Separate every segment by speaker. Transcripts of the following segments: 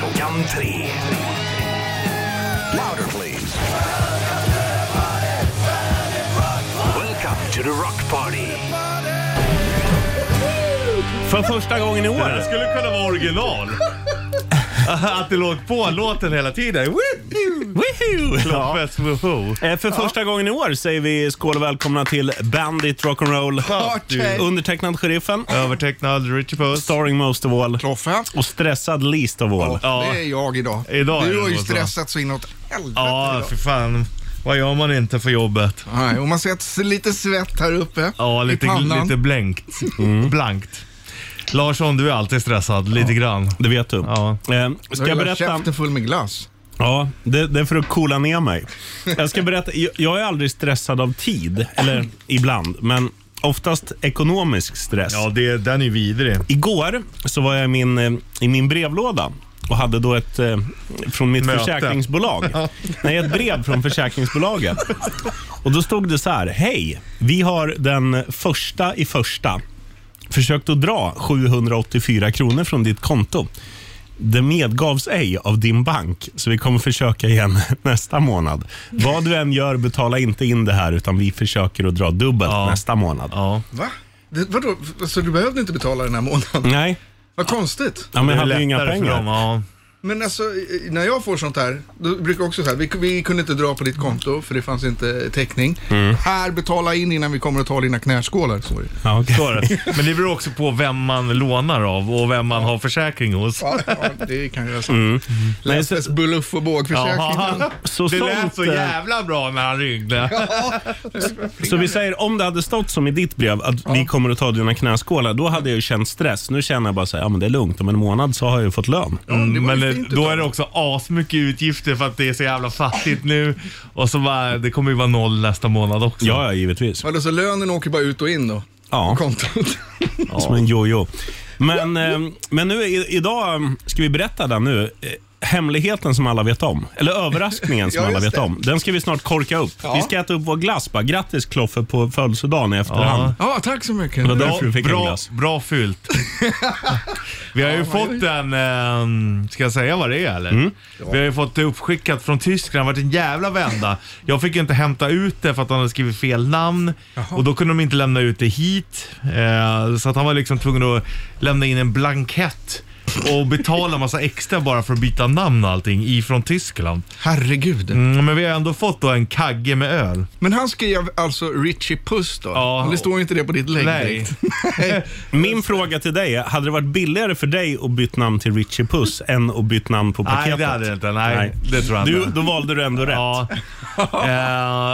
Speaker 1: 3. Louder please. Welcome to the rock party.
Speaker 2: För första gången i
Speaker 3: Det här
Speaker 2: år.
Speaker 3: skulle kunna vara original. Att det låg på låten hela tiden. Woohoo!
Speaker 2: Woohoo! Ja.
Speaker 3: Kloppes woho!
Speaker 2: Eh, För första gången i år säger vi skål och välkomna till Bandit Rock'n'Roll.
Speaker 3: Party.
Speaker 2: Undertecknad Sheriffen.
Speaker 3: Övertecknad Richie Puss.
Speaker 2: Starring most of all.
Speaker 4: Kloffe.
Speaker 2: Och stressad least of all.
Speaker 3: Ja.
Speaker 4: Det är jag idag.
Speaker 3: Idag är
Speaker 4: du
Speaker 3: det
Speaker 4: har ju
Speaker 3: något så.
Speaker 4: stressat så inåt helvete
Speaker 3: Ja,
Speaker 4: idag.
Speaker 3: för fan. Vad gör man inte för jobbet?
Speaker 4: Nej, och man ser att s- lite svett här uppe
Speaker 3: Ja,
Speaker 4: i
Speaker 3: lite,
Speaker 4: pannan.
Speaker 3: lite blänkt. Blankt. Larsson, du är alltid stressad. Lite grann.
Speaker 2: Det vet du.
Speaker 3: Ja.
Speaker 2: Eh,
Speaker 4: Jag
Speaker 2: Ska
Speaker 4: har
Speaker 2: jag
Speaker 4: hela
Speaker 2: berätta?
Speaker 4: käften full med glass.
Speaker 2: Ja, det, det är för att coola ner mig. Jag ska berätta, jag, jag är aldrig stressad av tid, eller ibland, men oftast ekonomisk stress.
Speaker 3: Ja, det, den är vidrig.
Speaker 2: Igår så var jag i min, eh, i min brevlåda och hade då ett, eh, från mitt
Speaker 3: Möte.
Speaker 2: försäkringsbolag. Nej, ett brev från försäkringsbolaget. Och då stod det så här. Hej, vi har den första i första försökt att dra 784 kronor från ditt konto. Det medgavs ej av din bank, så vi kommer försöka igen nästa månad. Vad du än gör, betala inte in det här, utan vi försöker att dra dubbelt
Speaker 3: Ja.
Speaker 2: nästa månad.
Speaker 3: Ja.
Speaker 4: Va? Det, vadå? Så du behövde inte betala den här månaden?
Speaker 2: Nej,
Speaker 4: Vad konstigt.
Speaker 2: ja, men jag
Speaker 3: det
Speaker 2: hade
Speaker 3: är
Speaker 2: ju inga
Speaker 3: lättare för
Speaker 2: pengar.
Speaker 3: dem, ja.
Speaker 4: Men alltså, eh, när jag får sånt här, då brukar jag också säga, vi, vi kunde inte dra på ditt konto för det fanns inte täckning.
Speaker 3: Mm.
Speaker 4: Här, betala in innan vi kommer att ta dina knäskålar. Sorry.
Speaker 2: Ja, okej.
Speaker 3: Så är det. Men det beror också på vem man lånar av och vem man har försäkring hos.
Speaker 4: Ja, ja, det kan jag säga.
Speaker 3: Mm.
Speaker 2: Nej, så,
Speaker 4: Lästes bluff och bågförsäkringen.
Speaker 3: Jaha.
Speaker 2: Så
Speaker 3: det
Speaker 2: sånt,
Speaker 3: lät så
Speaker 2: eh,
Speaker 3: jävla bra när han ringde.
Speaker 2: så vi säger, om det hade stått som i ditt brev att vi kommer att ta dina knäskålar, då hade jag ju känt stress. Nu känner jag bara så här, ja men det är lugnt, om en månad så har jag ju fått lön.
Speaker 4: det var ju
Speaker 3: Men det,
Speaker 4: fint
Speaker 3: då
Speaker 4: utav
Speaker 3: är det också asmycket utgifter för att det är så jävla fattigt nu. Och så bara, det kommer ju vara noll nästa månad också.
Speaker 2: Ja, ja, givetvis.
Speaker 4: Vadå, så lönen åker bara ut och in då?
Speaker 2: Ja,
Speaker 4: Kontot.
Speaker 2: som en jojo. Men, eh, men nu i, idag eh, ska vi berätta den nu. eh, Hemligheten som alla vet om, eller överraskningen som
Speaker 4: Ja,
Speaker 2: alla
Speaker 4: just
Speaker 2: vet
Speaker 4: det.
Speaker 2: om, den ska vi snart korka upp.
Speaker 4: Ja.
Speaker 2: Vi ska äta upp vår glass bara. Grattis Kloffe på födelsedagen i efterhand.
Speaker 4: Ja, tack så mycket.
Speaker 2: Det var
Speaker 3: Bra,
Speaker 2: därför du fick en
Speaker 3: bra,
Speaker 2: glass.
Speaker 3: bra fyllt. Vi har ju fått en, ehm, ska jag säga vad det är eller?
Speaker 2: Mm.
Speaker 3: Vi har ju fått det uppskickat från Tyskland, det har varit en jävla vända. Jag fick inte hämta ut det för att han hade skrivit fel namn och då kunde de inte lämna ut det hit. Eh, så att han var liksom tvungen att lämna in en blankett och betala massa extra bara för att byta namn och allting ifrån Tyskland.
Speaker 4: Herregud.
Speaker 3: Mm, men vi har ändå fått då en kagge med öl.
Speaker 4: Men han skrev alltså Richie Puss då?
Speaker 3: Ja.
Speaker 4: Men Det står ju inte det på ditt lägg
Speaker 3: Nej.
Speaker 4: direkt. Nej.
Speaker 2: Min fråga till dig är, hade det varit billigare för dig att byta namn till Richie Puss än att byta namn på paketet?
Speaker 3: Nej, det hade det inte. Nej, det tror jag
Speaker 2: du,
Speaker 3: inte.
Speaker 2: Då valde du ändå rätt.
Speaker 3: Ja.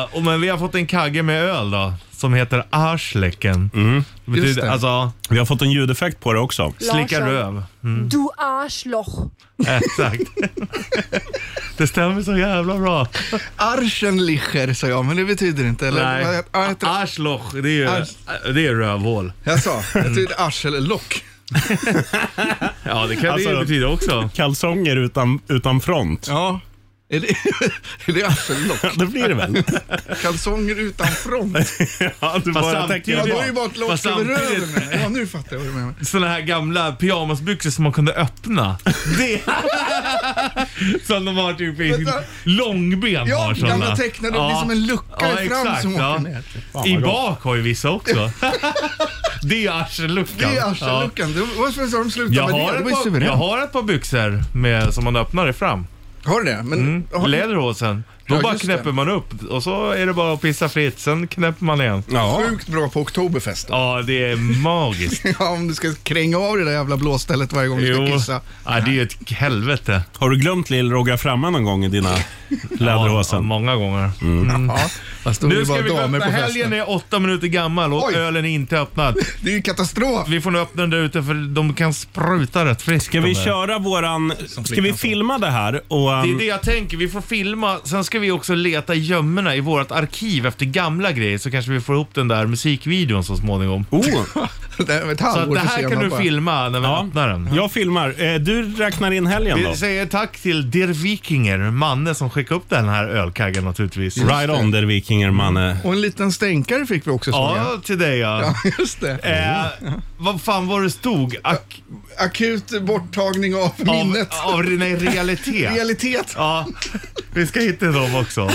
Speaker 3: eh, och men vi har fått en kagge med öl då, som heter Arschlecken. Det betyder
Speaker 4: Mm. Just det.
Speaker 3: alltså
Speaker 2: Vi har fått en ljudeffekt på det också.
Speaker 3: slicka
Speaker 5: Larsson.
Speaker 3: röv.
Speaker 5: Du Arschloch.
Speaker 3: Exakt. det stämmer så jävla bra.
Speaker 4: Arschenlicher sa jag, men det betyder inte. Eller?
Speaker 3: Nej.
Speaker 4: Vad- vad heter det?
Speaker 3: Arschloch, det är ju
Speaker 4: Arsch-
Speaker 3: det är rövhål.
Speaker 4: Jag sa, det betyder arsellock.
Speaker 3: Ja, det kan det
Speaker 2: Alltså-
Speaker 3: ju betyda också.
Speaker 2: Kalsonger utan, utan front.
Speaker 4: Ja. Är det, är det arsellock?
Speaker 2: Det blir det väl?
Speaker 4: Kalsonger utan front?
Speaker 2: ja, du
Speaker 3: Fast
Speaker 2: bara
Speaker 3: samtidigt-
Speaker 2: täcker
Speaker 4: Ja,
Speaker 2: det.
Speaker 4: då är ju bara ett
Speaker 3: Fast
Speaker 4: lock över
Speaker 3: samtidigt-
Speaker 4: röven. här. Ja, nu fattar jag vad du menar.
Speaker 3: Såna här gamla pyjamasbyxor som man kunde öppna. Det. som de har typ i
Speaker 4: Vänta.
Speaker 3: långben
Speaker 4: Ja,
Speaker 3: har såna.
Speaker 4: gamla tecknade. Det blir som en lucka i fram som åker ner.
Speaker 2: vad
Speaker 3: I
Speaker 2: gott.
Speaker 3: bak har ju vissa också. det är
Speaker 4: Det
Speaker 3: arselluckan.
Speaker 4: är arselluckan. Det var- Varför sa de sluta
Speaker 3: Ja. Jag,
Speaker 4: med
Speaker 3: har
Speaker 4: det? Det
Speaker 3: ett par,
Speaker 4: var ju
Speaker 3: jag
Speaker 4: suveränt.
Speaker 3: har ett par byxor med, som man öppnar i fram.
Speaker 4: Har du det?
Speaker 3: Mm.
Speaker 4: Men, har-
Speaker 3: Läderhosen. Då
Speaker 4: Ja,
Speaker 3: bara
Speaker 4: just
Speaker 3: knäpper
Speaker 4: det.
Speaker 3: man upp och så är det bara att pissa fritt. Sen knäpper man igen.
Speaker 2: Ja.
Speaker 4: Sjukt bra på Oktoberfest.
Speaker 3: Ja, det är magiskt.
Speaker 4: Ja, om du ska kränga av det där jävla blåstället varje gång du ska
Speaker 3: Jo.
Speaker 4: kissa.
Speaker 3: Ja, det är ju ett helvete.
Speaker 2: Har du glömt lill framman någon gång i dina
Speaker 3: Ja,
Speaker 2: läderhosen?
Speaker 3: många gånger.
Speaker 4: Ja, fast då är det
Speaker 3: Mm. Nu ska
Speaker 4: bara
Speaker 3: vi gå
Speaker 4: damer
Speaker 3: öppna.
Speaker 4: på
Speaker 3: Helgen
Speaker 4: festen.
Speaker 3: är åtta minuter gammal och
Speaker 4: Oj.
Speaker 3: ölen är inte öppnad.
Speaker 4: Det är ju katastrof.
Speaker 3: Vi får nog öppna den där ute för de kan spruta rätt friskt.
Speaker 2: Ska
Speaker 3: de
Speaker 2: vi
Speaker 3: där.
Speaker 2: köra våran... Ska vi
Speaker 4: flickan sa.
Speaker 2: filma det här? Och,
Speaker 3: Det är
Speaker 2: um,
Speaker 3: det jag tänker, vi får filma, sen ska vi också leta i gömmorna i vårt arkiv efter gamla grejer så kanske vi får ihop den där musikvideon så småningom.
Speaker 2: oh,
Speaker 4: Det är ett
Speaker 3: Så att
Speaker 4: halvår
Speaker 3: det här kan
Speaker 4: försenat
Speaker 3: du
Speaker 4: bara.
Speaker 3: filma när vi
Speaker 2: Ja.
Speaker 3: öppnar den.
Speaker 2: Jag filmar. Eh, Du räknar in helgen då?
Speaker 3: Vi säger tack till Der Vikinger, Manne som skickade upp den här ölkaggen naturligtvis.
Speaker 2: Right on der vikinger manne.
Speaker 4: Och en liten stänkare fick vi också såg jag.
Speaker 3: Ja, till dig ja.
Speaker 4: Ja, just det.
Speaker 3: Eh, vad fan var det stod? Ak-
Speaker 4: Akut borttagning av
Speaker 3: av,
Speaker 4: minnet.
Speaker 3: av nej, realitet.
Speaker 4: Realitet.
Speaker 3: Ja, vi ska hitta dem också.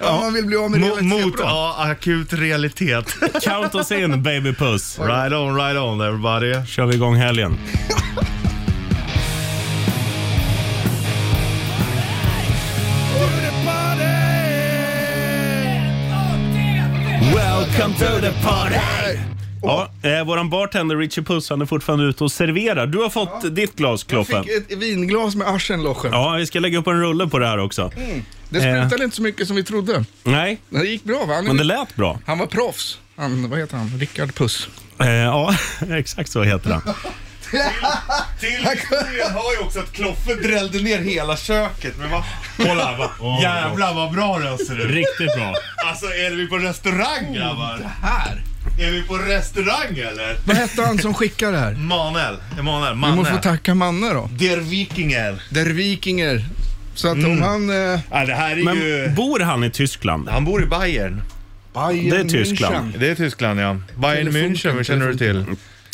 Speaker 4: Ja, man vill bli av med
Speaker 3: Mo-
Speaker 4: realitet.
Speaker 3: Mot
Speaker 4: bra.
Speaker 3: ja, akut realitet.
Speaker 2: Count us in baby puss.
Speaker 3: Right on, right on everybody.
Speaker 2: Kör vi igång helgen. Welcome to the party! Ja, eh, våran bartender Richie Puss han är fortfarande ute och serverar. Du har fått ditt glas
Speaker 4: Jag
Speaker 2: Kloffe.
Speaker 4: fick ett vinglas med Aschenlocher.
Speaker 2: Ja, vi ska lägga upp en rulle på det här också.
Speaker 4: Det sprutade
Speaker 3: Eh.
Speaker 4: inte så mycket som vi trodde.
Speaker 2: Nej,
Speaker 4: Men Det gick bra va? Han,
Speaker 2: men det lät bra.
Speaker 4: han var proffs. Han, vad heter han? Rickard Puss.
Speaker 2: Eh, ja, exakt så heter han.
Speaker 3: Till det har ju också att Kloffe drällde ner hela köket. Men vad? Kolla, vad, jävlar vad bra den ser ut. Oh,
Speaker 2: Riktigt bra.
Speaker 3: Alltså är vi på restaurang grabbar? Är vi på restaurang eller?
Speaker 4: Vad hette han som skickade det här?
Speaker 3: Manel, Emanuel,
Speaker 4: Vi måste få
Speaker 3: Manne.
Speaker 4: tacka Manne då.
Speaker 3: Der Vikinger.
Speaker 4: Der Vikinger. Så att
Speaker 2: Mm.
Speaker 4: om han... Eh,
Speaker 3: Ja, det här är
Speaker 2: Men
Speaker 3: ju...
Speaker 2: bor han i Tyskland?
Speaker 3: Han bor i Bayern.
Speaker 4: Bayern
Speaker 2: Det är Tyskland.
Speaker 4: München.
Speaker 3: Det är Tyskland ja. Bayern München, vad känner du till?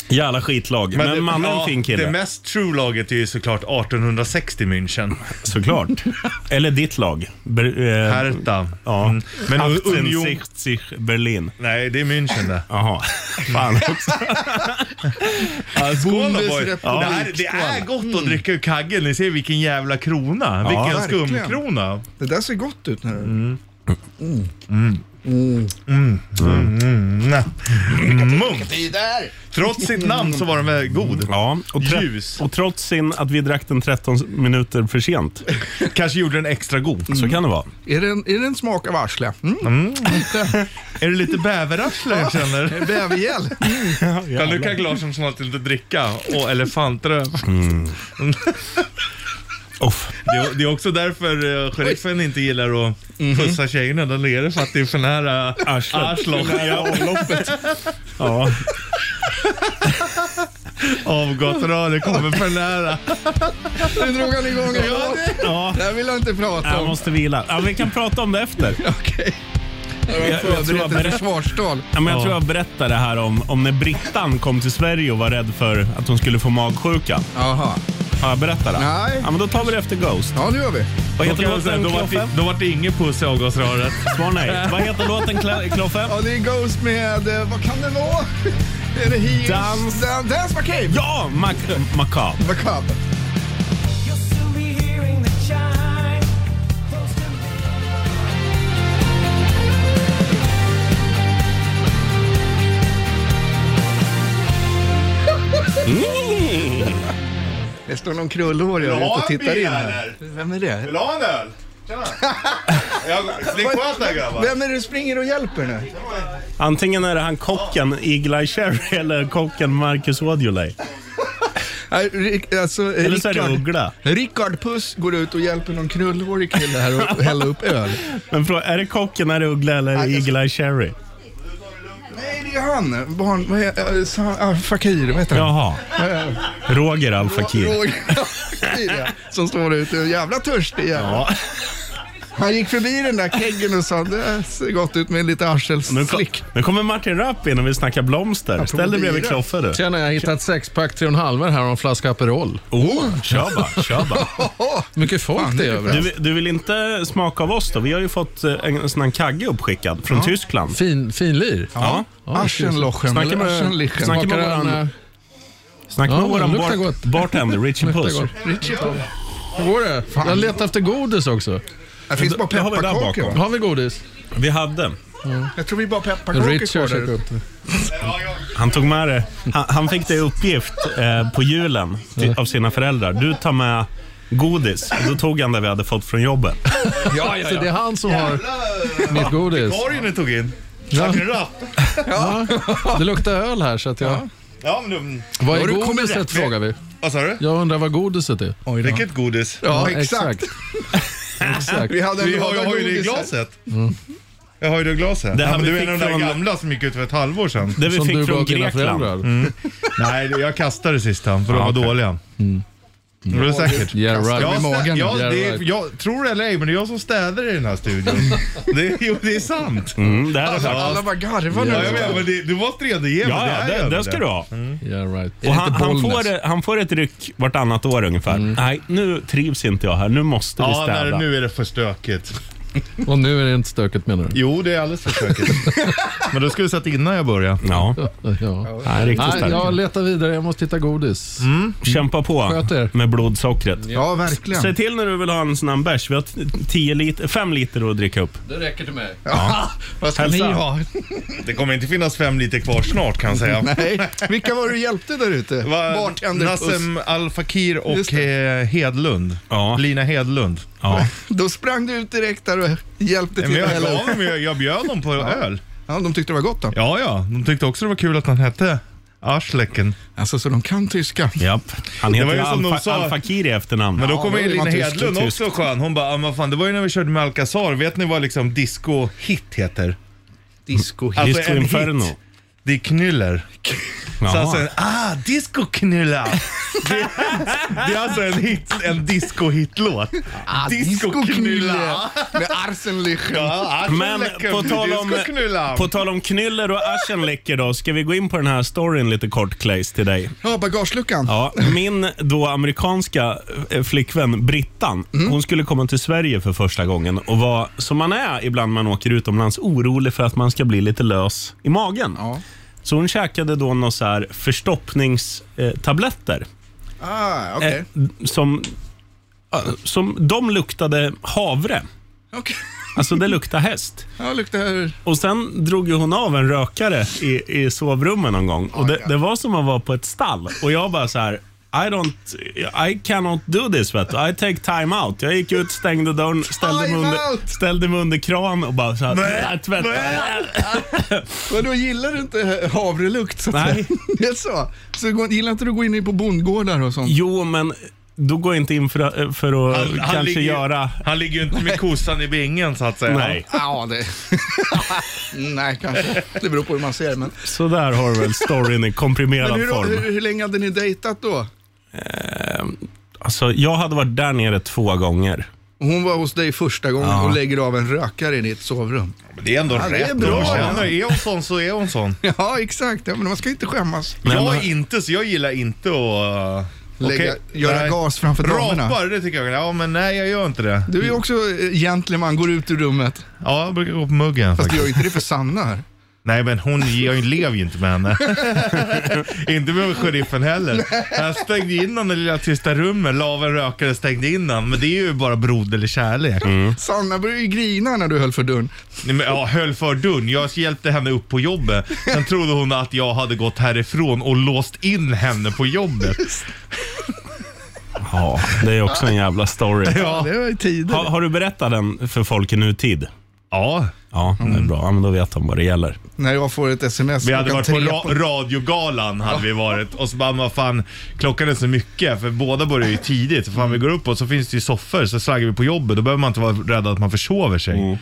Speaker 2: Jävla skitlag. Men,
Speaker 3: det-
Speaker 2: mannen är en
Speaker 3: ja,
Speaker 2: fin
Speaker 3: Det
Speaker 2: kille.
Speaker 3: mest true laget är ju såklart 1860 München.
Speaker 2: Såklart. Eller ditt lag. Ber, eh,
Speaker 3: Hertha.
Speaker 2: Ja.
Speaker 3: Mm. Men Union...
Speaker 2: 1860 Berlin.
Speaker 3: Nej, det är München det.
Speaker 2: Jaha. Fan också.
Speaker 3: Skål då, boy.
Speaker 4: Bundesrepublik
Speaker 3: Ja, det, här, det är gott att dricka ur kaggen. Ni ser vilken jävla krona. vilken
Speaker 4: verkligen.
Speaker 3: skumkrona.
Speaker 4: Det där ser gott ut nu.
Speaker 2: Mm.
Speaker 3: Mums.
Speaker 4: Det är där!
Speaker 3: Mm. Trots sitt namn så var den väl god.
Speaker 2: Ja, och, trä-
Speaker 3: Ljus.
Speaker 2: och trots sin att vi drack den 13 minuter för sent,
Speaker 3: Kanske gjorde den extra god.
Speaker 2: så kan det vara.
Speaker 4: Är det en, är det en smak av arsle? Mm. Lite
Speaker 3: Är det lite bäverarsle jag känner?
Speaker 4: bävergäll.
Speaker 3: Kan Lukas Larsson snart inte dricka? Och elefantröv.
Speaker 2: Uff.
Speaker 3: Det, är- det är också därför eh, sheriffen inte gillar att pussa tjejerna där nere för att det är för nära
Speaker 2: Arslet.
Speaker 3: arslet
Speaker 2: Ja.
Speaker 3: avgått rör. Det kommer för nära.
Speaker 4: Nu drog han igång en låt.
Speaker 2: ja,
Speaker 4: Det här vill jag inte prata
Speaker 2: jag
Speaker 4: om.
Speaker 2: måste vila. Ja, vi kan prata om det efter.
Speaker 4: Okej. Jag
Speaker 2: jag tror jag
Speaker 4: har förberett
Speaker 2: berett-
Speaker 4: ett försvarstal.
Speaker 2: Ja, men jag
Speaker 3: Ja.
Speaker 2: tror jag berättade här om, om när Brittan kom till Sverige och var rädd för att hon skulle få magsjuka.
Speaker 4: Jaha.
Speaker 2: Har jag berättat det?
Speaker 4: Nej.
Speaker 2: Ja, men då tar vi det efter Ghost.
Speaker 4: Ja, det gör vi.
Speaker 2: Vad
Speaker 3: Då,
Speaker 2: heter
Speaker 3: kan jag säga,
Speaker 2: låten
Speaker 3: då, var
Speaker 2: Kloffe?
Speaker 3: det, då var det ingen puss i avgasröret.
Speaker 2: Svar nej. Vad heter låten Kla- Kloffe?
Speaker 4: Ja, det är Ghost med... eh, Vad kan det vara? Är det Heels?
Speaker 2: Dans.
Speaker 4: Dan, dance Macabre?
Speaker 2: Ja, Mac- Macabre.
Speaker 4: Macabre.
Speaker 6: You'll soon be hearing the chime. Close to
Speaker 4: Det står någon krullhårig
Speaker 3: Vill du
Speaker 4: ute
Speaker 3: ha
Speaker 4: och
Speaker 3: en
Speaker 4: tittar
Speaker 3: bil,
Speaker 4: in här.
Speaker 3: eller?
Speaker 4: Vem är det?
Speaker 3: du ha en öl? Tjena! Slicksköta grabbar.
Speaker 4: Vem är det du springer och hjälper nu?
Speaker 2: Antingen är det han kocken Eagle-Eye Cherry eller kocken Marcus Aujalay.
Speaker 4: Nej, Rick- Alltså, eh,
Speaker 2: Eller så är det
Speaker 4: Rickard-
Speaker 2: Uggla.
Speaker 4: Rickard Puss går ut och hjälper någon krullhårig kille här och hälla upp öl.
Speaker 2: Men fråga, är det kocken, är det Uggla eller är det Eagle-Eye Cherry?
Speaker 4: Nej, det är han. Barn... Vad heter eh, Sa- ah, Fakir, vad heter han? Äh,
Speaker 2: Jaha. Roger Al Fakir.
Speaker 4: Roger Fakir, ja. Som står ute och är jävla törstig jävel.
Speaker 2: Ja.
Speaker 4: Han gick förbi den där keggen och sa det ser gott ut med lite
Speaker 2: Nu, kom,
Speaker 4: arselslick.
Speaker 2: nu kommer Martin Rapp in och vill snacka blomster. Ställ dig bredvid
Speaker 4: bira.
Speaker 2: Kloffe du.
Speaker 7: Tjena, jag har hittat sexpack 3,5 här och en flaska Aperol.
Speaker 2: Oh, kör bara, kör bara.
Speaker 4: Åh,
Speaker 7: Mycket folk det är överallt.
Speaker 2: Du, du vill inte smaka av oss då? Vi har ju fått eh, en sån här kagge uppskickad från Tyskland.
Speaker 7: Fin, finlir.
Speaker 2: Ja.
Speaker 4: Aschenlochen
Speaker 2: Snacka
Speaker 4: eller
Speaker 2: med,
Speaker 4: Aschenlichen.
Speaker 2: snacka med
Speaker 7: Smakar den,
Speaker 2: våran,
Speaker 7: eh,
Speaker 2: snacka med
Speaker 7: Ja,
Speaker 2: våran
Speaker 7: luktar
Speaker 2: bar,
Speaker 7: gott.
Speaker 2: bartender Richie
Speaker 7: luktar
Speaker 2: Puss.
Speaker 7: gott. Hur går det? Jag letar efter godis också.
Speaker 4: Det finns bara
Speaker 2: Det har vi där
Speaker 4: pepparkakor
Speaker 2: bakom.
Speaker 4: va?
Speaker 7: Har vi godis?
Speaker 2: Vi hade.
Speaker 4: Jag tror vi bara pepparkakor
Speaker 7: Rich
Speaker 4: kvar
Speaker 7: har
Speaker 4: där
Speaker 7: checkat
Speaker 4: ute.
Speaker 7: upp det.
Speaker 2: Han tog med det. Han, han fick det i uppgift eh, på julen till, av sina föräldrar. Du tar med godis. Och Då tog han det vi hade fått från jobbet.
Speaker 7: Ja, Så det är han som har mitt godis.
Speaker 3: Korgen du tog in.
Speaker 7: Ja.
Speaker 3: Martin Rapp.
Speaker 7: Ja. Det luktar öl här så att jag...
Speaker 3: Ja, men du...
Speaker 7: Vad
Speaker 4: Har
Speaker 7: är
Speaker 4: du kommit
Speaker 7: godiset
Speaker 4: rätt?
Speaker 7: frågar vi.
Speaker 3: Vad sa du?
Speaker 7: Jag undrar vad godiset är.
Speaker 4: Oj då.
Speaker 3: Vilket godis?
Speaker 4: Ja,
Speaker 7: Exakt.
Speaker 4: Vi hade en
Speaker 3: Vi har,
Speaker 4: låda
Speaker 3: jag har ju det i
Speaker 4: godis här.
Speaker 3: glaset. Jag har ju det glaset.
Speaker 2: Det här
Speaker 3: ja, men
Speaker 2: vi
Speaker 3: du är
Speaker 2: fick
Speaker 3: en av de där
Speaker 2: från-
Speaker 3: gamla som gick ut för ett halvår sedan.
Speaker 2: Det vi
Speaker 7: Som du
Speaker 2: fick
Speaker 7: gav
Speaker 2: från
Speaker 7: dina
Speaker 2: Grekland.
Speaker 7: föräldrar.
Speaker 3: Nej, det- jag kastade det sista för
Speaker 2: Ja,
Speaker 3: de var
Speaker 2: okej.
Speaker 3: dåliga. Mm. Var det säkert?
Speaker 7: Yeah right.
Speaker 3: Jag,
Speaker 7: Med
Speaker 3: stä-
Speaker 7: magen.
Speaker 3: jag,
Speaker 7: yeah,
Speaker 3: det,
Speaker 7: right.
Speaker 3: jag tror det eller ej, men det är jag som städar i den här studion. det, jo, det är sant.
Speaker 2: Mm, det här är
Speaker 4: Alltså,
Speaker 2: bra.
Speaker 4: alla bara garvar
Speaker 3: Ja,
Speaker 4: nu.
Speaker 3: jag vet, men det, du måste ändå ge mig.
Speaker 2: Ja,
Speaker 3: här
Speaker 2: ja,
Speaker 3: gör
Speaker 2: det,
Speaker 3: vi
Speaker 2: det ska du ha.
Speaker 7: Yeah, right. Är
Speaker 2: Och
Speaker 7: det
Speaker 2: han,
Speaker 7: inte
Speaker 2: han,
Speaker 7: Mm. Bollnäs? Mm.
Speaker 2: får, han får ett ryck vartannat år ungefär. Nej, nu trivs inte jag här. Nu måste vi
Speaker 3: Ja,
Speaker 2: städa.
Speaker 3: nej, nu är det för stökigt.
Speaker 7: Och nu är det inte stökigt menar du?
Speaker 3: Jo, det är alldeles för stökigt. men då ska vi sätta innan jag börjar.
Speaker 2: Ja,
Speaker 7: Ja.
Speaker 2: nej, riktigt
Speaker 7: Nej,
Speaker 2: stark.
Speaker 7: jag letar vidare. Jag måste hitta godis.
Speaker 2: Kämpa på
Speaker 7: Sköt er.
Speaker 2: med blodsockret.
Speaker 3: Mm.
Speaker 4: Ja,
Speaker 2: Säg
Speaker 4: verkligen.
Speaker 2: till när du vill ha en sån här bärs. Vi har 10 liter, 5 liter att dricka upp.
Speaker 7: Det räcker till mig.
Speaker 4: Vad ska
Speaker 2: Hälsa.
Speaker 4: ni ha?
Speaker 3: Det kommer inte finnas fem liter kvar snart kan jag säga.
Speaker 4: Nej. Vilka var det du hjälpte där ute?
Speaker 3: Va-
Speaker 4: Bartenderpuss.
Speaker 3: Nassem Al Fakir
Speaker 4: Just
Speaker 3: och eh, Hedlund.
Speaker 2: Ja.
Speaker 3: Lina Hedlund.
Speaker 2: Ja.
Speaker 4: Då sprang du ut direkt där och hjälpte
Speaker 3: Men
Speaker 4: till.
Speaker 3: jag,
Speaker 4: att hälla upp.
Speaker 3: gav dem, jag, jag bjöd dem på öl.
Speaker 4: Ja, de tyckte det var gott då.
Speaker 3: Ja, ja. De tyckte också det var kul att han hette Arslecken.
Speaker 4: Alltså, så de kan tyska.
Speaker 2: Japp. Han heter
Speaker 3: var ju
Speaker 2: ju
Speaker 3: som de
Speaker 2: Alfa,
Speaker 3: sa.
Speaker 2: Al-Fakir i efternamn.
Speaker 3: Men då
Speaker 4: Ja,
Speaker 3: kommer
Speaker 4: då
Speaker 3: ju
Speaker 4: är
Speaker 3: Lina
Speaker 4: man tysk
Speaker 3: Hedlund
Speaker 2: och
Speaker 3: också skön. Hon bara, ah, vad fan, det var ju när vi körde med Alcazar. Vet ni vad liksom disco-hit heter?
Speaker 4: Disco.
Speaker 3: Alltså
Speaker 2: Disco
Speaker 3: en hit.
Speaker 2: Inferno.
Speaker 3: Det är knyller. Så
Speaker 2: Jaha.
Speaker 3: alltså, en, ah, disco-knulla. det, är- det är alltså en hit, en disco-hitlåt. Ah,
Speaker 4: Med Arsenlich.
Speaker 3: Ja, ah,
Speaker 2: Men på tal, om, på tal om knyller och aschenläcker då, ska vi gå in på den här storyn lite kort Claes till dig?
Speaker 4: Ja, bagageluckan.
Speaker 2: Ja, min då amerikanska eh, flickvän Brittan,
Speaker 4: Mm.
Speaker 2: hon skulle komma till Sverige för första gången och var, som man är ibland man åker utomlands, orolig för att man ska bli lite lös i magen.
Speaker 4: Ja.
Speaker 2: Så hon käkade då några så här förstoppningstabletter.
Speaker 4: Ah,
Speaker 2: eh,
Speaker 4: okej.
Speaker 2: Som, eh, som de luktade havre.
Speaker 4: Okej.
Speaker 2: Alltså det luktar häst.
Speaker 4: Ja, luktar...
Speaker 2: Och sen drog ju hon av en rökare i, i sovrummen någon gång.
Speaker 4: Oh
Speaker 2: Och det, det var som att vara på ett stall. Och jag bara så här, I don't, I cannot do this vet du. I take time out. Jag gick ut, stängde dörren, ställde, mig
Speaker 4: Time
Speaker 2: under,
Speaker 4: out!
Speaker 2: ställde mig under kran och bara så här, "Äh, "Nej, tvätta.
Speaker 4: Vadå, gillar du inte havrelukt? Så att
Speaker 2: Nej.
Speaker 4: säga? Det är så? Så går- gillar inte du att gå in i på bondgårdar och sånt?
Speaker 2: Jo, men då går jag inte in för, för att kanske
Speaker 3: ligger, ju-
Speaker 2: göra...
Speaker 3: han ligger ju inte med kossan i bingen så att säga.
Speaker 2: Nej,
Speaker 4: Ja, det... Nej, kanske. Det beror på hur man ser men...
Speaker 2: så där har du väl storyn i komprimerad
Speaker 4: Men hur,
Speaker 2: form.
Speaker 4: hur, hur länge hade ni dejtat då?
Speaker 2: Alltså, jag hade varit där nere två gånger.
Speaker 4: Hon var hos dig första gången och lägger av en rökare i ditt sovrum.
Speaker 3: Men Det är ändå
Speaker 4: Ja,
Speaker 3: rätt.
Speaker 4: det är bra.
Speaker 3: Hon känner, är hon sån så är hon sån.
Speaker 4: Ja, exakt. Ja, men man ska inte skämmas.
Speaker 3: jag
Speaker 2: men-
Speaker 3: är inte så, jag gillar inte att... Uh,
Speaker 4: Lägga, göra gas framför damerna.
Speaker 3: Rapar, det tycker jag. Ja, men nej jag gör inte det.
Speaker 4: Du är också eh, gentleman, går ut ur rummet.
Speaker 3: Ja, jag brukar gå på muggen
Speaker 4: Fast du
Speaker 3: faktiskt.
Speaker 4: gör ju inte det för Sanna här.
Speaker 3: Nej, men hon, jag lever ju inte med henne. inte med sheriffen heller. Jag stängde in honom i det lilla tysta rummet, la av en rökare, stängde in honom. Men det är ju bara broderlig kärlek.
Speaker 4: Sanna började ju grina när du höll för dörren.
Speaker 3: Nej, men, ja, höll för dörren. Jag hjälpte henne upp på jobbet. Sen trodde hon att jag hade gått härifrån och låst in henne på jobbet.
Speaker 2: Ja, det är också en jävla story.
Speaker 4: Ja,
Speaker 3: Ja,
Speaker 4: det var ju
Speaker 2: Ha,
Speaker 4: tider.
Speaker 2: har du berättat den för folk i nutid?
Speaker 3: ja.
Speaker 2: Ja, det
Speaker 3: Mm.
Speaker 2: är bra. Ja, men då vet de vad det gäller.
Speaker 4: När jag får ett sms
Speaker 3: vi hade
Speaker 4: klockan
Speaker 3: varit på
Speaker 4: tre
Speaker 3: ra- radiogalan hade vi varit och så bara, vad fan, klockan är så mycket för båda börjar ju tidigt. Så fan vi går upp och så finns det ju soffor så slaggar vi på jobbet. Då behöver man inte vara rädd att man försover sig.
Speaker 4: Mm.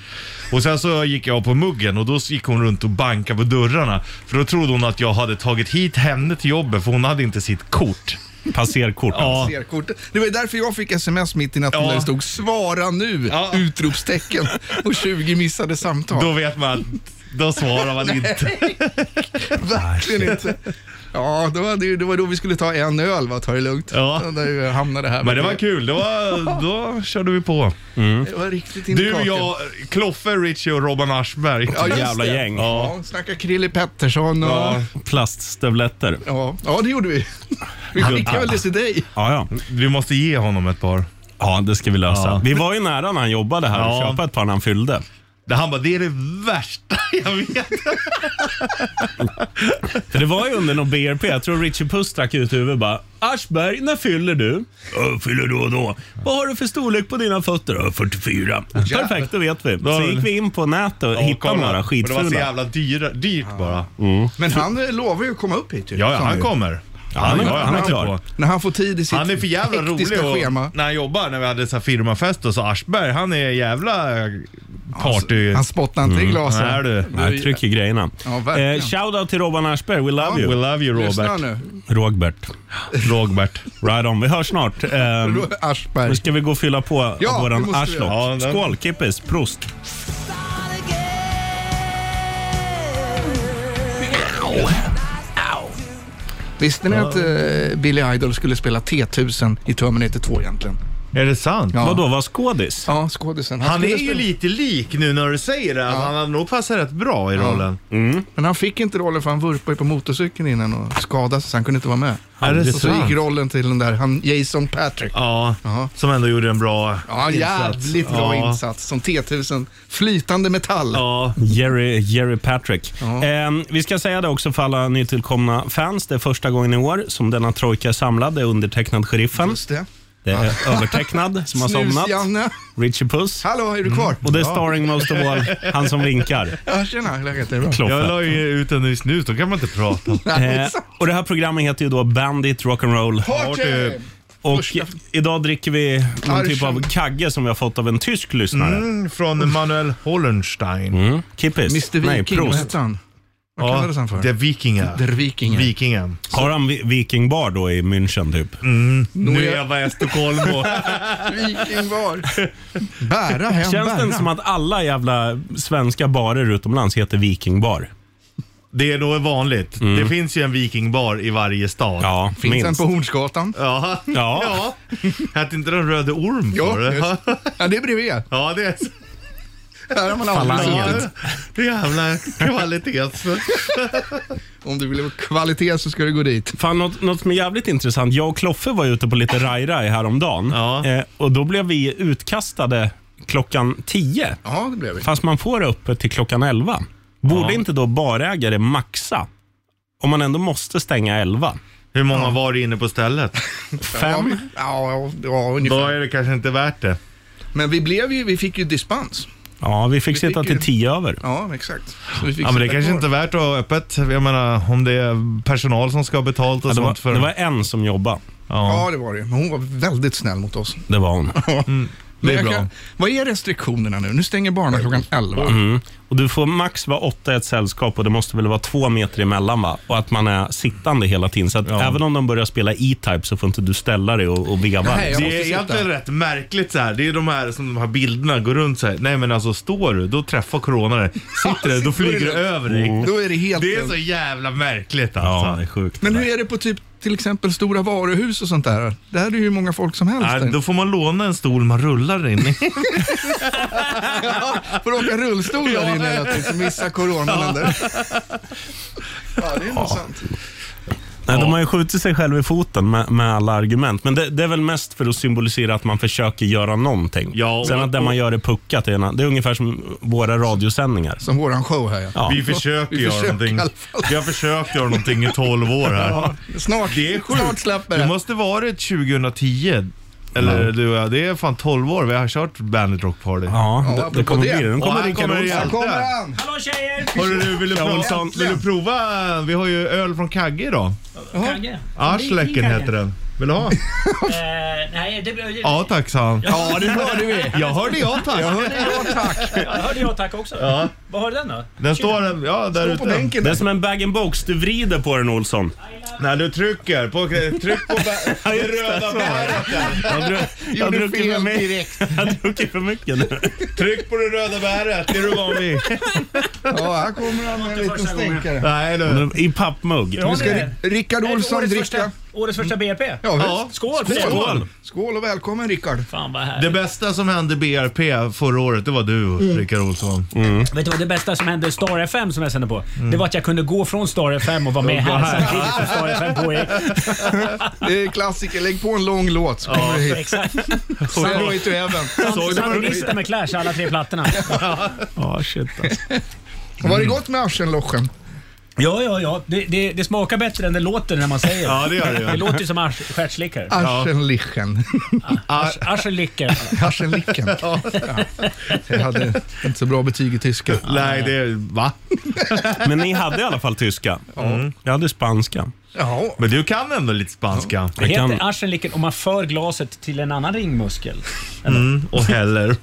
Speaker 3: Och sen så gick jag på muggen och då gick hon runt och bankade på dörrarna. För då trodde hon att jag hade tagit hit henne till jobbet för hon hade inte sitt kort.
Speaker 2: Passerkort.
Speaker 3: Ja.
Speaker 4: Passerkortet. Det var ju därför jag fick sms mitt i natten
Speaker 3: Ja.
Speaker 4: där det stod “Svara nu!”
Speaker 3: Ja.
Speaker 4: utropstecken och 20 missade samtal.
Speaker 3: Då vet man att då svarar man inte.
Speaker 4: Verkligen inte. Ja, det var, det, det var då vi skulle ta en öl, va? ta det lugnt.
Speaker 3: Ja.
Speaker 4: Där vi hamnade här.
Speaker 3: Men det var kul, det var, då körde vi på.
Speaker 4: Det var riktigt in i
Speaker 3: Du,
Speaker 4: kaken.
Speaker 3: jag, Kloffe, Richie och Robban Aschberg.
Speaker 4: Ja, just
Speaker 2: Jävla
Speaker 4: det.
Speaker 2: gäng.
Speaker 3: Ja.
Speaker 4: Ja, snacka Krille Pettersson och... Ja.
Speaker 3: Ja.
Speaker 2: Plaststövletter.
Speaker 4: Ja. det gjorde vi. Vi skickade väl det till dig.
Speaker 2: Ja, ja.
Speaker 3: Vi måste ge honom ett par.
Speaker 2: ja, det ska vi lösa.
Speaker 3: Ja.
Speaker 2: Vi var ju nära när han jobbade här och
Speaker 3: Ja.
Speaker 2: köpa ett par när han fyllde.
Speaker 3: Det- Han bara, det är det värsta jag vet.
Speaker 2: För det var ju under någon BRP. Jag tror Richie Puss stack ut huvudet bara. Aschberg, när fyller du? Jag fyller då och då. Vad har du för storlek på dina fötter? "Ja, 44. Perfekt, då vet vi. Så gick vi in på nätet och hittade några
Speaker 3: Det var så
Speaker 2: skitfula.
Speaker 3: jävla dyra, dyrt bara.
Speaker 4: Men han eh, lovar ju att komma upp hit ju.
Speaker 3: Ja, ja,
Speaker 4: sa
Speaker 3: han
Speaker 4: ju.
Speaker 3: kommer.
Speaker 2: han är-
Speaker 3: Ja, ja,
Speaker 2: han är
Speaker 3: på.
Speaker 2: klar.
Speaker 4: När han får tid i sitt
Speaker 3: Han är för jävla
Speaker 4: hektiska
Speaker 3: rolig och,
Speaker 4: schema.
Speaker 3: när han jobbar, när vi hade så här firmafest och så Aschberg, han är jävla party...
Speaker 4: Han spottar inte i glasen.
Speaker 3: Nej du.
Speaker 2: Jag trycker grejerna.
Speaker 4: Ja, verkligen.
Speaker 2: Eh, Shoutout till Robban Aschberg. We love
Speaker 4: Ja.
Speaker 3: We
Speaker 2: you.
Speaker 3: love you
Speaker 4: Lyssna
Speaker 3: Robert.
Speaker 4: nu.
Speaker 2: Rogbert.
Speaker 3: Rogbert.
Speaker 2: Right on. Vi hörs snart. Ehm,
Speaker 4: Aschberg.
Speaker 2: nu ska vi gå och fylla på
Speaker 4: Ja, det
Speaker 2: våran
Speaker 4: måste vi
Speaker 2: arslock.
Speaker 3: göra. Ja, den-
Speaker 2: Skål, kippis. Prost.
Speaker 4: Visste ni att eh, Billy Idol skulle spela T-1000 i Terminator 2 egentligen?
Speaker 3: Är det sant?
Speaker 4: Ja.
Speaker 2: Vadå, var skådis?
Speaker 4: Ja, skådisen.
Speaker 3: Han
Speaker 4: skulle
Speaker 3: är ju
Speaker 4: spela-
Speaker 3: lite lik nu när du säger det. Alltså, Han hade nog passat rätt bra i rollen.
Speaker 4: Men han fick inte rollen för han vurpade ju på motorcykeln innan och skadade sig så han kunde inte vara med.
Speaker 3: Är det
Speaker 4: Så
Speaker 3: sant?
Speaker 4: gick rollen till den där han, Jason Patrick.
Speaker 3: Ja,
Speaker 4: Ja.
Speaker 3: som ändå gjorde en bra
Speaker 4: Ja, jävligt bra
Speaker 3: Ja.
Speaker 4: insats. Som T-1000. Flytande metall.
Speaker 3: Ja,
Speaker 2: Jerry, Jerry Patrick.
Speaker 4: Ja.
Speaker 2: Ehm, vi ska säga det också för alla nytillkomna fans. Det är första gången i år som denna trojka är samlad. Det är undertecknad Sheriffen.
Speaker 4: Just det.
Speaker 2: Det är övertecknad som har somnat.
Speaker 4: Snus-Janne.
Speaker 2: Richie Puss.
Speaker 4: Hallå, är du kvar?
Speaker 2: Och det är starring most of all, han som vinkar.
Speaker 4: Ja, tjena. hur är Läget är bra.
Speaker 3: jag
Speaker 2: Kloffe.
Speaker 3: la ju ut en ny snus, då kan man inte prata.
Speaker 4: Nej,
Speaker 2: Eh,
Speaker 4: exakt.
Speaker 2: och det här programmet heter ju då Bandit Rock'n'Roll.
Speaker 4: Party!
Speaker 2: Och
Speaker 4: Första-
Speaker 2: idag dricker vi någon typ av
Speaker 4: Arschan.
Speaker 2: kagge som vi har fått av en tysk lyssnare.
Speaker 3: Mm, från Manuel Hollenstein.
Speaker 2: Mm. Kippis.
Speaker 4: Mr
Speaker 2: Nej,
Speaker 4: Viking, vad
Speaker 2: prost.
Speaker 4: hette han? Vad kallades han för?
Speaker 3: The Vikinga.
Speaker 4: Der Vikingen.
Speaker 3: Vikingen.
Speaker 2: Har han vi- vikingbar då i München typ?
Speaker 3: Nu är jag bara i Stockholm och...
Speaker 4: Vikingbar. Bära hem,
Speaker 2: Känns
Speaker 4: bära.
Speaker 2: det som att alla jävla svenska barer utomlands heter vikingbar?
Speaker 3: Det är då vanligt. Det finns ju en vikingbar i varje stad.
Speaker 2: Mm. Ja,
Speaker 4: Finns
Speaker 2: minst.
Speaker 4: den på Hornsgatan?
Speaker 3: Ja.
Speaker 2: Ja.
Speaker 3: Hette inte den Röde Orm
Speaker 4: Ja,
Speaker 3: för det?
Speaker 4: just. ja, det är bredvid.
Speaker 3: Ja, det är
Speaker 4: Här har man aldrig
Speaker 2: Falangen.
Speaker 4: suttit.
Speaker 3: så. Det är jävla kvalitets...
Speaker 4: Om du vill ha kvalitet så ska du gå dit.
Speaker 2: Fan, något, något som är jävligt intressant. Jag och Kloffe var ute på lite raj-raj häromdagen.
Speaker 3: Ja.
Speaker 2: Eh, och då blev vi utkastade klockan 10.
Speaker 4: Ja, det blev vi.
Speaker 2: Fast man får det öppet till klockan 11. Borde
Speaker 3: Ja.
Speaker 2: inte då barägare maxa? Om man ändå måste stänga 11.
Speaker 3: Hur många var det inne på stället?
Speaker 2: Fem?
Speaker 4: Ja, ja, ja
Speaker 3: Då
Speaker 4: ungefär.
Speaker 3: är det kanske inte värt det.
Speaker 4: Men vi, blev ju, vi fick ju dispens.
Speaker 2: Ja, vi fick
Speaker 4: Vi
Speaker 2: sitta
Speaker 4: fick
Speaker 2: till
Speaker 4: ju-
Speaker 2: 10 över.
Speaker 4: Ja, exakt. Så vi fick
Speaker 3: Ja, men det
Speaker 4: sitta
Speaker 3: kanske
Speaker 4: kvar.
Speaker 3: inte är värt att ha öppet. Jag menar, om det är personal som ska ha betalt och
Speaker 2: Ja, det,
Speaker 3: sånt
Speaker 2: var,
Speaker 3: för...
Speaker 2: det var en som jobbade.
Speaker 3: ja.
Speaker 4: Ja, det var det Men hon var väldigt snäll mot oss.
Speaker 2: Det var hon.
Speaker 4: Men jag
Speaker 3: Mm, bra.
Speaker 4: vad är restriktionerna nu? Nu stänger barnen klockan 11.
Speaker 2: Mm. Och du får max vara åtta i ett sällskap och det måste väl vara två meter emellan va? Och att man är sittande hela tiden. Så att även om de börjar spela E-Type så får inte du ställa dig och, och veva.
Speaker 4: Nej, jag
Speaker 3: Det
Speaker 4: måste
Speaker 3: är
Speaker 4: sitta.
Speaker 3: egentligen rätt märkligt så här. Det är de här som de här bilderna går runt så här. Nej men alltså står du, då träffar corona dig. Sitter du, då flyger det över dig.
Speaker 4: Då är det helt...
Speaker 3: Det är så jävla märkligt
Speaker 2: Ja, det
Speaker 3: alltså.
Speaker 2: är sjukt.
Speaker 4: Men hur är det på typ till exempel stora varuhus och sånt där? Där är det ju många folk som helst.
Speaker 3: Nej, då får man låna en stol man rullar in i.
Speaker 4: Får åka rullstol där inne hela tiden så missar coronan den där. Ja, det är nog sant.
Speaker 2: Nej, de har ju skjutit sig själv i foten med, med alla argument. Men det, det är väl mest för att symbolisera att man försöker göra någonting.
Speaker 3: Ja, och-
Speaker 2: Sen att det man gör är puckat. Det är en- det är ungefär som våra radiosändningar.
Speaker 4: Som våran show här ja.
Speaker 2: Ja.
Speaker 3: Vi försöker
Speaker 4: Vi
Speaker 3: göra
Speaker 4: försöker i alla
Speaker 3: någonting. Vi har försökt göra någonting i 12 år här.
Speaker 4: Snart,
Speaker 3: Det är sjukt.
Speaker 4: snart släpper
Speaker 3: Det
Speaker 4: det.
Speaker 3: måste varit 2010. Eller du och jag, det är fan 12 år vi har kört Bandit Rock Party.
Speaker 2: Ja,
Speaker 4: Ja,
Speaker 2: det, det
Speaker 4: apropå
Speaker 2: kommer
Speaker 4: det.
Speaker 2: bli det. De
Speaker 3: Och
Speaker 2: kommer
Speaker 3: här
Speaker 2: Rickard
Speaker 3: kommer det
Speaker 2: Olsson.
Speaker 4: Här
Speaker 3: igen.
Speaker 4: kommer
Speaker 3: Hörru
Speaker 4: han!
Speaker 3: du, vill du, prova,
Speaker 2: Olsson.
Speaker 3: vill du prova? Vi har ju öl från Kagge idag.
Speaker 8: Kagge?
Speaker 3: Arschlecken heter den. Vill du ha?
Speaker 8: Eh, nej, det, det,
Speaker 3: Ja tack sa han.
Speaker 4: Ja, det hörde vi.
Speaker 3: Jag hörde ja tack.
Speaker 8: jag hörde jag tack också. Vad har den då?
Speaker 3: Den står ja, där
Speaker 4: På
Speaker 3: ute.
Speaker 4: bänken
Speaker 2: Det är
Speaker 4: där.
Speaker 2: som en bag-in-box. Du vrider på den Olsson.
Speaker 3: När du trycker på, tryck på bä- det röda bäret. där.
Speaker 2: Jag har dru- jag har
Speaker 4: Gjorde
Speaker 2: druckit för
Speaker 4: fel
Speaker 2: mycket.
Speaker 4: direkt.
Speaker 2: Jag har druckit för mycket nu.
Speaker 3: Tryck på det röda bäret, det är du van vid.
Speaker 4: Ja, här kommer han med en liten stänkare.
Speaker 3: Nej du.
Speaker 2: I pappmugg.
Speaker 8: Nu
Speaker 4: Ska Ri- Rickard Olsson
Speaker 8: årets
Speaker 4: dricka?
Speaker 8: första, årets första BRP.
Speaker 4: Ja,
Speaker 3: Ja.
Speaker 4: visst.
Speaker 8: Skål för det.
Speaker 2: Skål!
Speaker 4: Skål och välkommen Rickard.
Speaker 8: Fan vad
Speaker 3: Det
Speaker 8: härligt.
Speaker 3: bästa som hände BRP förra året, det var du Rickard Olsson.
Speaker 8: Vet du vad det bästa som hände Star FM som jag sände på?
Speaker 3: Mm.
Speaker 8: Det var att jag kunde gå från Star FM och vara med
Speaker 3: gå
Speaker 8: här
Speaker 3: här.
Speaker 8: samtidigt som Star FM pågick.
Speaker 4: Det är klassiker, lägg på en lång låt så kommer du hit.
Speaker 8: Exakt.
Speaker 4: Stairway to heaven.
Speaker 8: Sandinister med Clash, alla tre plattorna.
Speaker 2: Ja, shit alltså.
Speaker 4: Var det gott med arslenlochen?
Speaker 8: Ja, ja, ja. Det, det, det smakar bättre än det låter när man säger
Speaker 3: Ja det gör det
Speaker 8: Det
Speaker 3: ju.
Speaker 8: låter ju som ars- stjärtslickare.
Speaker 4: Arschenlichen.
Speaker 3: Ah.
Speaker 8: Arschelicker.
Speaker 4: Arschenlichen. Ja. Jag hade inte så bra betyg i tyska.
Speaker 3: Nej det är, va?
Speaker 2: Men ni hade i alla fall tyska. Jag hade spanska.
Speaker 4: Ja,
Speaker 3: Men du kan ändå lite spanska.
Speaker 8: Det
Speaker 2: kan-
Speaker 8: heter arschelicker om man för glaset till en annan ringmuskel.
Speaker 3: Och heller.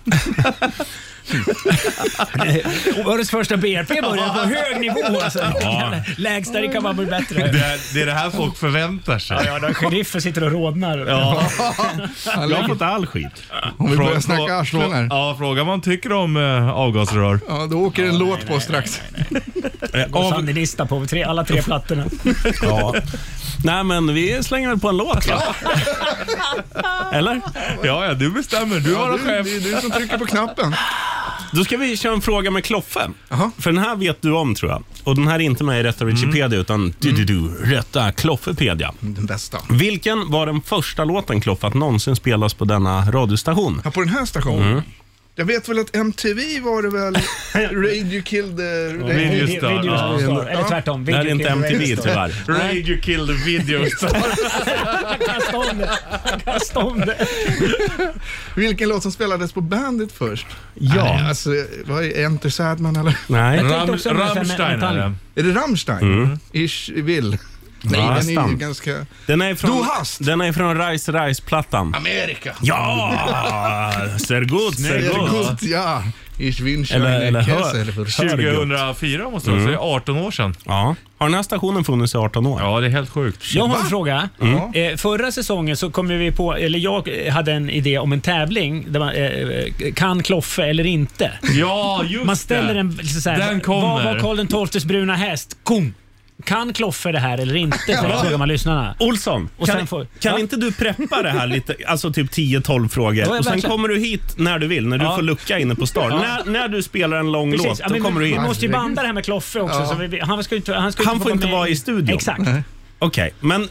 Speaker 8: Eh, Årets första BRP börjar på hög nivå alltså.
Speaker 2: Ja.
Speaker 8: Lägsta det kan bara bli bättre.
Speaker 3: Det är, det är det här folk förväntar sig.
Speaker 8: Ja, då sheriffen sitter och rodnar.
Speaker 3: Ja.
Speaker 2: Jag har fått all skit.
Speaker 4: Om vi
Speaker 3: Frå-
Speaker 4: börjar
Speaker 3: frå-
Speaker 4: snacka arslen
Speaker 3: frå-
Speaker 4: här.
Speaker 3: Ja, fråga vad han tycker om eh, avgasrör.
Speaker 4: Ja, då åker en låt på strax.
Speaker 8: Och sandinista på tre, alla tre plattorna.
Speaker 2: Ja. Nej, men vi slänger väl på en låt va? Eller?
Speaker 3: Ja, ja, du bestämmer. Du
Speaker 4: Ja,
Speaker 3: var
Speaker 4: du,
Speaker 3: chef.
Speaker 4: det är du som trycker på knappen.
Speaker 2: Då ska vi köra en fråga med Kloffe.
Speaker 4: Jaha.
Speaker 2: För den här vet du om tror jag. Och den här är inte med i Rätta Wikipedia utan du, du, du, Rätta Kloffepedia.
Speaker 4: Den bästa.
Speaker 2: Vilken var den första låten Kloffe att någonsin spelas på denna radiostation?
Speaker 4: Ja, på den här stationen. Jag vet väl att MTV var det väl Radio Killed... eh, Radio-
Speaker 3: Video Star.
Speaker 8: Video
Speaker 3: Ja.
Speaker 8: Star. Eller tvärtom.
Speaker 2: Det
Speaker 8: Video
Speaker 2: här är inte
Speaker 8: Kid
Speaker 2: MTV
Speaker 8: Radio Star.
Speaker 2: tyvärr.
Speaker 3: Radio Kill the Video Star.
Speaker 8: Kasta om det. Kasta om det.
Speaker 4: Vilken låt som spelades på Bandit först?
Speaker 2: Ja.
Speaker 4: Alltså, vad är Enter Sadman eller?
Speaker 2: Nej.
Speaker 8: Jag tänkte
Speaker 3: Ram,
Speaker 8: också om det här med
Speaker 3: Rammstein är
Speaker 8: metall.
Speaker 3: det.
Speaker 4: Är det Rammstein? Ish Will. Mm. Nej, den är ju
Speaker 2: Nästan.
Speaker 4: ganska...
Speaker 2: Den är
Speaker 4: Du
Speaker 2: från,
Speaker 4: hast.
Speaker 2: den är från Rice Rice-plattan.
Speaker 4: Amerika!
Speaker 2: Ja! Ser god, ser god.
Speaker 4: Gott, ja. Ich wünsche
Speaker 2: Eller-
Speaker 4: eine
Speaker 2: eller hör-
Speaker 4: Kessel för-
Speaker 2: hör- Herregud.
Speaker 3: 2004 måste det vara, så det är 18 år sedan.
Speaker 2: Ja. Har den här stationen funnits i 18 år?
Speaker 3: Ja, det är helt sjukt.
Speaker 8: Jag har en fråga.
Speaker 3: Mm.
Speaker 8: Eh, förra säsongen så kom vi på, eller jag eh, hade en idé om en tävling. Där man, eh, eh, kan Kloffe eller inte?
Speaker 3: Ja, just
Speaker 8: Man ställer
Speaker 3: det.
Speaker 8: en liksom så här,
Speaker 3: Den kommer.
Speaker 8: Vad var Karl XIIs bruna häst? Kom. Kan Kloffe det här eller inte? Så frågar man lyssnarna.
Speaker 2: Olsson,
Speaker 8: Och
Speaker 2: kan,
Speaker 8: sen får-
Speaker 2: kan
Speaker 8: Va?
Speaker 2: inte du preppa det här lite? Alltså typ 10-12 frågor.
Speaker 8: Ja, ja,
Speaker 2: och sen
Speaker 8: verkligen.
Speaker 2: kommer du hit när du vill, när du
Speaker 8: Ja.
Speaker 2: får lucka inne på stan. När, när du spelar en lång låt,
Speaker 8: Precis.
Speaker 2: då
Speaker 8: Ja, men
Speaker 2: kommer du
Speaker 8: vi,
Speaker 2: in.
Speaker 8: vi
Speaker 2: Okej,
Speaker 8: måste ju banda det här med Kloffe också.
Speaker 4: Ja.
Speaker 8: Så vi- vi, han, ska ju inte, han, ska ju
Speaker 2: Han får inte
Speaker 8: med
Speaker 2: vara i studion. Mm,
Speaker 8: Exakt.
Speaker 2: men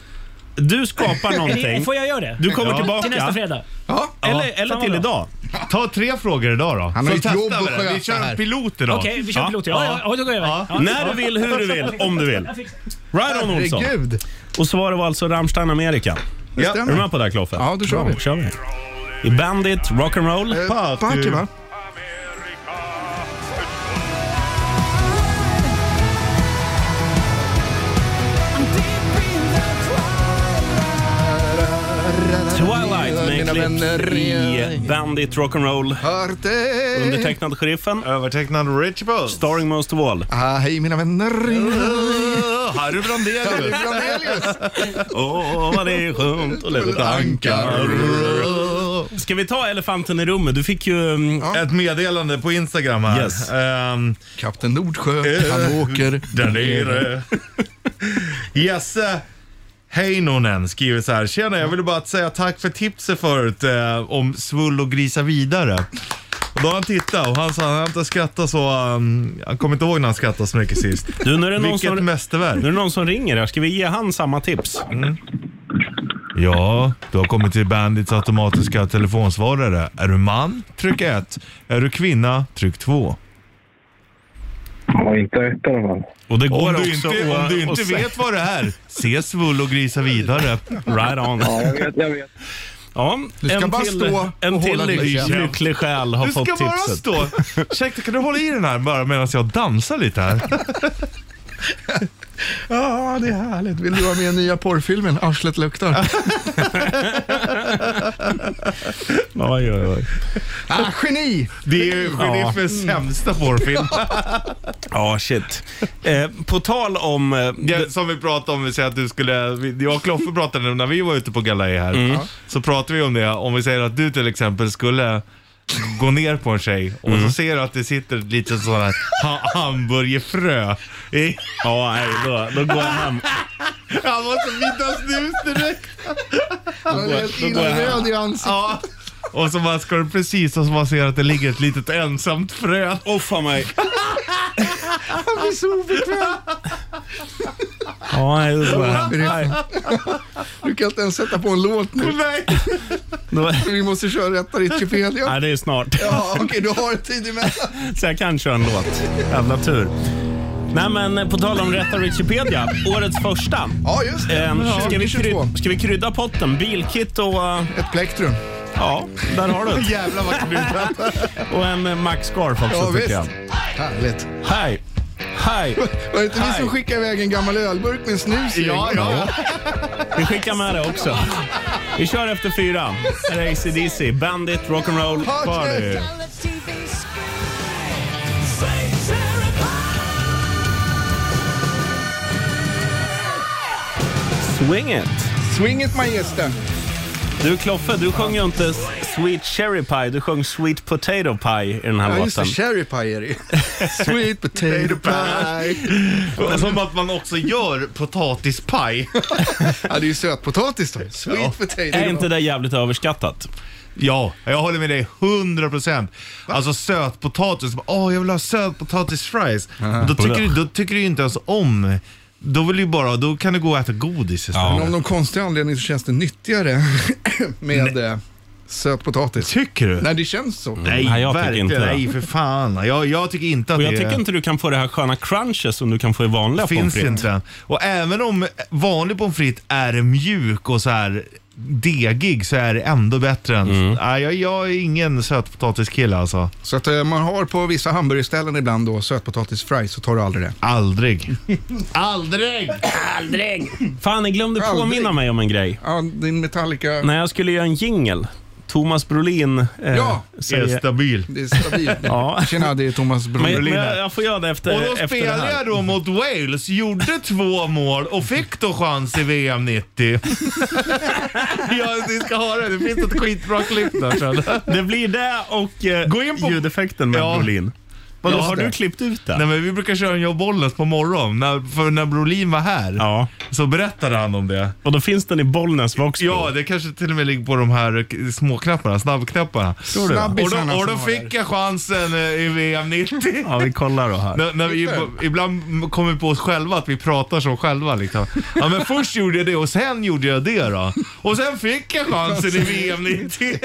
Speaker 2: du skapar
Speaker 8: Eller,
Speaker 2: någonting.
Speaker 8: får jag göra det?
Speaker 2: Du kommer
Speaker 3: Ja.
Speaker 2: tillbaka.
Speaker 8: Till nästa fredag?
Speaker 4: Ja,
Speaker 2: Eller, eller
Speaker 8: Fan vad
Speaker 2: till
Speaker 8: bra.
Speaker 2: idag.
Speaker 3: Ta tre frågor idag då.
Speaker 4: Han har
Speaker 3: Så
Speaker 4: ju ett
Speaker 3: testar
Speaker 4: jobb
Speaker 3: vi
Speaker 4: att
Speaker 3: det. Vi
Speaker 4: sköta
Speaker 3: kör en
Speaker 4: här.
Speaker 3: pilot idag.
Speaker 8: Okej, vi kör
Speaker 2: Ja.
Speaker 8: pilot. Ja, ja, ja, då går jag iväg. Ja.
Speaker 2: När du vill, hur du vill, om du vill.
Speaker 8: Jag fixar det.
Speaker 2: Right on Olsson.
Speaker 4: herregud.
Speaker 2: Och så var det var alltså Rammstein America.
Speaker 4: Det
Speaker 2: Är du
Speaker 4: stämmer.
Speaker 2: med på det här Kloffe?
Speaker 4: Ja, då kör
Speaker 2: Bra,
Speaker 4: vi.
Speaker 2: kör vi. I Bandit, Rock'n'Roll.
Speaker 4: Eh, Party va?
Speaker 2: Twilight med
Speaker 4: Mina
Speaker 2: klipp
Speaker 4: vänner. eh,
Speaker 2: i Bandit Rock'n'Roll.
Speaker 4: Hört dig.
Speaker 2: Undertecknad Sheriffen.
Speaker 3: Övertecknad Rich Bulls.
Speaker 2: Starring most of all.
Speaker 4: Ah, hej mina vänner.
Speaker 3: Harry Brandelius.
Speaker 4: Brandelius.
Speaker 2: Åh, vad det är skönt att leva ett ankar. Ska vi ta elefanten i rummet? Du fick ju... mm,
Speaker 3: Ett meddelande på Instagram här.
Speaker 2: Yes.
Speaker 3: Ehm,
Speaker 4: Kapten Nordsjö,
Speaker 2: Eh,
Speaker 4: han åker.
Speaker 3: Där nere. Jesse Heinonen skriver så här. Tjena, jag ville bara säga tack för tipset förut eh, om svull och grisa vidare. Och då har han tittat och han sa han har inte skrattat så, um, han kommer inte ihåg när han skrattade så mycket sist.
Speaker 2: Du, nu är det någon
Speaker 3: Vilket
Speaker 2: som...
Speaker 3: mästerverk.
Speaker 2: Nu är det någon som ringer här. Ska vi ge han samma tips?
Speaker 3: Ja, du har kommit till Bandits automatiska telefonsvarare. Är du man? Tryck 1. Är du kvinna? Tryck 2.
Speaker 9: Ja, inte ett i alla fall.
Speaker 2: Och det går
Speaker 3: Om du
Speaker 2: också
Speaker 3: inte, om
Speaker 2: att-
Speaker 3: du
Speaker 2: att
Speaker 3: inte
Speaker 2: säga-
Speaker 3: vet vad det är, se svull och grisa vidare.
Speaker 2: Right on.
Speaker 9: Ja, jag vet, jag vet.
Speaker 2: Ja,
Speaker 4: Du ska
Speaker 2: en
Speaker 4: bara
Speaker 2: till,
Speaker 4: stå
Speaker 2: en
Speaker 4: och
Speaker 2: till
Speaker 4: hålla dig
Speaker 2: lyck-
Speaker 4: själv.
Speaker 2: lycklig själ har
Speaker 3: Du
Speaker 2: fått
Speaker 3: ska bara
Speaker 2: tipset.
Speaker 3: stå. Ursäkta, kan du hålla i den här bara medan jag dansar lite här?
Speaker 4: Ja, det är härligt. Vill du vara med i nya porrfilmen Arslet luktar?
Speaker 2: Oj, oj, oj.
Speaker 4: Ah, geni!
Speaker 3: Det är ju sheriffens sämsta porrfilm.
Speaker 2: Ja, shit. Eh, på tal om... eh,
Speaker 3: Det Som vi pratade om, vi säger att du skulle, jag och Kloffe pratade när vi var ute på galej här.
Speaker 2: Mm.
Speaker 3: Så pratade vi om det, om vi säger att du till exempel skulle gå ner på en tjej och
Speaker 2: Mm.
Speaker 3: så ser du att det sitter ett litet sånt här ha- hamburgerfrö. i-
Speaker 2: Ja, nej, då, då går jag hem.
Speaker 3: Han måste byta snus direkt.
Speaker 4: Han är helt illröd i ansiktet.
Speaker 3: Ja. Och så bara ska du precis och så bara ser du att det ligger ett litet ensamt frö.
Speaker 2: Offa mig.
Speaker 4: Han blir så obekväm.
Speaker 2: Ja, nej, då går jag hem.
Speaker 4: Du kan inte ens sätta på en låt nu.
Speaker 3: Nej.
Speaker 2: Då,
Speaker 4: Vi måste köra rätta Richipedia.
Speaker 2: nej, det är snart.
Speaker 4: Ja, okej, du har en tid emellan.
Speaker 2: Så jag kan köra en låt. Jävla tur. Nej men eh, på tal om rätta Wikipedia, årets första.
Speaker 4: Ja, just det.
Speaker 2: Ehm, ska, vi
Speaker 4: 2022.
Speaker 2: kryd- ska vi krydda potten? Bilkit och eh,
Speaker 4: Ett plektrum.
Speaker 2: ja, där har du det.
Speaker 4: Jävlar vad kryddat.
Speaker 2: Och en eh, Max Scarf också
Speaker 4: Ja,
Speaker 2: tycker
Speaker 4: visst.
Speaker 2: jag.
Speaker 4: Härligt.
Speaker 2: Hej! Hej!
Speaker 4: Var det inte vi
Speaker 2: Hej.
Speaker 4: som skickade iväg en gammal ölburk med en snus i?
Speaker 3: Ja, ja.
Speaker 2: Vi skickar med det också. Vi kör efter fyra. Här är AC/DC, Bandit Rock'n'Roll
Speaker 4: Party.
Speaker 2: Party.
Speaker 6: On the TV screen.
Speaker 2: Swing it!
Speaker 4: Swing it Majestern.
Speaker 2: Du Kloffe, du sjöng ju inte s- Sweet Cherry Pie, du sjöng Sweet Potato Pie i den här
Speaker 4: Ja just det,
Speaker 2: låten.
Speaker 4: cherry pie är det ju. Sweet potato pie.
Speaker 3: Som att man också gör potatispaj.
Speaker 4: Ja det är ju sötpotatis då. Sweet
Speaker 3: Ja.
Speaker 4: potato.
Speaker 2: Är inte det jävligt överskattat?
Speaker 3: Ja, jag håller med dig 100 procent. Alltså sötpotatis. Åh, jag vill ha sötpotatisfries. Men Då, tycker du, då tycker du ju inte ens om. Då vill du bara, då kan du gå och äta godis istället.
Speaker 4: Men av någon konstig anledning så känns det nyttigare med eh, sötpotatis.
Speaker 3: Tycker du?
Speaker 4: Nej det känns så.
Speaker 2: Nej, jag tycker
Speaker 3: verkligen.
Speaker 2: inte det.
Speaker 3: Nej, för fan. Jag, jag tycker inte att
Speaker 2: Och
Speaker 3: det
Speaker 2: jag tycker inte du kan få det här sköna crunchet som du kan få i vanliga
Speaker 3: finns
Speaker 2: pommes frites.
Speaker 3: inte. Och även om vanlig pommes frites är mjuk och så här degig så är det ändå bättre än...
Speaker 2: Mm.
Speaker 3: Nej, jag, jag är ingen sötpotatiskille alltså.
Speaker 4: Så att eh, man har på vissa hamburgerställen ibland då sötpotatisfries så tar du aldrig det.
Speaker 3: Aldrig. Aldrig!
Speaker 2: Fan, ni glömde
Speaker 4: Aldrig.
Speaker 2: påminna mig om en grej.
Speaker 4: Ja, din Metallica,
Speaker 2: När jag skulle göra en jingle, Thomas Brolin eh,
Speaker 4: Ja.
Speaker 3: Är
Speaker 2: säger...
Speaker 3: stabil.
Speaker 4: det är stabilt.
Speaker 2: Ja.
Speaker 4: Tjena, det är Thomas
Speaker 2: Men, men
Speaker 4: Brolin.
Speaker 2: jag, jag får göra det efter,
Speaker 3: Och då
Speaker 2: efter det
Speaker 3: spelade
Speaker 2: här.
Speaker 3: jag då mot Wales, gjorde två mål och fick då chans i VM 90. ja, ni ska ha det. Det finns ett skitbra klipp där sen.
Speaker 2: Det blir det och eh,
Speaker 3: Gå in på-
Speaker 2: ljudeffekten med
Speaker 3: Ja.
Speaker 2: Brolin. Vadå,
Speaker 3: Ja,
Speaker 2: har
Speaker 3: det.
Speaker 2: du klippt ut det?
Speaker 3: Nej, men vi brukar köra en Jag bollen på morgon. När, för när Brolin var här
Speaker 2: Ja,
Speaker 3: så berättade han om det.
Speaker 2: och då finns den i Bollnäs Voxbo.
Speaker 3: Ja, det kanske till och med ligger på de här k- småknapparna, snabbknapparna.
Speaker 4: du det?
Speaker 3: Och då,
Speaker 4: Snabbisarna
Speaker 3: och
Speaker 4: som
Speaker 3: då
Speaker 4: var
Speaker 3: fick jag chansen eh, i VM 90.
Speaker 2: ja, vi kollar då här.
Speaker 3: När, när vi, ibland kommer vi på oss själva att vi pratar så själva. Liksom. Ja, men först gjorde jag det och sen gjorde jag det då. Och sen fick jag chansen i VM 90.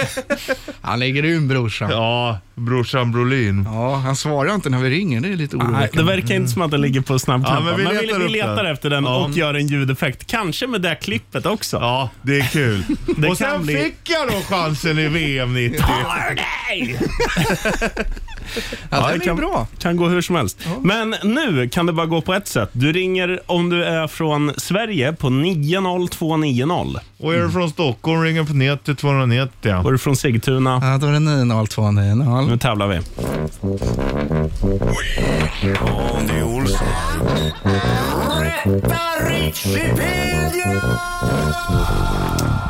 Speaker 4: Han lägger ur brorsan. Ja.
Speaker 3: Ja, brorsan Brolin.
Speaker 4: han svarar inte när vi ringer. Det är lite oroväckande.
Speaker 2: Nej, det verkar inte som att den ligger på snabbknappen.
Speaker 3: Ja, men vi
Speaker 2: men vi,
Speaker 3: letar
Speaker 2: vi
Speaker 3: upp
Speaker 2: letar
Speaker 3: den.
Speaker 2: efter den
Speaker 3: Ja.
Speaker 2: och gör en ljudeffekt. Kanske med det här klippet också.
Speaker 3: Ja, det är kul.
Speaker 2: Det
Speaker 3: och
Speaker 2: kan
Speaker 3: sen
Speaker 2: bli-
Speaker 3: fick jag då chansen i VM 90.
Speaker 4: Ja,
Speaker 2: det
Speaker 4: den är
Speaker 2: kan-
Speaker 4: bra.
Speaker 2: Kan gå hur som helst. Men nu kan det bara gå på ett sätt. Du ringer om du är från Sverige på 90290.
Speaker 3: Och är du från Stockholm ringer på 90 290.
Speaker 2: Var du från Sigtuna?
Speaker 4: Ja, då är det 90290.
Speaker 2: Nu tävlar vi.
Speaker 1: Andy Olsson. Rätta Richipedia!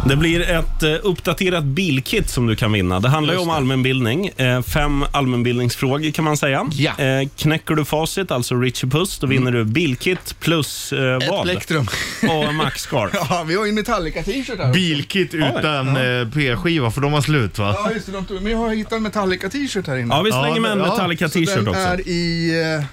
Speaker 2: Det blir ett eh, uppdaterat bilkit som du kan vinna. Det handlar ju om allmänbildning. Eh, Fem allmänbildningsfrågor kan man säga.
Speaker 4: Ja.
Speaker 2: Eh, Knäcker du facit, alltså Richie Puss, då vinner du bilkit plus eh,
Speaker 4: Ett
Speaker 2: vad?
Speaker 4: plektrum.
Speaker 2: Och en maxscarf.
Speaker 4: Ja, vi har ju en Metallica-t-shirt här.
Speaker 3: Bilkit utan eh, P-skiva för de har slut va?
Speaker 4: Ja, just det. de tog- Men jag har hittat en Metallica-t-shirt här inne.
Speaker 2: Ja, vi slänger
Speaker 3: Ja,
Speaker 2: med en
Speaker 3: ja.
Speaker 2: Metallica t-shirt
Speaker 4: den
Speaker 2: också.
Speaker 4: är i... eh,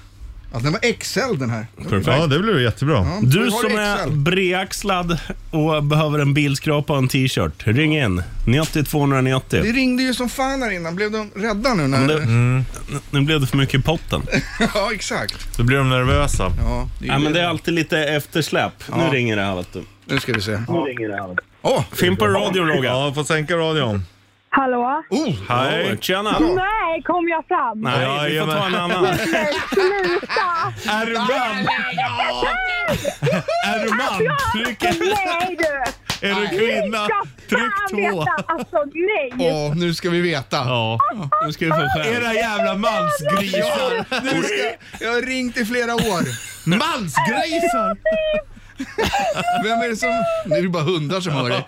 Speaker 4: Ja, den var XL den här.
Speaker 3: Ja, det blir ju jättebra.
Speaker 2: Du
Speaker 4: Vi har
Speaker 2: som
Speaker 4: XL.
Speaker 2: är bredaxlad och behöver en bilskrapa och en t-shirt, ring in. 90 290.
Speaker 4: Det ringde ju som fan här innan. Blev de rädda nu? När...
Speaker 2: Nu- Nu blev det för mycket i potten.
Speaker 4: Ja, exakt.
Speaker 3: Då blir de nervösa.
Speaker 4: Ja, det är ju
Speaker 2: Ja, men
Speaker 4: det.
Speaker 2: det är alltid lite eftersläp. Nu ringer det här. Vet du.
Speaker 4: Nu ska vi se.
Speaker 9: Nu ringer det här.
Speaker 4: Åh!
Speaker 2: Fin på radion, Roger.
Speaker 3: Ja, får sänka radion.
Speaker 5: Hallå?
Speaker 4: Oh!
Speaker 2: Hej. Tjena.
Speaker 5: Nej, kom jag fram?
Speaker 2: Nej, vi får ta en annan.
Speaker 5: Nej, sluta!
Speaker 3: Är du man? Är du man? Tryck,
Speaker 5: Alltså, Nej du!
Speaker 3: är du kvinna? Tryck två.
Speaker 5: Alltså nej!
Speaker 4: Åh, nu ska vi veta.
Speaker 3: Ja.
Speaker 2: Nu ska du få skämt.
Speaker 3: Era jävla mansgrisar.
Speaker 4: Nu ska... Jag har ringt i flera år.
Speaker 3: Mansgrisar!
Speaker 4: Vem är det som... Nu är det bara hundar som hör det.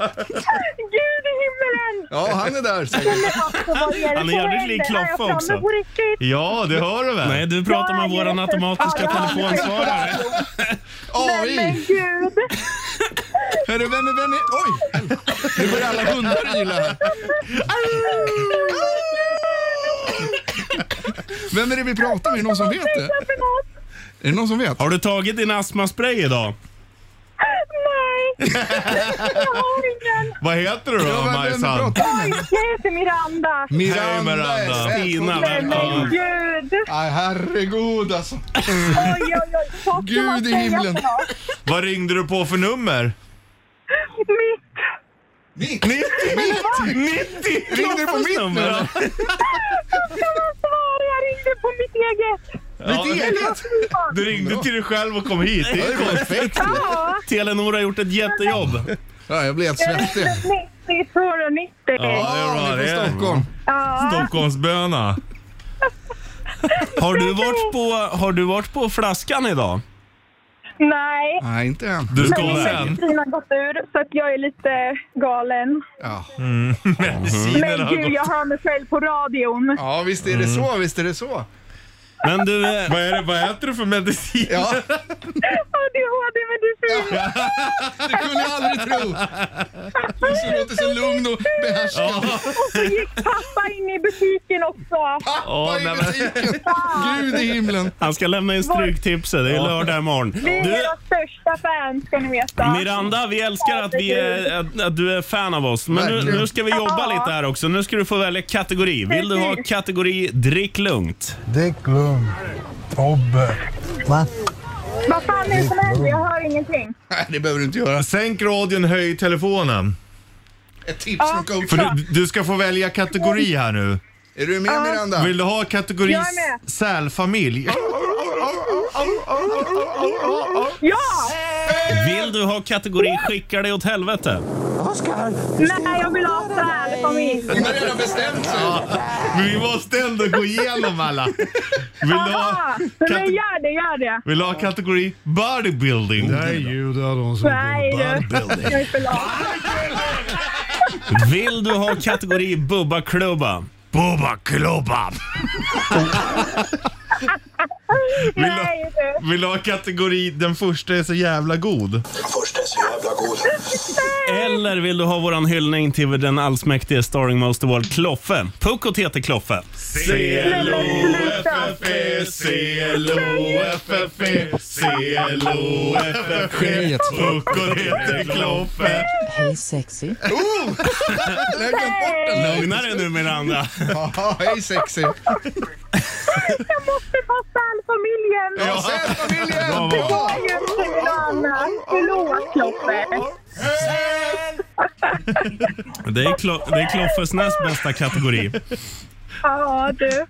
Speaker 5: Gud i himmelen!
Speaker 4: Ja, han är där säkert.
Speaker 5: Alltså, vad är det
Speaker 2: Han är
Speaker 5: som
Speaker 2: jävligt
Speaker 5: händer?
Speaker 2: lik Kloffe
Speaker 5: Är jag framme
Speaker 2: också.
Speaker 5: på riktigt?
Speaker 3: Ja, det hör du väl?
Speaker 2: Nej, du pratar med våran automatiska telefonsvarare.
Speaker 4: AI!
Speaker 5: Men gud!
Speaker 4: Hörru, vem är... Vem är... Oj! Nu börjar alla hundar gilla här. Vem är det vi pratar med? Är det någon som vet det?
Speaker 5: För något?
Speaker 4: Är det någon som vet?
Speaker 2: Har du tagit din astmaspray idag?
Speaker 5: Nej! Jag har ingen!
Speaker 3: Vad heter du
Speaker 4: Ja,
Speaker 3: då,
Speaker 4: vem- vem
Speaker 3: Majsan?
Speaker 4: pratar vi med?
Speaker 5: Jag heter Miranda.
Speaker 3: Hej, Miranda.
Speaker 4: är-
Speaker 2: Stina,
Speaker 5: Nej men
Speaker 2: välkommen.
Speaker 5: gud!
Speaker 4: Nej, herregud alltså.
Speaker 5: Oj, oj, oj. Vad ska
Speaker 4: Gud
Speaker 5: man
Speaker 4: i
Speaker 5: säga
Speaker 4: himlen.
Speaker 5: för något?
Speaker 3: Vad ringde du på för nummer?
Speaker 5: Mitt!
Speaker 4: 90! 90! 90! Ringde du på mitt nu?
Speaker 2: Nummer.
Speaker 5: Svar, jag ringde på mitt eget!
Speaker 3: Ja,
Speaker 4: Mitt eget?
Speaker 3: Du ringde till dig själv och kom hit.
Speaker 4: Det är perfekt.
Speaker 5: Ja!
Speaker 2: Telenor har gjort ett jättejobb.
Speaker 4: Ja, jag blir helt
Speaker 5: Jag
Speaker 4: svettig.
Speaker 5: ringde 90 290. Ja.
Speaker 4: Ja, ni är från
Speaker 3: det.
Speaker 4: Stockholm.
Speaker 3: Stockholmsböna.
Speaker 2: Har du varit på, har du varit på flaskan idag?
Speaker 5: Nej.
Speaker 4: Nej, inte än.
Speaker 3: Du ska
Speaker 5: Men
Speaker 3: sen.
Speaker 5: medicinen har gått ur, så att jag är lite galen.
Speaker 4: Ja.
Speaker 3: Medicinen
Speaker 5: Men
Speaker 3: har
Speaker 5: gud,
Speaker 3: gått.
Speaker 5: jag hör mig själv på radion.
Speaker 4: ja, visst är det så, visst är det så.
Speaker 2: Men du, eh,
Speaker 3: Vad, är det, vad äter du för medicin?
Speaker 4: Ja,
Speaker 5: ADHD-medicin.
Speaker 4: det kunde jag aldrig tro. Du som låter så lugn och behärskad.
Speaker 5: Och så gick pappa in i butiken också.
Speaker 4: Pappa
Speaker 3: Åh, nej,
Speaker 4: i
Speaker 3: men-
Speaker 4: butiken. Gud i himlen.
Speaker 2: han ska lämna in stryktipset. Det är lördag imorgon.
Speaker 5: Vi är
Speaker 2: Du,
Speaker 5: era största fans, ska ni veta.
Speaker 2: Miranda, vi älskar att, vi är, att, att du är fan av oss. Men nu,
Speaker 4: Verkligen.
Speaker 2: nu ska vi jobba lite här också. Nu ska du få välja kategori. Vill du ha kategori drick lugnt?
Speaker 10: Dick Lund. Tobbe. Va?
Speaker 5: Vad fan är det som händer? Jag hör ingenting.
Speaker 4: Nej, det behöver du inte göra.
Speaker 3: Sänk radion, höj telefonen.
Speaker 4: Ett tips från
Speaker 3: För
Speaker 4: coachen.
Speaker 3: du, du ska få välja kategori här nu.
Speaker 4: Är du med Miranda?
Speaker 3: Vill du ha kategori
Speaker 5: Jag är med.
Speaker 3: sälfamilj?
Speaker 5: Ja!
Speaker 2: Vill du ha kategori skickar dig åt helvete?
Speaker 5: Nej, jag vill ha sälfamilj.
Speaker 4: Hon har redan bestämt sig.
Speaker 3: Men vi måste ändå gå igenom alla. Vill du ha,
Speaker 5: Ja, men
Speaker 3: kate-
Speaker 5: gör det, gör det.
Speaker 3: vill du ha kategori bodybuilding?
Speaker 10: judar de som
Speaker 5: Nej, du. jag är för lat.
Speaker 2: Vill du ha kategori bubba klubba?
Speaker 3: Bubba klubba.
Speaker 5: Nej, du.
Speaker 3: Vill du ha kategori den första är så jävla god?
Speaker 10: Först är så jävla god.
Speaker 2: Eller vill du ha våran hyllning till den allsmäktige starring most of all, Kloffe? Puck och Tete Kloffe. E
Speaker 3: C-L-O-F-F-E, C-L-O-F-F-E, C-L-O-F-F-E. Puckon heter Kloffe.
Speaker 11: Hej sexy.
Speaker 4: Jag har glömt bort Oh! den.
Speaker 2: Lugna dig nu Miranda.
Speaker 4: Ja, hej sexy.
Speaker 5: Jag måste få sälfamiljen.
Speaker 4: Ja, sälfamiljen!
Speaker 5: Det går ju inte med något annat. Förlåt, Kloffe.
Speaker 2: Det är, Klo- det är Kloffes näst bästa kategori.
Speaker 5: Ja, du.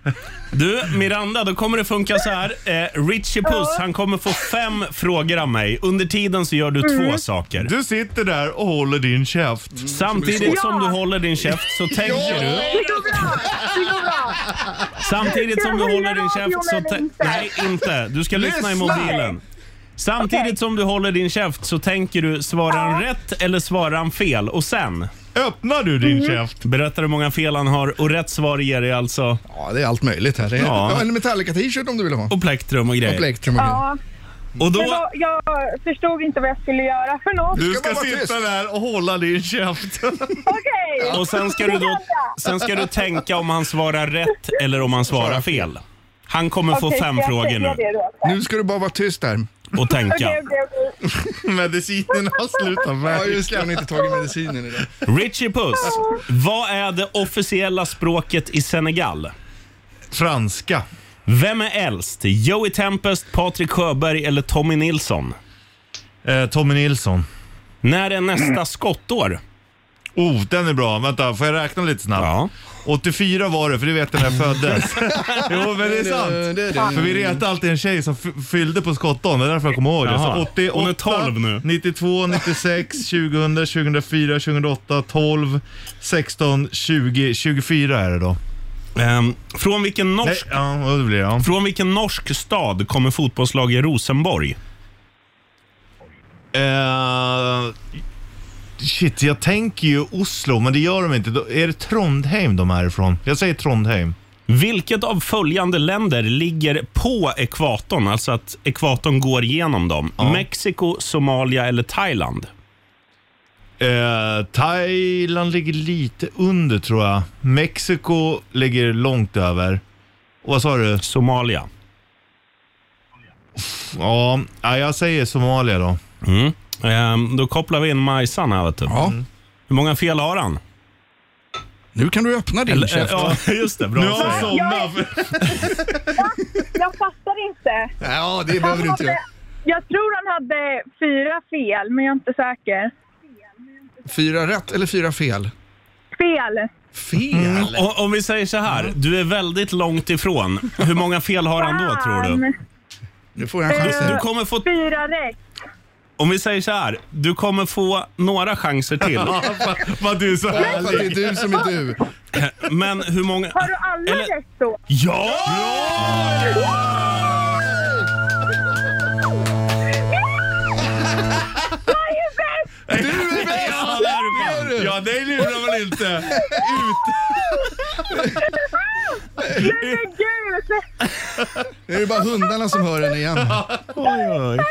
Speaker 2: Du, Miranda, då kommer det funka så här. Eh, Richie Puss, han kommer få fem frågor av mig. Under tiden så gör du två saker.
Speaker 3: Du sitter där och håller din käft.
Speaker 2: Samtidigt
Speaker 5: Ja.
Speaker 2: som du håller din käft så tänker du.
Speaker 5: Det går bra. Det går bra.
Speaker 2: Samtidigt
Speaker 5: Ska
Speaker 2: som
Speaker 5: jag
Speaker 2: du
Speaker 5: höja
Speaker 2: håller din käft så...
Speaker 5: radion eller
Speaker 2: tän-
Speaker 5: inte?
Speaker 2: Nej, inte. Du ska lyssna i
Speaker 4: Lyssna!
Speaker 2: mobilen. Samtidigt
Speaker 5: Okej.
Speaker 2: som du håller din käft så tänker du, svarar han rätt eller svarar han fel? Och sen
Speaker 3: Öppnar du
Speaker 5: Mhm.
Speaker 3: din käft?
Speaker 2: berättar hur många fel han har och rätt svar ger dig alltså
Speaker 4: Ja, det är allt möjligt här. Det är-
Speaker 2: Ja.
Speaker 4: Ja, en Metallica-t-shirt om du vill ha.
Speaker 2: och plektrum och
Speaker 4: Och
Speaker 2: grejer.
Speaker 4: plektrum och grejer.
Speaker 5: Ja,
Speaker 2: Och
Speaker 5: men
Speaker 2: då,
Speaker 5: då, jag förstod inte vad jag skulle göra för något.
Speaker 3: Du
Speaker 4: Ska
Speaker 3: ska
Speaker 4: man vara
Speaker 3: sitta
Speaker 4: tyst?
Speaker 3: där och hålla din käft.
Speaker 5: Okej.
Speaker 2: och sen ska du då, sen ska du tänka om han svarar rätt eller om han svarar fel. Han kommer få
Speaker 5: Okej,
Speaker 2: fem
Speaker 5: ska jag
Speaker 2: frågor
Speaker 5: säga
Speaker 2: nu
Speaker 5: det då? Okej,
Speaker 4: Nu ska du bara vara tyst där.
Speaker 2: och tänka.
Speaker 5: okej, okej.
Speaker 3: Medicinen har slutat
Speaker 4: Ja, just det.
Speaker 3: verka.
Speaker 4: Hon har inte tagit medicinen idag.
Speaker 2: Richie Puss, vad är det officiella språket i Senegal?
Speaker 3: Franska.
Speaker 2: Vem är äldst? Joey Tempest, Patrik Sjöberg eller Tommy Nilsson?
Speaker 3: Eh, Tommy Nilsson.
Speaker 2: När är nästa skottår?
Speaker 3: Oh, den är bra. Vänta, får jag räkna lite snabbt? 84 var det, för det vet jag när jag föddes. jo, men det är sant.
Speaker 4: Det är det.
Speaker 3: För vi retade alltid en tjej som f- fyllde på skottdagen, det är därför jag kommer ihåg det. Så
Speaker 2: Jaha.
Speaker 3: 88,
Speaker 2: Hon är 12 nu.
Speaker 3: 92, 96, 2000, 2004, 2008, 12, 16, 20, 24 är det då.
Speaker 2: Ehm, från, vilken
Speaker 3: Nej,
Speaker 2: norsk,
Speaker 3: ja, det blir det. Ja.
Speaker 2: från vilken norsk stad kommer fotbollslaget Rosenborg?
Speaker 3: Eh, shit, jag tänker ju Oslo, men det gör de inte. Då- Är det Trondheim de är ifrån? Jag säger Trondheim.
Speaker 2: Vilket av följande länder ligger på ekvatorn? Alltså att ekvatorn går genom dem. Mexiko, Somalia eller Thailand?
Speaker 3: Eh, Thailand ligger lite under tror jag. Mexiko ligger långt över. Och vad sa du?
Speaker 2: Somalia.
Speaker 3: Ja, ja, jag säger Somalia då.
Speaker 2: Mm. Ehm, då kopplar vi in Majsan här. Vet du.
Speaker 4: Ja,
Speaker 2: Hur många fel har han?
Speaker 4: nu kan du öppna din
Speaker 2: Eller,
Speaker 4: käft.
Speaker 2: ja, just det. Bra.
Speaker 3: Nu har jag
Speaker 2: säg.
Speaker 3: somnat.
Speaker 5: Jag fattar inte.
Speaker 4: Ja, det behöver du inte göra.
Speaker 5: Jag tror han hade fyra fel, men jag är inte säker.
Speaker 4: Fyra rätt eller fyra fel?
Speaker 5: Fel.
Speaker 3: Mm.
Speaker 4: Fel?
Speaker 2: O- Om vi säger så här, du är väldigt långt ifrån. Hur många fel har han då tror du?
Speaker 5: Fan.
Speaker 4: Nu får jag en chans
Speaker 2: Du
Speaker 3: Mm.
Speaker 4: här.
Speaker 2: kommer få,
Speaker 5: Fyra rätt.
Speaker 2: om vi säger så här, du kommer få några chanser till.
Speaker 3: Vad du är så
Speaker 4: För att det är
Speaker 3: härlig.
Speaker 4: du som är du.
Speaker 2: Men hur många...
Speaker 5: Har du alla
Speaker 2: Eller-
Speaker 5: rätt då?
Speaker 2: Ja!
Speaker 5: Ja!
Speaker 3: jag. Dig lurar man inte.
Speaker 5: Nej men gud!
Speaker 4: Det är ju bara hundarna som hör den igen.
Speaker 2: Oj, oj.
Speaker 5: Nej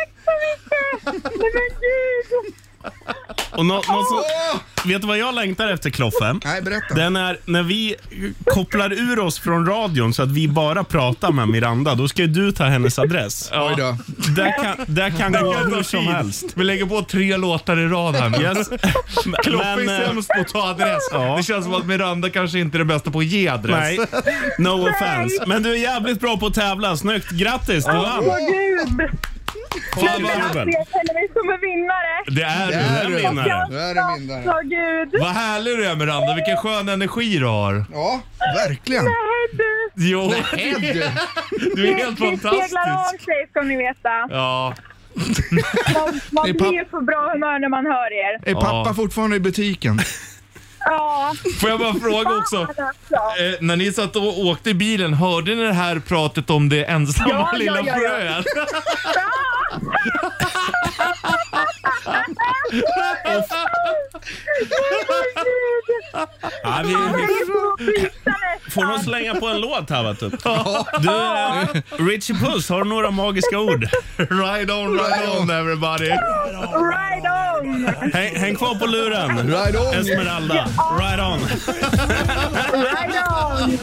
Speaker 5: men gud!
Speaker 2: Och nå, nå, så, vet du vad jag längtar efter Kloffe?
Speaker 4: Nej, berätta.
Speaker 2: Den är när vi kopplar ur oss från radion så att vi bara pratar med Miranda. Då ska ju du ta hennes adress.
Speaker 4: Oj då.
Speaker 2: Där kan, där kan gå hur som helst.
Speaker 3: Vi lägger på tre låtar i rad här nu.
Speaker 2: Yes.
Speaker 3: Kloffe
Speaker 2: Men,
Speaker 3: är
Speaker 2: eh,
Speaker 3: sämst på att ta adress.
Speaker 2: Ja.
Speaker 3: Det känns som att Miranda kanske inte är det bästa på att ge adress.
Speaker 2: Nej, no offense. Men du är jävligt bra på att tävla. Snyggt, grattis! Du vann!
Speaker 5: Åh gud!
Speaker 2: Fan, vad
Speaker 5: Alltså,
Speaker 2: kul.
Speaker 5: Jag känner mig som en vinnare.
Speaker 3: Det är
Speaker 4: Det är
Speaker 2: En
Speaker 3: du.
Speaker 4: du.
Speaker 2: vinnare.
Speaker 4: Nu är det min där.
Speaker 5: Åh gud.
Speaker 3: Vad härlig du är Miranda, vilken skön energi du har.
Speaker 4: Ja, verkligen.
Speaker 5: Nej du.
Speaker 3: Jo,
Speaker 4: Ed.
Speaker 3: du är helt
Speaker 5: Det- Det seglar av
Speaker 3: fantastisk.
Speaker 5: sig ska ni veta.
Speaker 3: Ja,
Speaker 5: Man, man
Speaker 4: Är
Speaker 5: blir
Speaker 4: papp-
Speaker 5: ju på bra humör när man hör er.
Speaker 4: Är pappa fortfarande i butiken?
Speaker 5: Ja,
Speaker 3: får jag bara fråga också.
Speaker 5: fan alltså.
Speaker 3: Eh, när ni satt och åkte i bilen, hörde ni det här pratet om det ensamma
Speaker 5: Ja, ja,
Speaker 3: lilla
Speaker 5: ja, ja.
Speaker 3: fröet?
Speaker 2: Ja, vi,
Speaker 5: Jag
Speaker 2: vi
Speaker 5: är så pinsamt.
Speaker 2: får nog slänga på en låt här vet du. du eh, Richie Puss, har du några magiska ord?
Speaker 3: Ride on, ride on everybody.
Speaker 5: Right on!
Speaker 2: Häng, häng kvar på luren.
Speaker 4: Right on.
Speaker 2: Esmeralda, right on.
Speaker 5: Right on!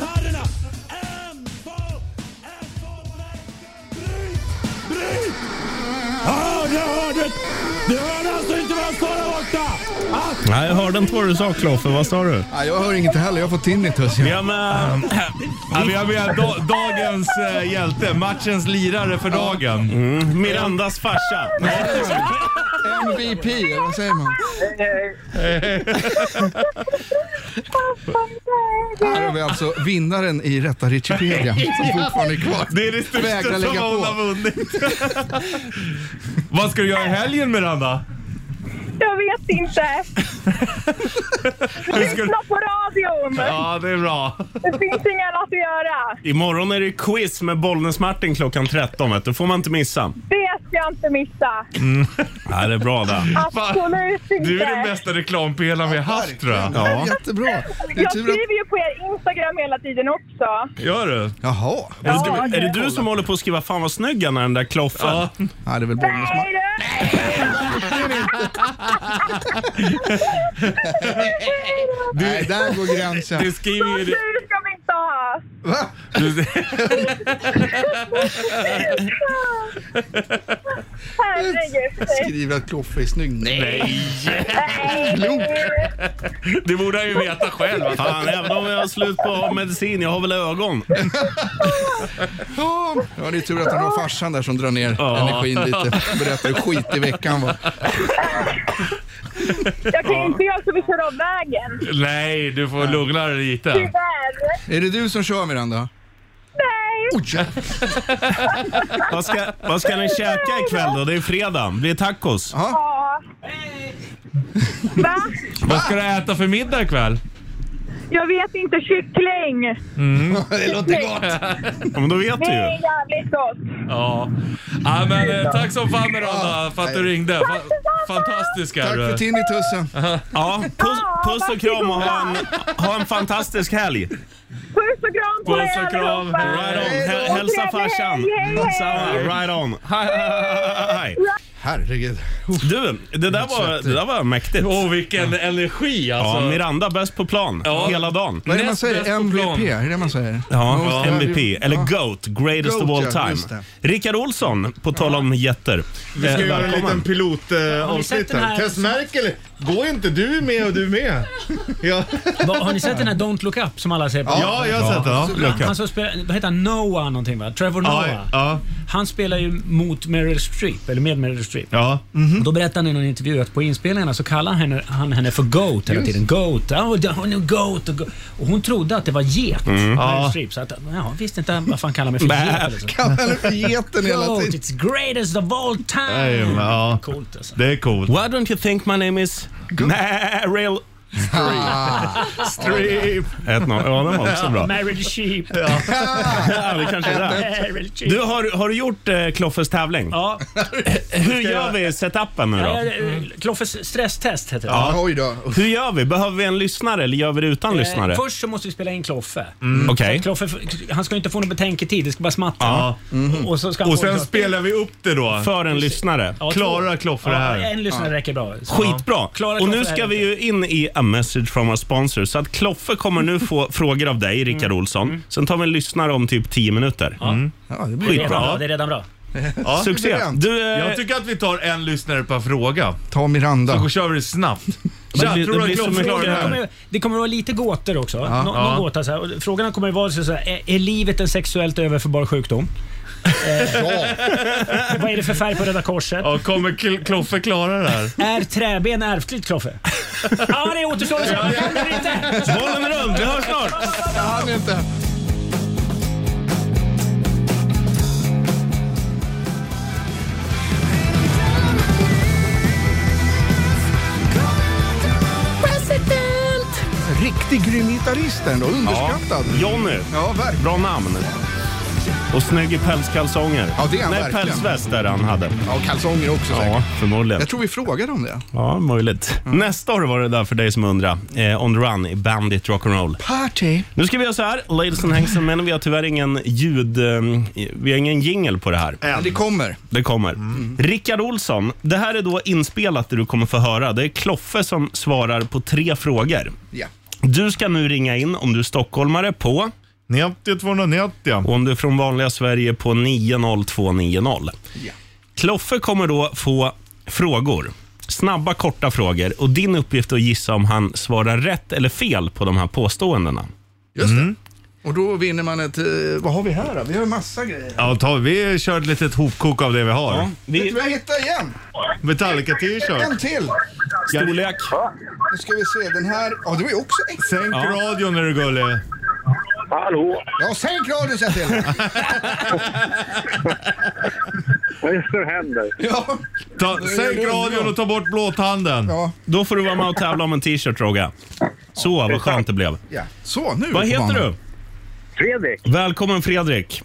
Speaker 2: Nej, jag hörde inte vad du sa Kloffe, vad sa du? Um,
Speaker 4: Nej, jag hör inget heller. Jag har fått tinnitus.
Speaker 2: Ja, men,
Speaker 3: Ja, vi har med da- dagens eh, hjälte, matchens lirare för dagen.
Speaker 2: Mm. Mirandas farsa. Nej,
Speaker 4: MVP, eller vad säger man? Här har vi alltså vinnaren i Rätta Richipedia som fortfarande är kvar.
Speaker 3: Det är det största
Speaker 4: Vägra
Speaker 3: som
Speaker 4: lägga
Speaker 3: hon har
Speaker 4: på.
Speaker 3: vunnit. Vad ska du göra i helgen Miranda?
Speaker 5: Jag vet inte.
Speaker 3: Hur ska du...
Speaker 5: Lyssna på radion!
Speaker 3: Ja, det är bra.
Speaker 5: Det finns inget annat att göra.
Speaker 2: Imorgon är det quiz med Bollnäs-Martin klockan 13. Vet du. får man inte missa.
Speaker 5: Det ska jag inte missa.
Speaker 2: Nej, det är bra det.
Speaker 5: Absolut inte.
Speaker 3: Du är den bästa reklampelaren vi har haft tror jag.
Speaker 4: Ja. Jättebra. Det är
Speaker 5: Jag
Speaker 4: tur att...
Speaker 5: skriver ju på er Instagram hela tiden också.
Speaker 3: Gör du?
Speaker 4: Jaha.
Speaker 5: Ja,
Speaker 2: Är det du som håller på att skriva “Fan vad snygg han är den där kloffen”?
Speaker 3: Ja.
Speaker 4: Ja, det är väl Bollnäs
Speaker 5: Nej du!
Speaker 4: Nej, där går gränsen.
Speaker 3: Du skriver ju...
Speaker 5: Tur ska vi inte ha!
Speaker 4: Va?
Speaker 5: Herregud.
Speaker 4: Skriver att Kloffe är snygg. Nej.
Speaker 3: Det borde han ju veta själv. att-
Speaker 2: Fan, även om jag har slut på medicin, jag har väl ögon.
Speaker 4: Ja, det är tur att han har farsan där som drar ner energin lite. Berättar hur skit i veckan var.
Speaker 5: Jag kan ju inte göra så vi kör av vägen.
Speaker 3: Nej, du får lugna dig lite.
Speaker 5: Tyvärr.
Speaker 4: Är det du som kör Miranda?
Speaker 5: Nej!
Speaker 4: Oh, ja.
Speaker 2: Vad ska, vad ska ni käka ikväll då? Det är fredag. Blir det tacos?
Speaker 5: Ja. Va?
Speaker 3: Vad ska du äta för middag ikväll?
Speaker 5: Jag vet inte. Kyckling.
Speaker 4: Det låter gott.
Speaker 2: Ja, men då vet
Speaker 5: Mm. Det
Speaker 2: du
Speaker 5: är
Speaker 2: ju.
Speaker 5: jävligt gott.
Speaker 3: Ja. ja men, eh, tack som fan Miranda för att du ringde. Fa fantastisk
Speaker 4: Tack
Speaker 3: är
Speaker 4: för
Speaker 3: du.
Speaker 4: tinnitusen.
Speaker 2: Ja, puss, puss och kram och ha en, ha en fantastisk helg.
Speaker 5: Puss och kram på
Speaker 3: Puss
Speaker 5: er
Speaker 3: och kram.
Speaker 5: allihopa.
Speaker 2: Right on. Hä- Hälsa farsan. Samma. Right on. Hej, hej, hej.
Speaker 4: Herregud.
Speaker 2: Du, det där var, det där var mäktigt.
Speaker 3: Åh, vilken energi
Speaker 2: Ja,
Speaker 3: alltså.
Speaker 2: Miranda bäst på plan
Speaker 3: Ja.
Speaker 2: hela dagen.
Speaker 4: Vad är det man
Speaker 3: Näst bäst
Speaker 4: säger?
Speaker 3: på
Speaker 4: MVP?
Speaker 3: plan.
Speaker 4: Är det det man säger?
Speaker 2: Ja,
Speaker 4: Ja.
Speaker 2: MVP, eller GOAT, greatest
Speaker 4: Goat,
Speaker 2: of all
Speaker 4: ja, just
Speaker 2: time. Rickard Olsson, på tal om jätter.
Speaker 11: Vi ska
Speaker 2: Eh,
Speaker 11: göra en
Speaker 2: välkommen.
Speaker 11: liten
Speaker 8: Har ni sett
Speaker 11: pilotavsnitt
Speaker 8: den
Speaker 11: här.
Speaker 8: här-
Speaker 11: Tess Merkel, gå inte. Du är med och du är med. Ja,
Speaker 8: Va, Har ni sett den här Don't Look Up som alla ser på?
Speaker 11: ja jag har sett den. Ja.
Speaker 8: Han som spelar, vad heter han? Noah någonting va? Trevor Noah.
Speaker 11: Ja, ja,
Speaker 8: Han spelar ju mot Meryl Streep, eller med Meryl Streep.
Speaker 11: ja.
Speaker 3: Mm,
Speaker 8: Och då berättar han i någon intervju att på inspelningarna så kallar han henne, han henne för Goat hela tiden. Goat, oh, the- hon är goat, och go-" Och hon trodde att det var get. Meryl Streep. Så att, ja, visste inte varför han kallar mig för get. Eller så.
Speaker 4: Kallar du för geten hela
Speaker 8: Goat,
Speaker 4: tiden?
Speaker 8: it's greatest of all time.
Speaker 11: ja.
Speaker 8: Coolt alltså.
Speaker 11: Det är coolt.
Speaker 2: Why don't you think my name is Meryl 1-0.
Speaker 3: Streep.
Speaker 2: Ja, den var också bra.
Speaker 8: Married sheep.
Speaker 2: Ja, det kanske är
Speaker 8: Married sheep.
Speaker 2: Du, har, har du gjort eh, Kloffes tävling?
Speaker 8: Ja.
Speaker 2: Hur gör vi setupen nu
Speaker 8: Ja,
Speaker 2: då?
Speaker 8: eh, Kloffes stresstest heter det.
Speaker 2: Hur gör vi? Behöver vi en lyssnare eller gör vi det utan
Speaker 8: Eh,
Speaker 2: lyssnare?
Speaker 8: Först så måste vi spela in Kloffe.
Speaker 2: Mm. Okej.
Speaker 8: Så att Kloffe, han ska ju inte få någon betänketid, det ska bara smatta.
Speaker 2: Ja.
Speaker 8: Och, så ska han
Speaker 3: Och
Speaker 8: få det
Speaker 3: sen
Speaker 8: så att-
Speaker 3: spelar vi upp det då.
Speaker 2: För en lyssnare.
Speaker 8: Ja, två-
Speaker 3: Klarar Kloffer det här?
Speaker 8: Ja, en lyssnare räcker bra. Så-
Speaker 2: Skitbra!
Speaker 8: Klarar
Speaker 2: Och
Speaker 8: Kloffe
Speaker 2: nu
Speaker 8: det här
Speaker 2: ska vi
Speaker 8: räcker.
Speaker 2: ju in i a message from our sponsor. Så att Kloffe kommer nu få frågor av dig, Rickard
Speaker 3: Mm.
Speaker 2: Olsson. Sen tar vi en lyssnare om typ 10 minuter. Mm.
Speaker 8: Det är redan bra. Det
Speaker 2: Skitbra.
Speaker 8: är redan bra.
Speaker 3: Ja.
Speaker 2: Succé. Du, eh,
Speaker 3: Jag tycker att vi tar en lyssnare per fråga.
Speaker 4: Ta Miranda.
Speaker 3: Så kör vi det snabbt.
Speaker 8: Men
Speaker 3: Tja,
Speaker 8: det-
Speaker 3: tror
Speaker 8: det
Speaker 3: du
Speaker 8: blir
Speaker 3: att
Speaker 8: så
Speaker 3: Kloffer
Speaker 8: mycket-
Speaker 3: klarar det
Speaker 8: det
Speaker 3: här?
Speaker 8: kommer- Det kommer att vara lite gåtor också. Nå,
Speaker 3: Ja.
Speaker 8: Någon gåta så här. Och Frågorna kommer att vara så här, är, är livet en sexuellt överförbar sjukdom? Eh, vad är det för färg på Röda Korset?
Speaker 3: Ja, kommer Kl- Kloffer klara det här?
Speaker 8: Är träben ärftligt Kloffe? ja, det återstår att se. Man kan det inte.
Speaker 2: Bollen är rund, vi hörs snart!
Speaker 4: Jag hann inte. Riktigt grym gitarrist ändå, underskattad.
Speaker 2: Ja, Jonny.
Speaker 4: Ja, verkligen.
Speaker 2: Bra namn. Och snygg i pälskalsonger.
Speaker 4: Ja, det är han
Speaker 2: Nej,
Speaker 4: verkligen.
Speaker 2: pälsväst där han hade.
Speaker 4: Ja, kalsonger också
Speaker 2: Ja,
Speaker 4: säkert.
Speaker 2: förmodligen.
Speaker 4: Jag tror vi frågade om det.
Speaker 2: Ja, möjligt. Nästa år var det där för dig som undrar. Eh, on the run i Bandit Rock'n'Roll.
Speaker 4: Party.
Speaker 2: Nu ska vi göra så här, ladies and gentlemen, men vi har tyvärr ingen ljud... Eh, vi har ingen jingle på det här.
Speaker 4: Men Det kommer.
Speaker 2: Det kommer. Rickard Olsson, det här är då inspelat det du kommer få höra. Det är Kloffe som svarar på tre frågor.
Speaker 4: Ja.
Speaker 2: Du ska nu ringa in om du är stockholmare på...
Speaker 3: 90 290.
Speaker 2: Och om du är från vanliga Sverige på 90290.
Speaker 4: Ja.
Speaker 2: Kloffe kommer då få frågor. Snabba, korta frågor. Och Din uppgift är att gissa om han svarar rätt eller fel på de här påståendena.
Speaker 4: Just det. Och då vinner man ett... eh, Vad har vi här då? Vi har en massa grejer.
Speaker 3: Ja, ta, vi kör ett litet hopkok av det vi har.
Speaker 4: Vet du vad jag hittade igen? En
Speaker 3: Metallica-t-shirt.
Speaker 4: till.
Speaker 2: Storlek.
Speaker 4: Nu ska vi se, den här... Ja, det var ju också en...
Speaker 3: Sänk radion är du gullig.
Speaker 9: Hallå?
Speaker 4: Ja, sänk radion säger jag till.
Speaker 9: Vad är det som händer?
Speaker 4: Ja.
Speaker 3: Ta, sänk radion och ta bort blåtanden.
Speaker 4: ja.
Speaker 2: Då får du vara med och tävla om en t-shirt, Roga. Så, vad skönt det blev.
Speaker 4: ja. Så, nu är vi
Speaker 2: Vad
Speaker 4: på
Speaker 2: heter
Speaker 4: banan.
Speaker 2: du?
Speaker 9: Fredrik?
Speaker 2: Välkommen Fredrik.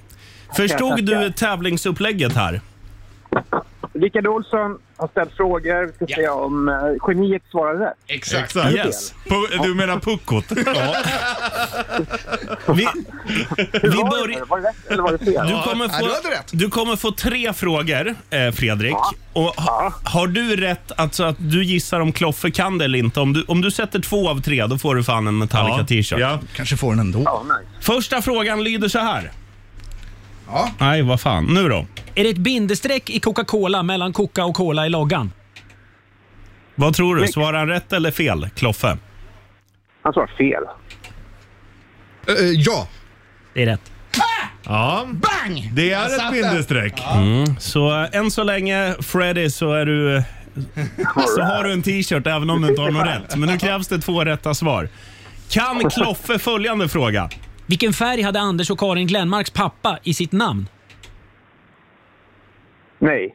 Speaker 2: Förstod
Speaker 9: tackar.
Speaker 2: du tävlingsupplägget här?
Speaker 9: Rickard Olsson har ställt frågor. Vi ska se om eh, geniet svarar rätt.
Speaker 4: Exakt.
Speaker 2: Yes.
Speaker 3: Pu- Du menar puckot?
Speaker 2: Vi, vi
Speaker 9: Hur var det?
Speaker 2: börjar...
Speaker 9: Var det rätt eller var det fel?
Speaker 2: Du kommer,
Speaker 4: Ja, du
Speaker 2: få,
Speaker 4: hade rätt.
Speaker 2: du kommer få tre frågor, eh, Fredrik. Och ha, har du rätt alltså, att du gissar om Kloffe kan det eller inte? Om du, om du sätter två av tre, då får du fan en Metallica-t-shirt.
Speaker 3: Ja.
Speaker 4: Kanske får den ändå.
Speaker 9: Ja, nice.
Speaker 2: Första frågan lyder så här.
Speaker 4: Ja.
Speaker 2: Nej, vad fan. Nu då?
Speaker 8: Är det ett bindestreck i Coca-Cola mellan Coca och Cola i loggan?
Speaker 2: Vad tror du? Svarar han rätt eller fel, Kloffe?
Speaker 9: Han svarar fel.
Speaker 4: Eh, eh, ja.
Speaker 8: Det är rätt.
Speaker 3: Ja.
Speaker 4: Bang!
Speaker 3: Det är ett bindestreck.
Speaker 2: Så eh, än så länge, Freddy, så är du... eh, Så har du en t-shirt även om du inte har något rätt. Men nu krävs det två rätta svar. Kan Kloffe följande fråga?
Speaker 8: Vilken färg hade Anders och Karin Glenmarks pappa i sitt namn?
Speaker 9: Nej.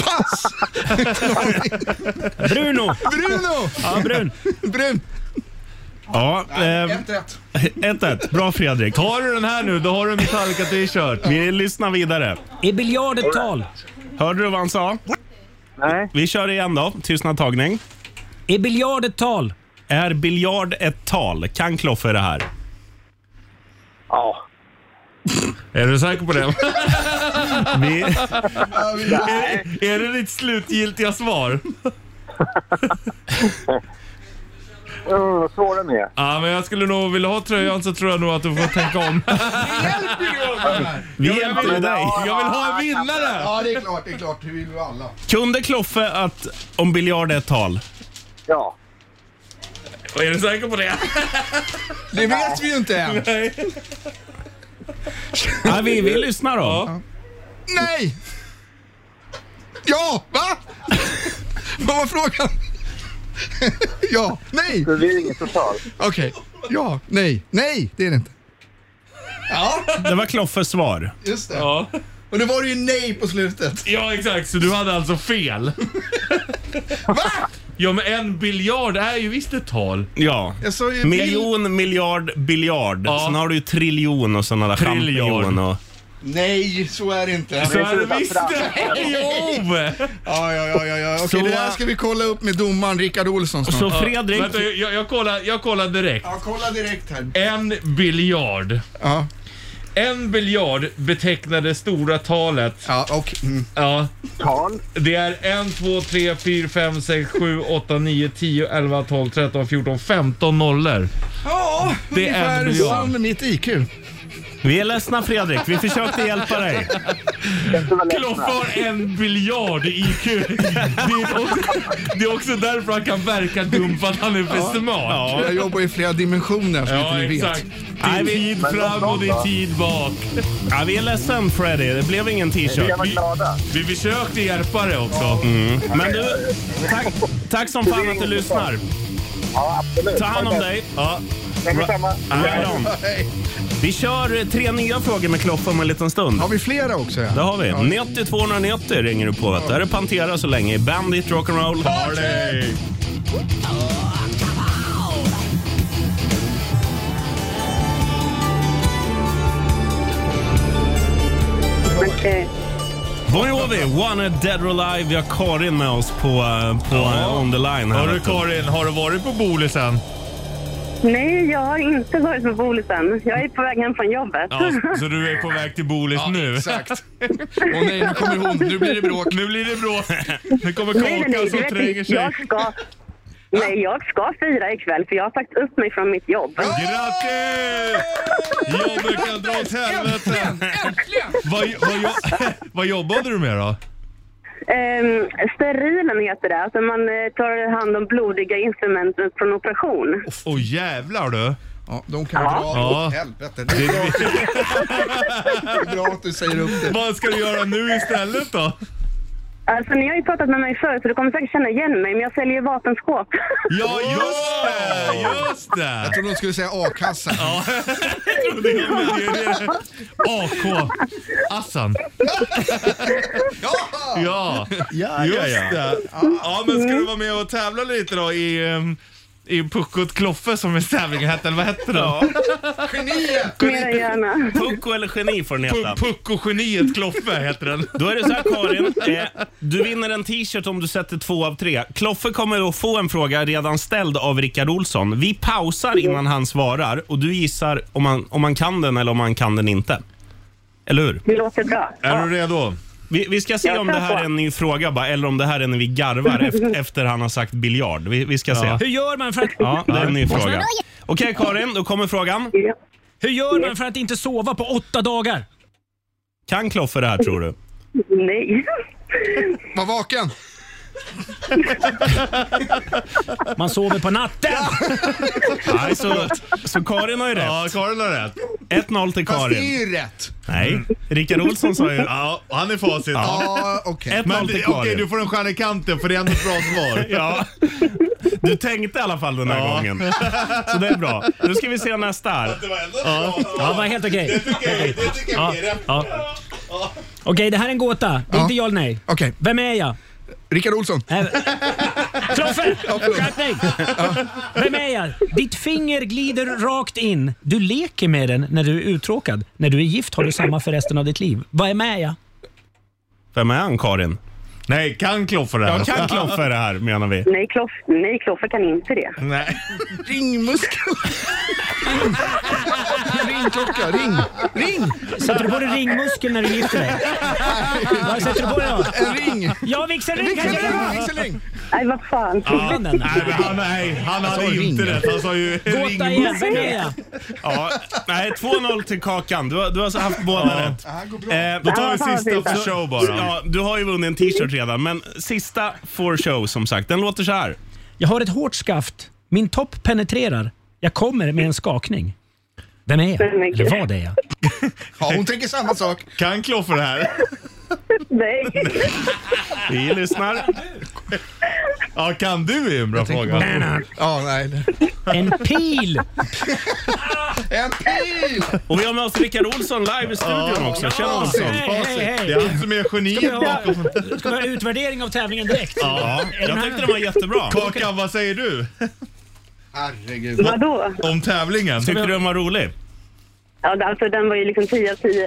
Speaker 4: Pass!
Speaker 2: Bruno!
Speaker 4: Bruno!
Speaker 8: Ja, brun.
Speaker 4: Brun.
Speaker 2: Ja, eh,
Speaker 4: Ett rätt.
Speaker 2: 1-1. Bra Fredrik.
Speaker 3: Tar du den här nu, då har du en Metallica-t-shirt.
Speaker 2: Vi lyssnar vidare.
Speaker 8: Är biljard ett tal?
Speaker 2: Hörde du vad han sa?
Speaker 9: Nej.
Speaker 2: Vi kör igen då. Tystnad tagning.
Speaker 8: Är biljard ett tal?
Speaker 2: Är biljard ett tal? Kan Kloffe det här?
Speaker 9: Ja.
Speaker 3: Är du säker på det?
Speaker 2: Vi,
Speaker 3: Är, är det ditt slutgiltiga svar?
Speaker 9: Uh, vad svår den är.
Speaker 3: Ja, men jag skulle nog vilja ha tröjan så tror jag nog att du får tänka om.
Speaker 2: vi hjälper dig.
Speaker 3: Jag vill ha en vinnare!
Speaker 4: Ja, det är klart, det är klart. Det vill vi alla.
Speaker 2: Kunde Kloffe att om biljard är ett tal?
Speaker 9: Ja.
Speaker 3: Är du säker på det?
Speaker 4: Det vet vi ju inte än.
Speaker 2: Ja, vi, vi lyssnar då.
Speaker 4: Nej! Ja, va? Vad var frågan? ja, nej,
Speaker 9: Förvirringen total.
Speaker 4: okej. Ja, nej, nej, det är det inte. Ja,
Speaker 2: Det var Kloffes svar.
Speaker 4: just det.
Speaker 3: Ja.
Speaker 4: Och nu var det ju nej på slutet.
Speaker 3: ja, exakt. Så du hade alltså fel.
Speaker 4: Va?
Speaker 3: Ja, men en biljard är ju visst ett tal.
Speaker 2: Ja.
Speaker 3: Jag sa ju-
Speaker 2: Miljon, miljard, biljard. Sen har du ju triljon och sådana där
Speaker 3: Triljard.
Speaker 2: champinjon och...
Speaker 4: Nej, så är det inte.
Speaker 2: Så är det visst
Speaker 4: det! Ja, ja, ja, ja, ja. Okej,
Speaker 3: Så-
Speaker 4: det där ska vi kolla upp med domaren Rickard Olsson snart.
Speaker 3: Ja, Vänta, jag, jag, kollar, jag kollar direkt.
Speaker 4: Ja, kolla direkt här.
Speaker 3: En biljard. En biljard betecknar det stora talet.
Speaker 4: Ja, och... mm.
Speaker 3: Ja.
Speaker 9: Tal?
Speaker 3: Det är 1, 2, 3, 4, 5, 6, 7, 8, 9, 10, 11, 12, 13, 14, 15 nollor.
Speaker 4: Ja,
Speaker 3: Det är en
Speaker 4: ungefär
Speaker 3: biljard.
Speaker 4: som mitt IQ.
Speaker 2: Vi är ledsna Fredrik, vi försökte hjälpa dig.
Speaker 3: Kloff har en biljard i IQ. Det är, också, det är också därför han kan verka dum för att han är för
Speaker 4: Ja.
Speaker 3: smart.
Speaker 4: Jag jobbar i flera dimensioner som
Speaker 3: Ja,
Speaker 4: inte ni vet.
Speaker 3: exakt. Din tid fram och din tid bak.
Speaker 2: Ja, vi är ledsen Freddy, det blev ingen t-shirt.
Speaker 3: Vi försökte hjälpa dig också.
Speaker 2: Mm. Men du, tack, tack som fan att du lyssnar. Ta hand om dig. Ja. Right on. Vi kör tre nya frågor med Kloff om en liten stund. Har
Speaker 4: vi flera också? Ja.
Speaker 2: Det har vi. 90 290 ringer du på. Vet du. Här är Pantera så länge i Bandit Rock'n'Roll.
Speaker 3: Party!
Speaker 2: Bon Jovi, One Dead or Alive. Vi har Karin med oss på, eh, på eh, on the line. Här
Speaker 3: Hörru
Speaker 2: vet du.
Speaker 3: Karin, har du varit på Bolisen?
Speaker 12: Nej, jag har inte varit på Bolisen. Jag är på väg hem från jobbet.
Speaker 3: Ja, så du är på väg till Bolis nu?
Speaker 4: Exakt.
Speaker 3: Åh nej, nu kommer hon. Nu blir det bråk. Nu blir det bråk. Nu kommer Kakan som
Speaker 12: du
Speaker 3: tränger
Speaker 12: vet,
Speaker 3: sig.
Speaker 12: jag ska... Nej, jag ska fira ikväll för jag har sagt upp mig från mitt jobb.
Speaker 3: Grattis! Jobbet kan dra åt helvete. Vad, vad, jo- vad jobbade du med då?
Speaker 12: Ehm, sterilen heter det, alltså man eh, tar hand om blodiga instrument från operation.
Speaker 3: Åh jävlar du.
Speaker 4: Ja, de kan
Speaker 12: Ja.
Speaker 4: dra
Speaker 3: Ja.
Speaker 4: åt helvete. Det är bra att du- Det är bra att du säger upp det.
Speaker 3: Vad ska du göra nu istället då?
Speaker 12: Alltså ni har ju pratat med mig förut så du kommer säkert känna igen mig men jag säljer ju vapenskåp.
Speaker 3: Ja, just det! Just det! Jag
Speaker 4: trodde de skulle säga a-kassa.
Speaker 3: Ja, jag trodde det. men det är det. AK. Assan. Ja,
Speaker 11: Ja,
Speaker 3: just
Speaker 11: ja, ja.
Speaker 3: det. Ja, men ska du vara med och tävla lite då i, ehm, i Puckot Kloffe som är tävlingen hette, eller vad hette den?
Speaker 2: Ja.
Speaker 12: Mer än gärna.
Speaker 2: Pucko eller geni får den heta.
Speaker 3: Pucko-geniet Kloffe heter den.
Speaker 2: Då är det så här Karin, eh, du vinner en t-shirt om du sätter två av tre. Kloffe kommer att få en fråga redan ställd av Rickard Olsson. Vi pausar innan han svarar och du gissar om man, om man kan den eller om man kan den inte. Eller hur?
Speaker 12: Det låter bra.
Speaker 3: Är du redo?
Speaker 2: Vi, vi ska se
Speaker 12: Jag
Speaker 2: om det här
Speaker 12: kör
Speaker 2: är
Speaker 12: på.
Speaker 2: en ny fråga bara, eller om det här är när vi garvar efter, efter han har sagt biljard. Vi, vi ska
Speaker 8: Ja.
Speaker 2: se.
Speaker 8: Hur gör man för att...
Speaker 2: Ja, det är en ny fråga. Okej Karin, då kommer frågan.
Speaker 8: Hur gör man för att inte sova på åtta dagar?
Speaker 2: Kan Kloffe det här tror du?
Speaker 12: Nej.
Speaker 4: Var vaken.
Speaker 8: Man sover på natten.
Speaker 2: Nej, så, så Karin har ju rätt. Ja,
Speaker 3: Karin har rätt.
Speaker 2: 1-0 till
Speaker 4: Fast det
Speaker 2: Karin.
Speaker 4: är ju rätt.
Speaker 2: Nej, Rickard Olsson sa ju...
Speaker 3: Ja, han är facit.
Speaker 4: Ja, okej.
Speaker 2: 1-0
Speaker 3: Mm. Men
Speaker 2: till
Speaker 3: det-
Speaker 2: Karin.
Speaker 3: okej, du får en stjärna i kanten för det är ändå ett bra svar.
Speaker 2: Ja. Du tänkte i alla fall den här
Speaker 3: Ja.
Speaker 2: gången. Så det är bra. Nu ska vi se nästa här.
Speaker 8: Ja, det var helt okej. Okej. Ja, ja. Okej, det här är en gåta. Det är Inte ja eller nej.
Speaker 4: Okej.
Speaker 8: Vem är jag?
Speaker 4: Rickard Olsson.
Speaker 8: Kloffe!
Speaker 4: Ja, förlåt.
Speaker 8: Skärpning! Vem är jag? Ditt finger glider rakt in. Du leker med den när du är uttråkad. När du är gift har du samma för resten av ditt liv. Vad är med jag?
Speaker 2: Vem är han Karin?
Speaker 3: Nej, kan Kloffe det här?
Speaker 2: Jag kan Kloffe det här menar vi.
Speaker 12: Nej, Kloff, nej, Kloffe kan inte det.
Speaker 3: Nej.
Speaker 4: Ringmuskel. ring klocka, ring. Ring.
Speaker 8: Sätter du på dig ringmuskeln när du gifter dig? Vad sätter du på dig då?
Speaker 4: En ring.
Speaker 8: Ja, vigselring kanske?
Speaker 4: Vigselring.
Speaker 12: Nej, vad fan.
Speaker 8: Ja, den där.
Speaker 3: Nej, men han, nej, han
Speaker 2: Jag sa
Speaker 3: hade inte
Speaker 2: ring.
Speaker 3: rätt. Han sa ju
Speaker 8: Gåta igen. Vem är jag?
Speaker 2: Ja, nej, 2-0 till Kakan. Du, har- du har haft båda rätt. Eh,
Speaker 3: Då tar vi
Speaker 2: Ja,
Speaker 3: sista
Speaker 2: fan,
Speaker 3: för
Speaker 2: så-
Speaker 3: show bara.
Speaker 2: Ja, du har ju vunnit en t-shirt redan, men sista for show som sagt. Den låter så här.
Speaker 8: Jag har ett hårt skaft. Min topp penetrerar. Jag kommer med en skakning. Vem är jag? Eller vad är jag?
Speaker 4: Ja, hon tänker samma sak.
Speaker 3: Kan Kloffe det här?
Speaker 12: Nej.
Speaker 2: Vi lyssnar.
Speaker 3: Ja, kan du är en bra fråga.
Speaker 4: Ja, nej.
Speaker 8: En pil!
Speaker 4: en pil!
Speaker 2: Och vi har med oss Rickard Olsson live i studion också. Tjena Olsson!
Speaker 3: Det är han som är
Speaker 8: Ska vi
Speaker 3: geniet
Speaker 8: ha,
Speaker 3: bakom.
Speaker 8: ska vi ha utvärdering av tävlingen direkt?
Speaker 3: Ja,
Speaker 8: Är
Speaker 3: jag
Speaker 8: här-
Speaker 3: tyckte den var jättebra. Kakan, vad säger du?
Speaker 4: Herregud.
Speaker 12: Vadå?
Speaker 3: Om tävlingen.
Speaker 2: Tyckte du den var rolig?
Speaker 12: Ja, det- alltså den var ju liksom 10 av 10.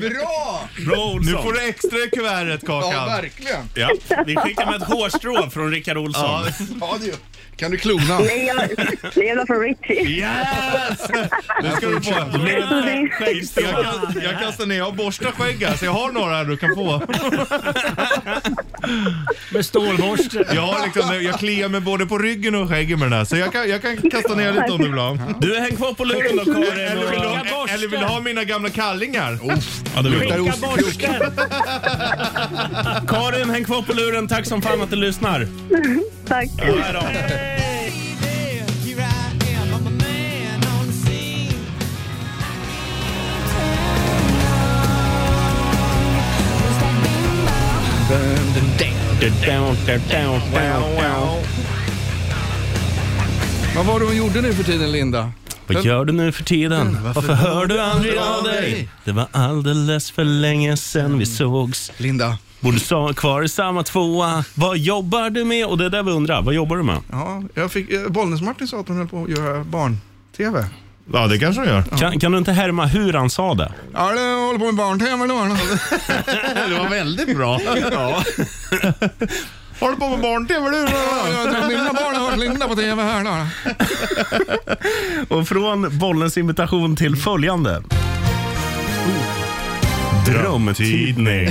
Speaker 4: Bra!
Speaker 2: Bra Olsson!
Speaker 3: Nu får du extra i kuvertet Kakan.
Speaker 4: Ja, verkligen.
Speaker 2: Ja, vi skickar med ett hårstrå från Rickard Olsson.
Speaker 4: Ja, det gör- Kan du klona?
Speaker 12: Nej, jag, nej, jag var för Richie.
Speaker 3: Yes! Det ska du få.
Speaker 12: Det blev en skägg-
Speaker 3: skäggstrå. Jag, kan- jag kastar ner, jag borstar skägg här, så jag har några här du kan få.
Speaker 8: Med stålborste.
Speaker 3: Jag, har liksom, jag kliar mig både på ryggen och skäggen med den här, så jag kan, jag kan kasta ner lite om du vill ha.
Speaker 2: Du, häng kvar på luren då Karin.
Speaker 3: Eller vill du ha, eller vill du ha mina gamla kallingar?
Speaker 2: Oh. Ja, det vill jag.
Speaker 8: borsten!
Speaker 2: Karin, häng kvar på luren. Tack som fan att du lyssnar.
Speaker 12: Tack.
Speaker 2: Ja, då.
Speaker 4: Vad var det hon gjorde nu för tiden, Linda?
Speaker 2: Vad gör du nu för tiden?
Speaker 4: Varför
Speaker 2: Varför hör du aldrig
Speaker 4: hör du
Speaker 2: av
Speaker 4: av
Speaker 2: dig? Mm.
Speaker 4: dig?
Speaker 2: Det var alldeles för länge sedan vi sågs.
Speaker 4: Linda.
Speaker 2: Bor du sa- kvar i samma tvåa? Vad jobbar du med? Och det är där vi undrar. Vad jobbar du med?
Speaker 4: Ja, jag fick, eh, Bollnäs-Martin sa att hon höll på att göra barn-TV.
Speaker 3: Ja, det kanske de gör.
Speaker 2: Kan, kan du inte härma hur han sa det?
Speaker 4: Ja, det håller på med barn-TV nu.
Speaker 3: Det var väldigt bra. Ja. Håller på med barn-tv du?
Speaker 4: Ja, jag tror Mina barn har hört Linda på TV här då.
Speaker 2: Och från bollens invitation till följande. Drömtidning.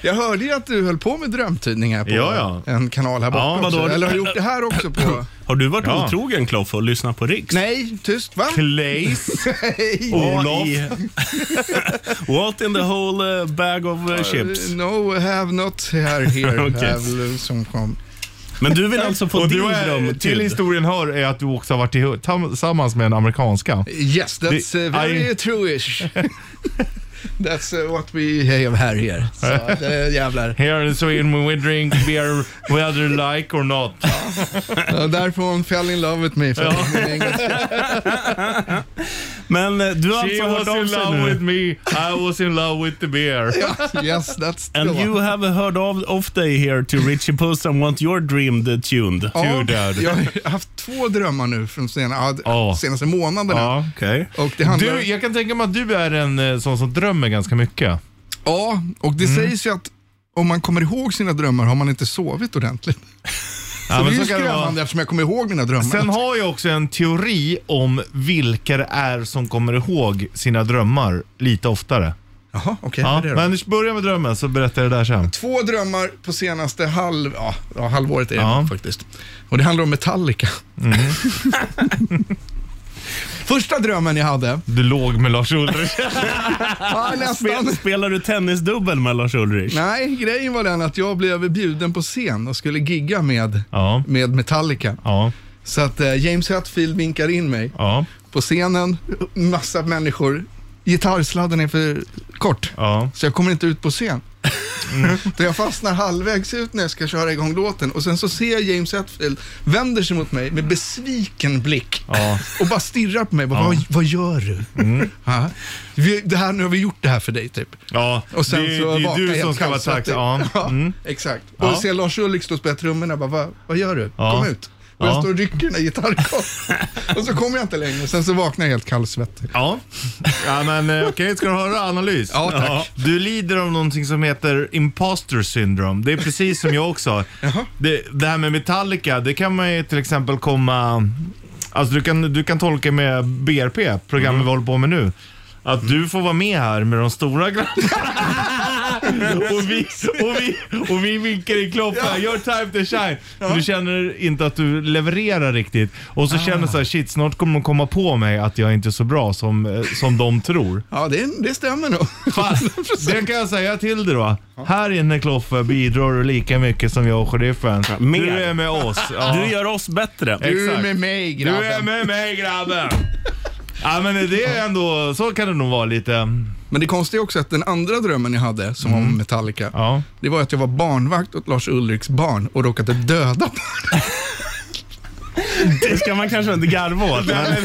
Speaker 4: Jag hörde ju att du höll på med drömtidning här på
Speaker 2: Ja, ja.
Speaker 4: en kanal här borta
Speaker 2: Ja, vadå?
Speaker 4: också. Eller har gjort det här också på...
Speaker 2: Har du varit
Speaker 4: Ja.
Speaker 2: otrogen Kloff och lyssnat på Riks?
Speaker 4: Nej, tyst va?
Speaker 2: Claes.
Speaker 4: Nej.
Speaker 2: Olof. What in the whole eh, bag of eh, chips?
Speaker 4: Uh, No, have not here, here.
Speaker 2: Okej.
Speaker 4: have some com.
Speaker 2: Men du vill alltså få
Speaker 3: Och
Speaker 2: din
Speaker 3: du är-
Speaker 2: dröm
Speaker 3: Till
Speaker 2: till
Speaker 3: historien hör är att du också har varit i- tam- tillsammans med en amerikanska.
Speaker 4: Yes, that's
Speaker 3: Det-
Speaker 4: uh, very
Speaker 3: I-
Speaker 4: trueish. that's uh, what we have här here. Så, det jävlar.
Speaker 3: Here in Sweden we drink beer whether like or not.
Speaker 4: Ja, därför hon fell in love with me. För
Speaker 3: Ja.
Speaker 4: min engelska.
Speaker 2: Men eh, du har
Speaker 3: She
Speaker 2: alltså hört
Speaker 3: was
Speaker 2: av
Speaker 3: in
Speaker 2: sig
Speaker 3: love
Speaker 2: nu?
Speaker 3: with me, I was in love with the beer.
Speaker 4: yes, that's
Speaker 2: And
Speaker 4: the
Speaker 2: you
Speaker 4: one.
Speaker 2: have heard of, of day here to Richie Puss and want your dream the tuned.
Speaker 4: Ja, jag har haft två drömmar nu från sena, ja, senaste månaderna.
Speaker 3: Ja.
Speaker 2: Okej.
Speaker 4: Och det handlar...
Speaker 3: Du, jag kan tänka mig att du är en eh, sån som drömmer ganska mycket.
Speaker 4: Ja, och
Speaker 3: Mm.
Speaker 4: det sägs ju att om man kommer ihåg sina drömmar har man inte sovit ordentligt.
Speaker 3: Ja,
Speaker 4: så
Speaker 3: men
Speaker 4: det är
Speaker 3: så
Speaker 4: ju
Speaker 3: kan det vara.
Speaker 4: skrämmande eftersom jag kommer ihåg mina drömmar.
Speaker 3: Sen har jag också en teori om vilka det är som kommer ihåg sina drömmar lite oftare.
Speaker 4: Jaha, okej.
Speaker 3: Ja,
Speaker 4: vad är det då?
Speaker 3: men Anders, börja med drömmen så berättar jag det där sen.
Speaker 4: Två drömmar på senaste halv, ja, ja, halvåret är det
Speaker 3: Ja. Mm.
Speaker 4: faktiskt. Och det handlar om Metallica. Första drömmen jag hade.
Speaker 3: Du låg med Lars Ulrich.
Speaker 4: Ja, nästan.
Speaker 2: Spel, spelar du tennisdubbel med Lars Ulrich?
Speaker 4: Nej, grejen var den att jag blev bjuden på scen och skulle gigga med, med Metallica. Så att eh, James Hetfield vinkar in mig på scenen, massa människor. Gitarrsladden är för kort, så jag kommer inte ut på scen. Så jag fastnar halvvägs ut när jag ska köra igång låten och sen så ser jag James Hetfield vänder sig mot mig med besviken blick och bara stirrar på mig. Bara, vad, vad gör du? Ja. Vi, det här, nu har vi gjort det här för dig typ.
Speaker 3: Ja,
Speaker 4: Och sen
Speaker 3: det,
Speaker 4: så
Speaker 3: det är
Speaker 4: vaknar
Speaker 3: du
Speaker 4: jag
Speaker 3: som
Speaker 4: helt
Speaker 3: ska vara tack.
Speaker 4: kallsvettig.
Speaker 3: Ja.
Speaker 4: Ja,
Speaker 3: Mm.
Speaker 4: Exakt.
Speaker 3: Ja.
Speaker 4: Och ser Lars Ulrik stå och spela trummorna. Bara, vad, vad gör du?
Speaker 3: Ja.
Speaker 4: Kom ut. Och jag
Speaker 3: Ja.
Speaker 4: står och rycker den där gitarrkorgen. och så kommer jag inte längre. Sen så vaknar jag helt kallsvettig.
Speaker 3: Ja. ja, men eh, okej, ska du höra analys?
Speaker 4: Ja, tack.
Speaker 3: Du lider av någonting som heter imposter syndrome. Det är precis som jag också. det, det här med Metallica, det kan man ju till exempel komma... Alltså du kan, du kan tolka med BRP, programmet
Speaker 4: Mm.
Speaker 3: vi håller på med nu. Att du får vara med här med de stora grabbarna. och, vi, och, vi, och vi vinkar i klockan. Your time to shine. Men du känner inte att du levererar riktigt. Och så känner du så här, shit snart kommer de komma på mig att jag inte är så bra som, eh, som de tror.
Speaker 4: Ja, det, det stämmer nog.
Speaker 3: Fast, det kan jag säga till dig då. Här inne Kloffe bidrar du lika mycket som jag och sheriffen.
Speaker 2: mer.
Speaker 3: Du är med oss. Ja.
Speaker 2: Du gör oss bättre.
Speaker 4: Du är
Speaker 3: Exakt.
Speaker 4: med mig grabben.
Speaker 3: Du är med mig grabben. Ja men det är ändå, så kan det nog vara lite.
Speaker 4: Men det konstiga är också att den andra drömmen jag hade, som
Speaker 3: Mm.
Speaker 4: var om Metallica, det var att jag var barnvakt åt Lars Ulriks barn och råkade döda barn.
Speaker 2: Det ska man kanske inte garva åt.
Speaker 4: men-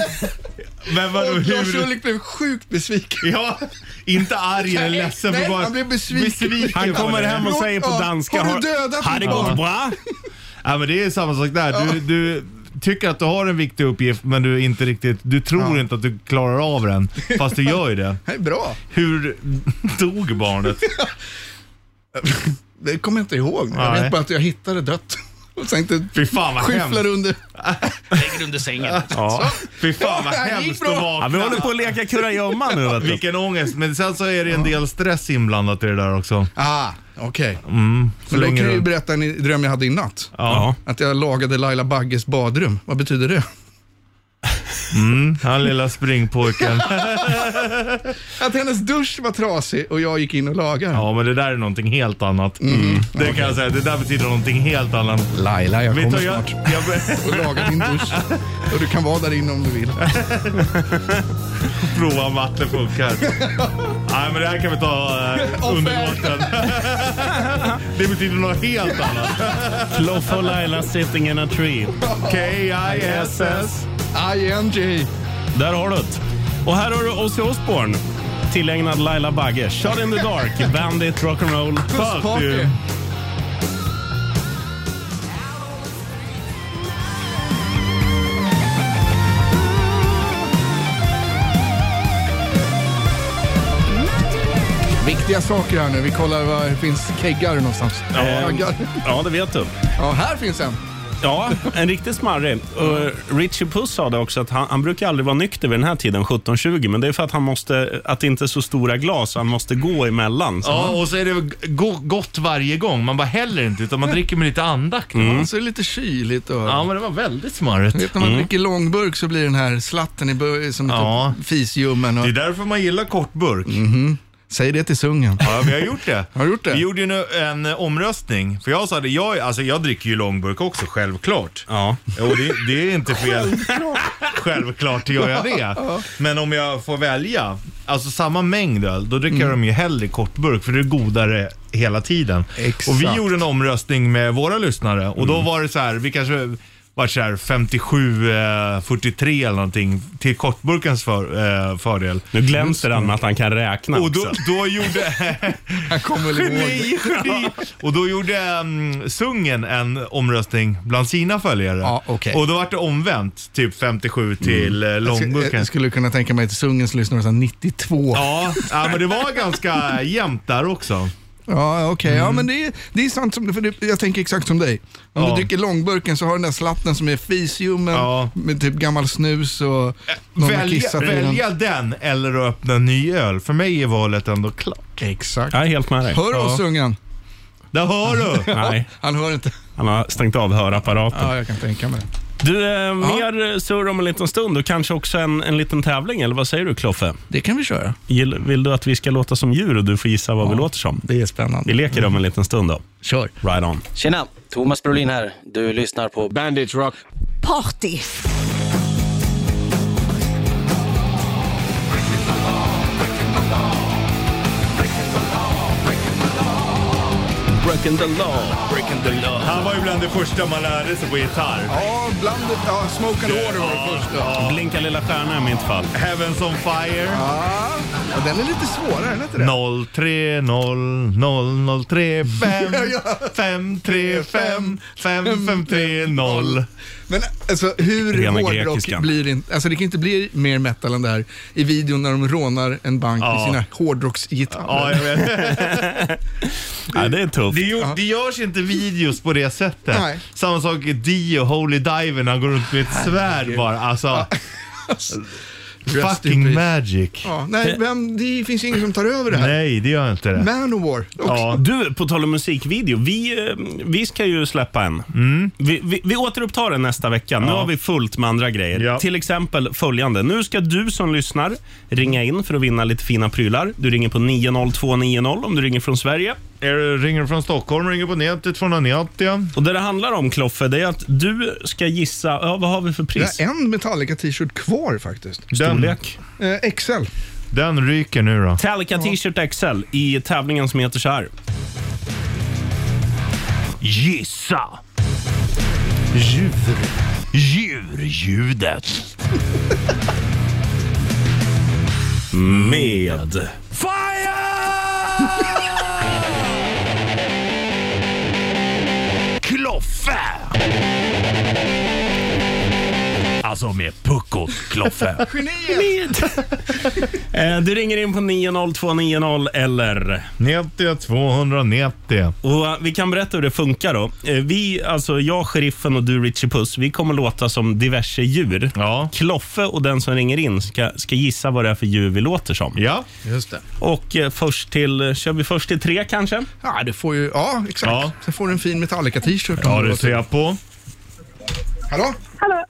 Speaker 3: Men vadå,
Speaker 4: och Lars
Speaker 3: hur-
Speaker 4: Ulrik blev sjukt besviken.
Speaker 3: Ja, inte arg eller
Speaker 4: Nej,
Speaker 3: ledsen.
Speaker 4: nej,
Speaker 3: för bara
Speaker 4: han blev besviken.
Speaker 2: Han
Speaker 3: på
Speaker 2: kommer
Speaker 3: det.
Speaker 2: hem och säger på
Speaker 3: Ja,
Speaker 2: danska,
Speaker 3: har
Speaker 2: "Har-
Speaker 3: du dödat
Speaker 2: har
Speaker 3: min
Speaker 2: det gått
Speaker 3: man?"
Speaker 2: bra?
Speaker 3: Ja, men det är samma sak där. Du, du tycker att du har en viktig uppgift men du är inte riktigt, du tror inte att du klarar av den. Fast du gör ju det.
Speaker 4: Det är bra.
Speaker 3: Hur dog barnet?
Speaker 4: Det kommer jag inte ihåg. nu. Jag
Speaker 3: Nej.
Speaker 4: vet bara att jag hittade dött. Och tänkte
Speaker 3: Fy fan vad hemskt.
Speaker 4: skyfflar under.
Speaker 3: Lägger under sängen. Ja. Fy fan vad
Speaker 4: Ja, det gick
Speaker 3: hemskt
Speaker 4: bra.
Speaker 3: att vakna.
Speaker 4: Ja, vi håller på att
Speaker 2: leka kurragömma nu. Vet du.
Speaker 3: Vilken ångest. Men sen så är det en del stress inblandat i det där också.
Speaker 4: Ah, okej.
Speaker 3: Mm,
Speaker 4: Men då kan
Speaker 3: slänger
Speaker 4: jag ju
Speaker 3: du-
Speaker 4: berätta en i- dröm jag hade i natt.
Speaker 3: Ja.
Speaker 4: Att jag lagade Laila Bagges badrum. Vad betyder det?
Speaker 3: Mm, han lilla springpojken.
Speaker 4: att hennes dusch var trasig och jag gick in och lagade.
Speaker 3: Ja, men det där är någonting helt annat.
Speaker 4: Mm.
Speaker 3: Det kan jag säga, det där betyder någonting helt annat.
Speaker 4: Laila, jag kommer snart.
Speaker 3: Jag...
Speaker 4: Och laga din dusch. Och du kan vara där inne om du vill.
Speaker 3: Prova om vatten funkar. Nej, men det här kan vi ta eh, under låten. Det betyder något helt annat.
Speaker 2: Kloff och Laila sitting in a tree.
Speaker 3: K-I-S-S.
Speaker 4: ING.
Speaker 2: Där har du det. Och här har du Ozzy Osbourne. Tillägnad Laila Bagge. Shot in the dark. Bandit, rock'n'roll.
Speaker 4: Pussparty. Viktiga saker här nu. Vi kollar var det finns keggar någonstans.
Speaker 2: Ja,
Speaker 4: Kaggar.
Speaker 2: ja, det vet du.
Speaker 4: Ja, här finns en.
Speaker 2: Ja, en riktigt smarrig. Och Richie Puss sa det också att han, han brukar aldrig vara nykter vid den här tiden, 17-20, men det är för att han måste, att det inte är så stora glas, så han måste gå emellan. Så
Speaker 3: Ja,
Speaker 2: han,
Speaker 3: och så är det go- gott varje gång. Man bara häller inte, utan man dricker med lite andakt.
Speaker 2: Mm.
Speaker 4: Så är det lite kyligt. Och...
Speaker 3: Ja, men det var väldigt smarrigt.
Speaker 4: Vet när man
Speaker 3: Mm.
Speaker 4: dricker långburk så blir den här slatten i bör- som ja. fisljummen. Och... Det är
Speaker 3: därför man gillar kortburk.
Speaker 4: Säg det till sungen.
Speaker 3: Ja, vi Mm. har gjort det.
Speaker 4: Har du gjort det?
Speaker 3: Vi gjorde ju en, en eh, omröstning. För jag sa det, jag, alltså, jag dricker ju långburk också, självklart.
Speaker 2: Ja.
Speaker 3: Och det, det är inte fel. självklart gör jag det.
Speaker 11: Ja.
Speaker 3: Men om jag får välja, alltså samma mängd öl, då dricker jag dem ju hellre kortburk för det är godare hela tiden.
Speaker 11: Exakt.
Speaker 3: Och vi gjorde en omröstning med våra lyssnare och då
Speaker 11: Mm.
Speaker 3: var det så här, vi kanske var så här 57, eh, 43 eller någonting till kortburkens för, eh, fördel.
Speaker 2: Nu glänser han med att han kan räkna
Speaker 3: Och då,
Speaker 2: också.
Speaker 3: då gjorde...
Speaker 4: Han kommer
Speaker 2: väl ihåg.
Speaker 3: geni, geni. Och då gjorde mm, Sungen en omröstning bland sina följare. Och då var det omvänt, typ 57 till mm.
Speaker 4: Jag skulle-
Speaker 3: Långburken.
Speaker 4: Jag skulle kunna tänka mig till sungens lyssnare så här 92.
Speaker 3: Ja, ja, men det var ganska jämnt där också.
Speaker 4: Ja, okej. Ja, men det är, det är sant. Som, för det, jag tänker exakt som dig. Om
Speaker 3: Ja.
Speaker 4: du dricker långburken så har den där slatten som är fisljummen med typ gammal snus och någon har
Speaker 3: Välja,
Speaker 4: kissat i den.
Speaker 3: välja den eller att öppna en ny öl. För mig är valet ändå klart.
Speaker 4: Exakt.
Speaker 2: Jag är helt med dig.
Speaker 4: Hör du oss, sungen?
Speaker 3: Där hör du!
Speaker 2: Nej.
Speaker 4: Han hör inte.
Speaker 2: Han har stängt av hörapparaten.
Speaker 4: Ja, jag kan tänka mig det.
Speaker 2: Du, eh, mer surr om en liten stund och kanske också en, en liten tävling, eller vad säger du Kloffe?
Speaker 4: Det kan vi köra.
Speaker 2: Vill, vill du att vi ska låta som djur och du får gissa vad vi låter som?
Speaker 4: Det är spännande.
Speaker 2: Vi leker om en liten stund då.
Speaker 4: Kör.
Speaker 2: Right on.
Speaker 13: Tjena, Thomas Brolin här. Du lyssnar på Bandit Rock.
Speaker 14: Party.
Speaker 2: Breaking the law.
Speaker 3: Breaking the law. Han var ju bland det första man lärde sig på gitarr.
Speaker 4: Ja, bland det, ja, Smoke and Water var det första.
Speaker 2: Blinka lilla stjärna i mitt fall.
Speaker 3: Heavens on fire.
Speaker 4: Ja, och den är lite svårare, är den inte det?
Speaker 3: 030 003 5 5 3 5 5 5 3 0
Speaker 4: Men alltså hur
Speaker 3: Rena
Speaker 4: hårdrock
Speaker 3: grekiskan.
Speaker 4: blir det inte? Alltså det kan inte bli mer metal än det här i videon när de rånar en bank
Speaker 3: Ja.
Speaker 4: med sina hårdrocksgitarrer.
Speaker 3: Ja, jag vet.
Speaker 2: Ja, det är tufft.
Speaker 3: Det, gör, det görs inte videos på det sättet.
Speaker 4: Nej.
Speaker 3: Samma sak i Dio, Holy Diver, när han går runt med ett svärd bara. Alltså, fucking magic.
Speaker 4: Ja, nej, vem, det finns ju ingen som tar över det här.
Speaker 3: Nej, det gör inte det.
Speaker 4: Manowar.
Speaker 2: Ja. Du, på tal om musikvideo. Vi, eh, vi ska ju släppa en.
Speaker 3: Mm.
Speaker 2: Vi, vi, vi återupptar den nästa vecka. Nu har vi fullt med andra grejer. Till exempel följande. Nu ska du som lyssnar ringa in för att vinna lite fina prylar. Du ringer på 90290 om du ringer från Sverige.
Speaker 3: Är du ringer från Stockholm, ringer på nätet från Anjatia.
Speaker 2: Och det det handlar om, Kloffe, det är att du ska gissa, ja, vad har vi för
Speaker 4: Jag
Speaker 2: pris?
Speaker 4: har en Metallica t-shirt kvar faktiskt.
Speaker 2: Storlek?
Speaker 4: Eh, XL.
Speaker 3: Den ryker nu då.
Speaker 2: Talica T-shirt XL i tävlingen som heter så här. Gissa! Djur. Djurljudet. Med...
Speaker 1: Kloffe! Alltså med puckot Kloffe.
Speaker 2: Geniet! Eh, Du ringer in på 90290 eller
Speaker 3: 90290.
Speaker 2: Och eh, vi kan berätta hur det funkar då. Eh, Vi, alltså jag, sheriffen och du Richie Puss, vi kommer låta som diverse djur. Kloffe och den som ringer in ska, ska gissa vad det är för djur vi låter som.
Speaker 3: Ja,
Speaker 4: just det.
Speaker 2: Och eh, först till, eh, kör vi först till tre kanske?
Speaker 4: Ja, du får ju, ja exakt. Sen får du en fin Metallica-t-shirt.
Speaker 2: Ja, det ser jag
Speaker 3: på.
Speaker 4: Hallå?
Speaker 5: Hallå?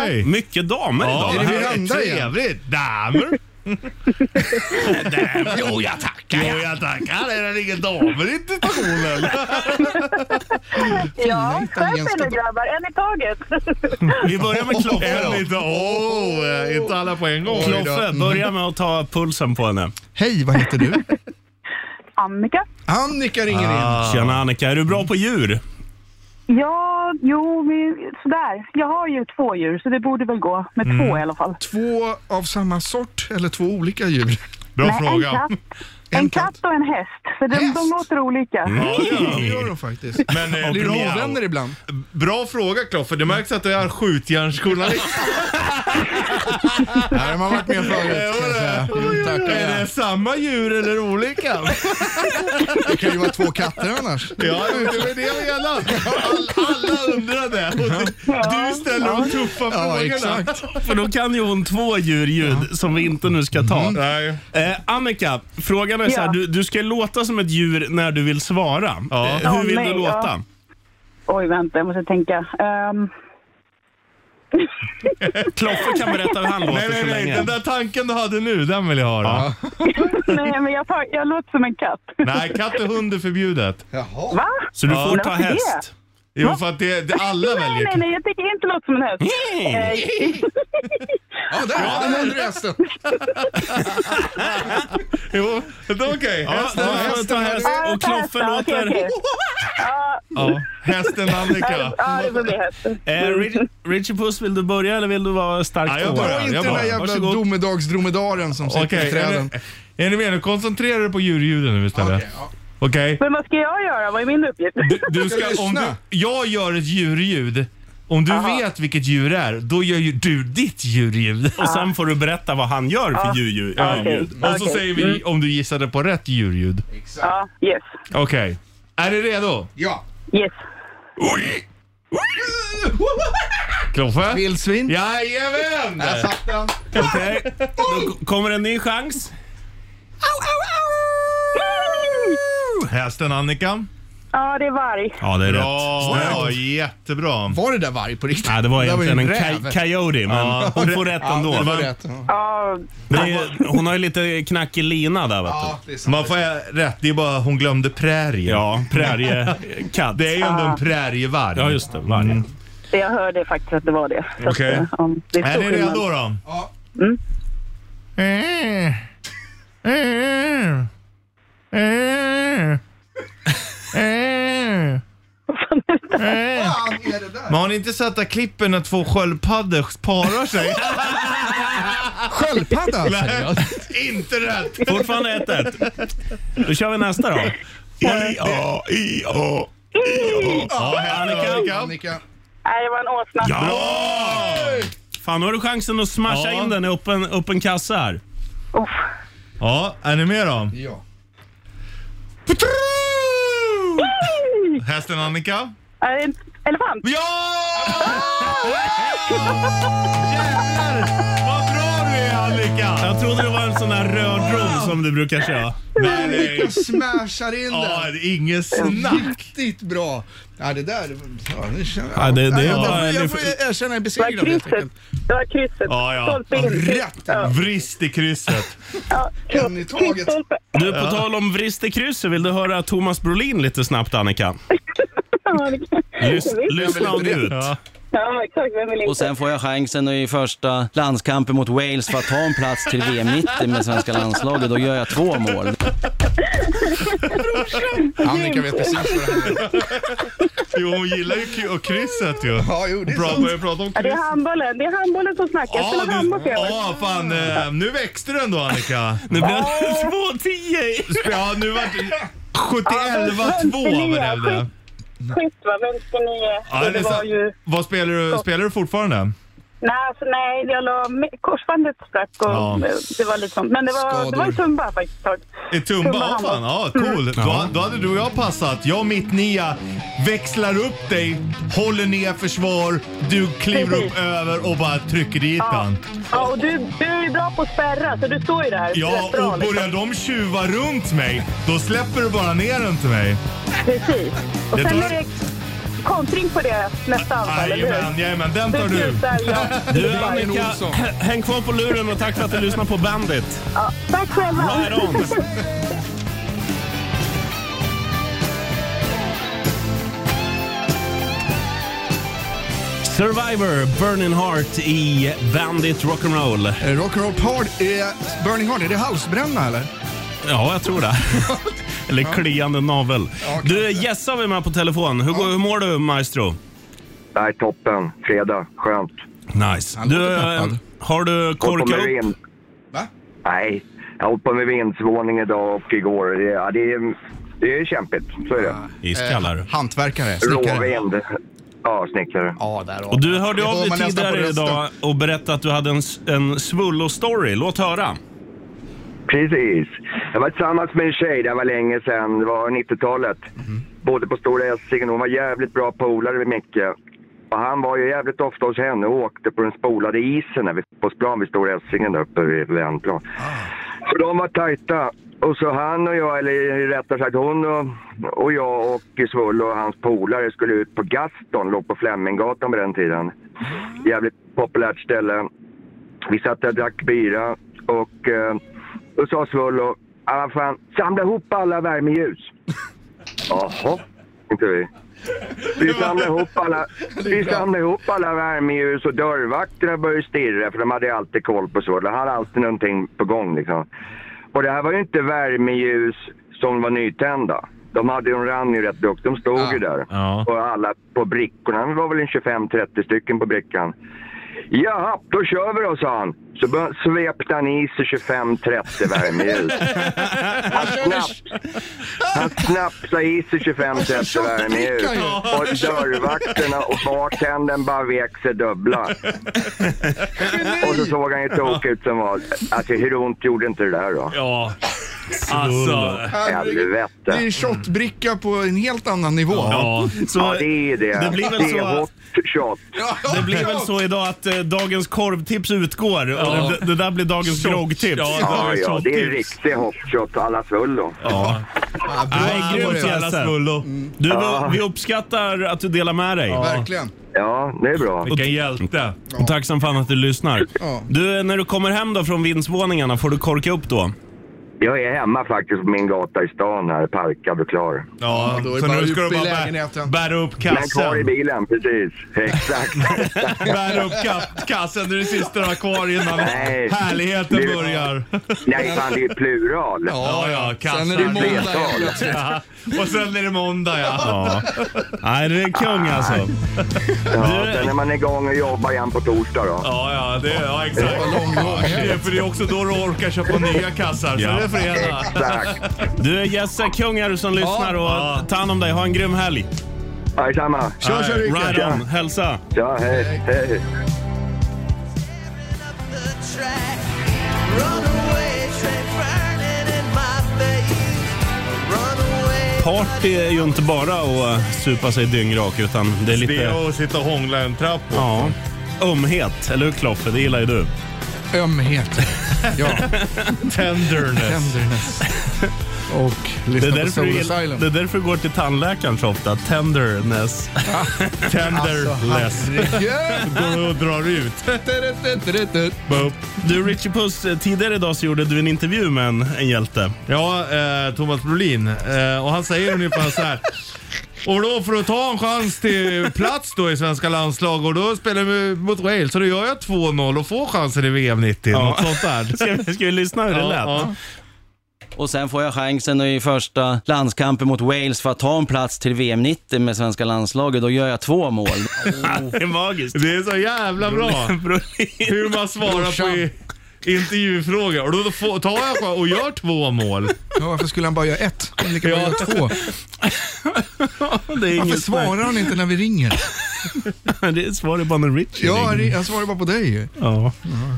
Speaker 3: Hej.
Speaker 2: Mycket damer
Speaker 3: Ja,
Speaker 2: idag.
Speaker 3: är det
Speaker 2: Vad härligt.
Speaker 3: Miranda igen? Trevligt. Damer. Damer. Jo, jag tackar. Jo, jag tackar. Är det ingen damer i institutionen?
Speaker 5: Ja, skärp er nu grabbar, en i taget.
Speaker 2: Vi börjar med Kloffe då.
Speaker 3: Lite, oh, inte alla på en gång.
Speaker 2: Kloffe, börja med att ta pulsen på henne.
Speaker 4: Hej, vad heter du?
Speaker 5: Annika?
Speaker 4: Annika ringer
Speaker 2: Ah.
Speaker 4: in.
Speaker 2: Tjena Annika, är du bra på djur?
Speaker 5: Ja, jo, men sådär. Jag har ju två djur så det borde väl gå med
Speaker 2: Mm.
Speaker 5: två i alla fall.
Speaker 4: Två av samma sort eller två olika djur?
Speaker 5: Bra Nej, en fråga. katt. En, katt och en häst, för de, de låter olika.
Speaker 3: Ja, det gör de.
Speaker 4: Det gör de faktiskt.
Speaker 3: Men, eh,
Speaker 4: Blir de
Speaker 3: bra.
Speaker 4: ovänner ibland?
Speaker 3: Bra fråga Kloffe. Det märks att du är skjutjärnsjournalist.
Speaker 4: Nej, de har varit med förut. kan jag säga. Jo, tack.
Speaker 3: Är det samma djur eller olika?
Speaker 4: Det kan ju vara två katter annars.
Speaker 3: Ja, det var det jag menade. Alla, alla undrade. Och du- Du ställer de tuffa frågorna.
Speaker 2: För då kan ju hon två djurljud som vi inte nu ska
Speaker 3: Mm.
Speaker 2: ta. Eh, Annika, frågan är så här.
Speaker 5: Ja.
Speaker 2: Du, du ska låta som ett djur när du vill svara. Eh,
Speaker 5: Ja,
Speaker 2: hur vill
Speaker 5: nej,
Speaker 2: du låta?
Speaker 5: ja. Oj, vänta, jag måste tänka. Ehm,
Speaker 2: Kloffe kan berätta hur han låter
Speaker 3: nej, nej,
Speaker 2: så
Speaker 3: nej.
Speaker 2: länge.
Speaker 3: Den där tanken du hade nu, den vill jag höra.
Speaker 5: nej, men jag, tar, jag låter som en katt.
Speaker 3: Nej, katt och hund är förbjudet.
Speaker 5: Va?
Speaker 3: Så du
Speaker 5: Ja.
Speaker 3: får ta
Speaker 5: Varför det?
Speaker 3: häst. Jo, för att det, det alla
Speaker 5: Nej,
Speaker 3: väljer.
Speaker 5: nej, nej, jag tänker inte låta som en häst.
Speaker 3: Mm.
Speaker 5: Eh,
Speaker 4: Ja, där hade du resten.
Speaker 3: Jo, det är okej.
Speaker 2: Ja,
Speaker 3: Hästen,
Speaker 2: då får jag ta
Speaker 3: hästen,
Speaker 2: häst.
Speaker 3: hästen.
Speaker 2: Och Kloffe
Speaker 5: Ja, okej,
Speaker 2: låter...
Speaker 5: okej.
Speaker 3: Ja, hästen Annika.
Speaker 5: Ja, det får bli Mm. hästen.
Speaker 2: Eh, Rich- Richie Puss, vill du börja eller vill du vara stark
Speaker 3: Ja, jag
Speaker 2: tvåa?
Speaker 3: börjar,
Speaker 4: Inte den där jävla
Speaker 2: Varsågod.
Speaker 4: domedagsdromedaren som sitter
Speaker 3: Okej,
Speaker 4: i
Speaker 3: är,
Speaker 4: träden.
Speaker 3: ni- är ni med nu? Koncentrera dig på djurljuden nu istället. Okej.
Speaker 5: Men vad ska jag göra? Vad är min uppgift?
Speaker 3: Du ska, om du, jag gör ett djurljud. Om du vet vilket djur det är, då gör ju du ditt djurljud.
Speaker 2: Och sen får du berätta vad han gör för
Speaker 3: Ja.
Speaker 2: djurljud.
Speaker 3: Ja.
Speaker 2: djurljud.
Speaker 3: Och så säger vi om du gissade på rätt djurljud.
Speaker 5: Ja, yes.
Speaker 3: Okej. Är ni redo?
Speaker 4: Ja.
Speaker 5: Yes.
Speaker 3: Kloffe?
Speaker 4: Vildsvin?
Speaker 3: Jajamän!
Speaker 4: Där satt den.
Speaker 2: Okej, då kommer en ny chans.
Speaker 3: Hästen Annika.
Speaker 5: Ja, det är varg.
Speaker 2: Ja, det är
Speaker 3: Bra,
Speaker 2: rätt.
Speaker 3: Ja, jättebra.
Speaker 4: Var det där varg på riktigt?
Speaker 2: Ja, det var
Speaker 4: Det var ju
Speaker 2: egentligen en
Speaker 4: en
Speaker 2: ka-
Speaker 4: räv.
Speaker 2: coyote, men
Speaker 4: Ja.
Speaker 2: hon får rätt
Speaker 4: Ja,
Speaker 2: ändå.
Speaker 4: det var
Speaker 2: Men-
Speaker 4: rätt,
Speaker 5: Ja,
Speaker 2: Det är, hon har ju lite knackig lina där vet du.
Speaker 3: Man får ä- rätt, det är bara hon glömde prärien.
Speaker 2: Ja, prärie- katt. Mm.
Speaker 3: Det är ju ändå
Speaker 5: Ah.
Speaker 3: en prärievarg. Ja,
Speaker 2: just det. Varg.
Speaker 5: jag hörde faktiskt att det var det. Så att,
Speaker 3: Okej.
Speaker 5: eh, ja, det
Speaker 3: Är
Speaker 5: stor
Speaker 3: ni
Speaker 5: skillnad.
Speaker 3: redo då?
Speaker 5: Mm.
Speaker 3: Men har ni inte sett att klippen när två sköldpaddor parar sig?
Speaker 4: Sköldpadda?
Speaker 3: Nej, inte rätt.
Speaker 2: Fortfarande 1-1. Då kör vi nästa då. I-A, I-A. Annika.
Speaker 4: Annika.
Speaker 5: Nej, det var en åsna.
Speaker 2: Fan, nu har du chansen att smasha
Speaker 3: Ja.
Speaker 2: in den i öppen, öppen kassa här.
Speaker 3: Ja, är ni med då?
Speaker 4: Ja.
Speaker 3: Hästen Annika?
Speaker 5: Är det en elefant?
Speaker 3: Ja! Jävlar! Vad bra du är Annika!
Speaker 2: Jag trodde det var en sån där rödrom som du brukar köra.
Speaker 3: Nej, nej.
Speaker 4: Jag smashar in
Speaker 3: Ja,
Speaker 4: den.
Speaker 3: det är ingen snack.
Speaker 4: Riktigt bra. Ja, det där... Ja, nu känner jag,
Speaker 2: Ja, det- det
Speaker 4: Nej,
Speaker 2: var-
Speaker 4: jag,
Speaker 2: det-
Speaker 4: jag får erkänna en besegrad helt enkelt.
Speaker 5: Det var krysset.
Speaker 3: Ja, ja.
Speaker 5: Stolpe in.
Speaker 4: Rätt.
Speaker 3: Vrist i krysset.
Speaker 4: En i taget.
Speaker 2: Du, på tal om vristekrysset, vill du höra Thomas Brolin lite snabbt Annika? Lys, lyssna och njut.
Speaker 12: Ja, exakt. Vem vill inte?
Speaker 13: Och sen får jag chansen i första landskampen mot Wales för att ta en plats till VM 90 med svenska landslaget. Då gör jag två mål.
Speaker 3: Annika vet precis vad det handlar Jo, hon gillar ju k- och krysset ju. Ja, jo, det är Bra, börjar prata om
Speaker 12: Ja, det är
Speaker 3: kryss.
Speaker 12: handbollen. Det är handbollen som snackar. Jag spelar handboll för övrigt.
Speaker 3: Ja, fan. eh, Nu växte du ändå Annika. Nu
Speaker 12: blev det
Speaker 3: 2-10. Ja, nu vart det 71-2 vad det blev.
Speaker 12: Schysst va, vänsternia.
Speaker 3: Ja, det är
Speaker 12: var
Speaker 3: sant.
Speaker 12: ju...
Speaker 3: Vad spelar du, spelar du fortfarande?
Speaker 12: Nej, alltså, nej, jag la... korsbandet sprack och
Speaker 3: Ja.
Speaker 12: det var lite sånt. Men det var, det var
Speaker 3: Skador.
Speaker 12: i Tumba faktiskt ett tag.
Speaker 3: I Tumba? Ja, fan. Ja, cool. Då, då hade du och jag passat. Jag och mitt nia växlar upp dig, håller ner försvar, du kliver upp över och bara trycker dit den.
Speaker 12: Mm. Ja, och du, du är ju bra på att spärra, så du står ju där.
Speaker 3: Ja,
Speaker 12: rätt bra, liksom.
Speaker 3: och
Speaker 5: liksom.
Speaker 3: börjar de tjuva runt mig, då släpper du bara ner den till mig.
Speaker 12: Precis. Och
Speaker 3: Det
Speaker 12: sen
Speaker 3: tar-
Speaker 12: är det kontring på det nästa anfall, eller
Speaker 3: Jajamän,
Speaker 12: hur?
Speaker 3: jajamän, den tar du.
Speaker 12: slutar jag.
Speaker 2: Du Annika, häng kvar på luren och tack för att du lyssnar på Bandit.
Speaker 12: Ja, tack själva!
Speaker 2: Right on. Survivor, Burning Heart i Bandit Rock'n'Roll.
Speaker 4: Eh, Rock'n'roll Hard är... Burning Hard, är det halsbränna eller?
Speaker 2: Ja, jag tror det. Eller kliande navel. Du, Jesse har vi med på telefon. Hur, går, hur mår du, maestro?
Speaker 14: Nej, toppen. Fredag. Skönt.
Speaker 2: Nice. Du, eh, har du korkat upp?
Speaker 14: upp? Nej, jag hoppade med vindsvåning idag och igår. Det, ja, det, är, det är kämpigt, så är det.
Speaker 2: Iskallar.
Speaker 4: Eh, hantverkare, snickare.
Speaker 14: Råvind. Ja, snickare.
Speaker 4: Ja, där
Speaker 2: Och du hörde av
Speaker 4: hör
Speaker 2: dig
Speaker 4: man nästan på
Speaker 2: tidigare
Speaker 4: rösten.
Speaker 2: idag och berättade att du hade en, s- en svullo-story. Låt höra.
Speaker 14: Precis. Jag var tillsammans med en tjej, det här var länge sedan, det var 90-talet. Bodde på Stora Essingen, hon var jävligt bra polare med Micke. Och han var ju jävligt ofta hos henne och åkte på den spolade isen när vi på plan vid Stora Essingen där uppe vid Värnplan. Så de var tajta. Och så han och jag, eller rättare sagt hon och, och jag och Svull och hans polare skulle ut på Gaston, låg på Fleminggatan på den tiden. Jävligt populärt ställe. Vi satt där och drack bira och eh, då sa Svullo, "Ah, fan, samla ihop alla värmeljus. Jaha, inte vi. Vi samlade ihop alla, vi samlade ihop alla värmeljus och dörrvakterna började stirra för de hade alltid koll på Svullo. Han hade alltid någonting på gång liksom. Och det här var ju inte värmeljus som var nytända. De hade ju, de rann ju rätt duktigt. De stod ju där. Och alla på brickorna. Det var väl en 25-30 stycken på brickan. Jaha, då kör vi då, sa han. Så bör- svepte han i sig 25-30 värmeljus. Han, snaps, han snapsade i sig
Speaker 4: Alltså,
Speaker 14: 25-30 värmeljus. Och dörrvakterna och bartendern bara vek sig dubbla. Och så såg han ju tokig ut som var. Alltså hur ont gjorde inte det där då?
Speaker 3: Ja. Alltså.
Speaker 14: Helvete.
Speaker 4: Det är en shotbricka på en helt annan nivå.
Speaker 2: Ja, så- Ja,
Speaker 14: det är det.
Speaker 2: det blir väl
Speaker 14: det
Speaker 2: så-
Speaker 14: är hot shot.
Speaker 2: Det blir väl så idag att eh, dagens korvtips utgår och
Speaker 14: Ja.
Speaker 2: det, det där blir dagens groggtips.
Speaker 14: Ja, ja, det är riktig hot shot alla svullo.
Speaker 2: Ja. Nej, grymt
Speaker 14: Alla
Speaker 2: Jesse.
Speaker 14: svullo.
Speaker 2: Du, vi-
Speaker 14: Ja.
Speaker 2: vi uppskattar att du delar med dig.
Speaker 4: Verkligen.
Speaker 14: Ja, det är bra.
Speaker 2: Vilken hjälte. Och tack som fan att du lyssnar. Du, eh, när du kommer hem då från vindsvåningarna, får du korka upp då?
Speaker 14: Jag är hemma faktiskt på min gata i stan här, parkad och klar.
Speaker 3: Ja,
Speaker 4: då är
Speaker 3: så
Speaker 4: bara
Speaker 3: nu ska
Speaker 4: upp
Speaker 3: du
Speaker 4: i
Speaker 3: bara bä-
Speaker 4: lägenheten.
Speaker 3: bära upp
Speaker 14: Men kvar i
Speaker 3: kassen.
Speaker 14: bilen, precis. Exakt.
Speaker 3: Bära upp ka- kassen, det är det sista du har kvar innan
Speaker 14: Nej.
Speaker 3: härligheten
Speaker 14: Det är-
Speaker 3: börjar.
Speaker 14: Nej, fan det är ju plural.
Speaker 3: Ja, ja, kassan.
Speaker 14: Flertal.
Speaker 3: Ja, Och sen är det måndag, ja.
Speaker 2: Ja. Nej, det är kung alltså.
Speaker 14: Ja, sen är man igång och jobbar igen på torsdag då.
Speaker 3: Ja, ja, det, ja exakt. Det är för det är också då du orkar köpa nya kassar, så
Speaker 2: Ja.
Speaker 3: det är fredag.
Speaker 2: Du Jesse, kung är du som lyssnar och ta hand om dig. Ha en grym helg.
Speaker 14: Ja, detsamma.
Speaker 2: Kör, kör, Rickard. Right on.
Speaker 14: Tja.
Speaker 2: Hälsa.
Speaker 14: Ja, hej. hej.
Speaker 2: Party är ju inte bara att supa sig dyngrak utan det är lite...
Speaker 3: Det är att sitta och hångla en trapp också.
Speaker 2: Ja. Ömhet, eller hur Kloffe? Det gillar ju du.
Speaker 4: Ömhet. Ja.
Speaker 3: Tenderness.
Speaker 4: Tenderness. Och
Speaker 2: Det är,
Speaker 4: lyssna på
Speaker 2: därför du,
Speaker 4: Soul
Speaker 2: gill-
Speaker 4: Asylum.
Speaker 2: det är därför du går till tandläkaren så ofta. Tenderness.
Speaker 4: Alltså,
Speaker 3: Tenderless. Går och drar ut.
Speaker 2: Du Richie Puss, tidigare idag så gjorde du en intervju med en, en hjälte.
Speaker 3: Ja, eh, Thomas Brolin. Eh, och han säger ungefär så här. Och då för att ta en chans till plats då i svenska landslag och då spelar vi mot Wales så då gör jag 2-0 och får chansen i VM 90. Något sånt där.
Speaker 2: Ska, vi lyssna hur det lät?
Speaker 13: Och sen får jag chansen i första landskampen mot Wales för att ta en plats till VM 90 med svenska landslaget. Då gör jag två mål.
Speaker 2: Det är magiskt.
Speaker 3: Det är så jävla bra. Hur man svarar på i- intervjufrågor. Och då får- tar jag chans och gör två mål.
Speaker 4: Ja, varför skulle han bara göra ett? Han lika bra göra två. varför svarar han inte när vi ringer?
Speaker 2: det svarar bara när Richie
Speaker 4: Ja,
Speaker 3: ringer.
Speaker 4: ri- jag svarar bara på dig ju.
Speaker 2: Ja.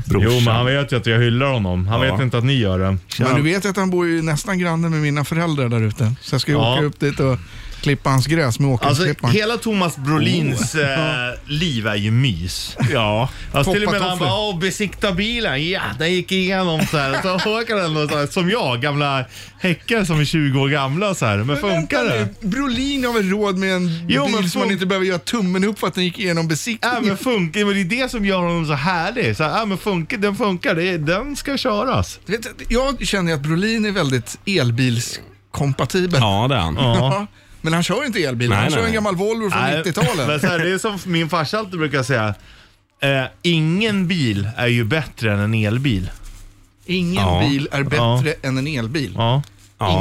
Speaker 3: Jo, men han vet ju att jag hyllar honom. Han
Speaker 4: Ja.
Speaker 3: vet inte att ni gör det.
Speaker 4: Men du vet ju att han bor ju nästan granne med mina föräldrar där ute. Så jag ska ju
Speaker 3: Ja.
Speaker 4: åka upp dit och klippa hans gräs med
Speaker 3: Alltså
Speaker 4: åkerklipparen.
Speaker 3: hela Thomas Brolins
Speaker 4: Oh.
Speaker 3: eh, liv är ju mys. Ja. Alltså, till och med när han bara
Speaker 4: Toppatofflor.
Speaker 3: "Åh, besikta bilen, ja den gick igenom så här. Så åker den och så här, som jag, gamla häckare som är 20 år gamla så här. Men funkar
Speaker 4: Vänta
Speaker 3: det?
Speaker 4: nu, Brolin har väl råd med en
Speaker 3: Jo,
Speaker 4: bil
Speaker 3: men
Speaker 4: som man
Speaker 3: fun-
Speaker 4: inte behöver göra tummen upp för att den gick igenom
Speaker 3: Ja
Speaker 4: besiktningen?
Speaker 3: men funkar, men det är det som gör honom så härlig. Så här, ja men funkar, den funkar, det, är- den ska köras.
Speaker 4: Du vet, jag känner ju att Brolin är väldigt elbilskompatibel.
Speaker 2: Ja, det är han.
Speaker 3: Ja.
Speaker 4: Men han kör inte elbil, han kör en gammal Volvo från
Speaker 3: Nej,
Speaker 4: 90-talet.
Speaker 3: Men så här, det är som min farsa alltid brukar säga. Eh, ingen bil är ju bättre än en elbil.
Speaker 4: Ingen
Speaker 3: Ja.
Speaker 4: bil är bättre än en elbil.
Speaker 3: Ja.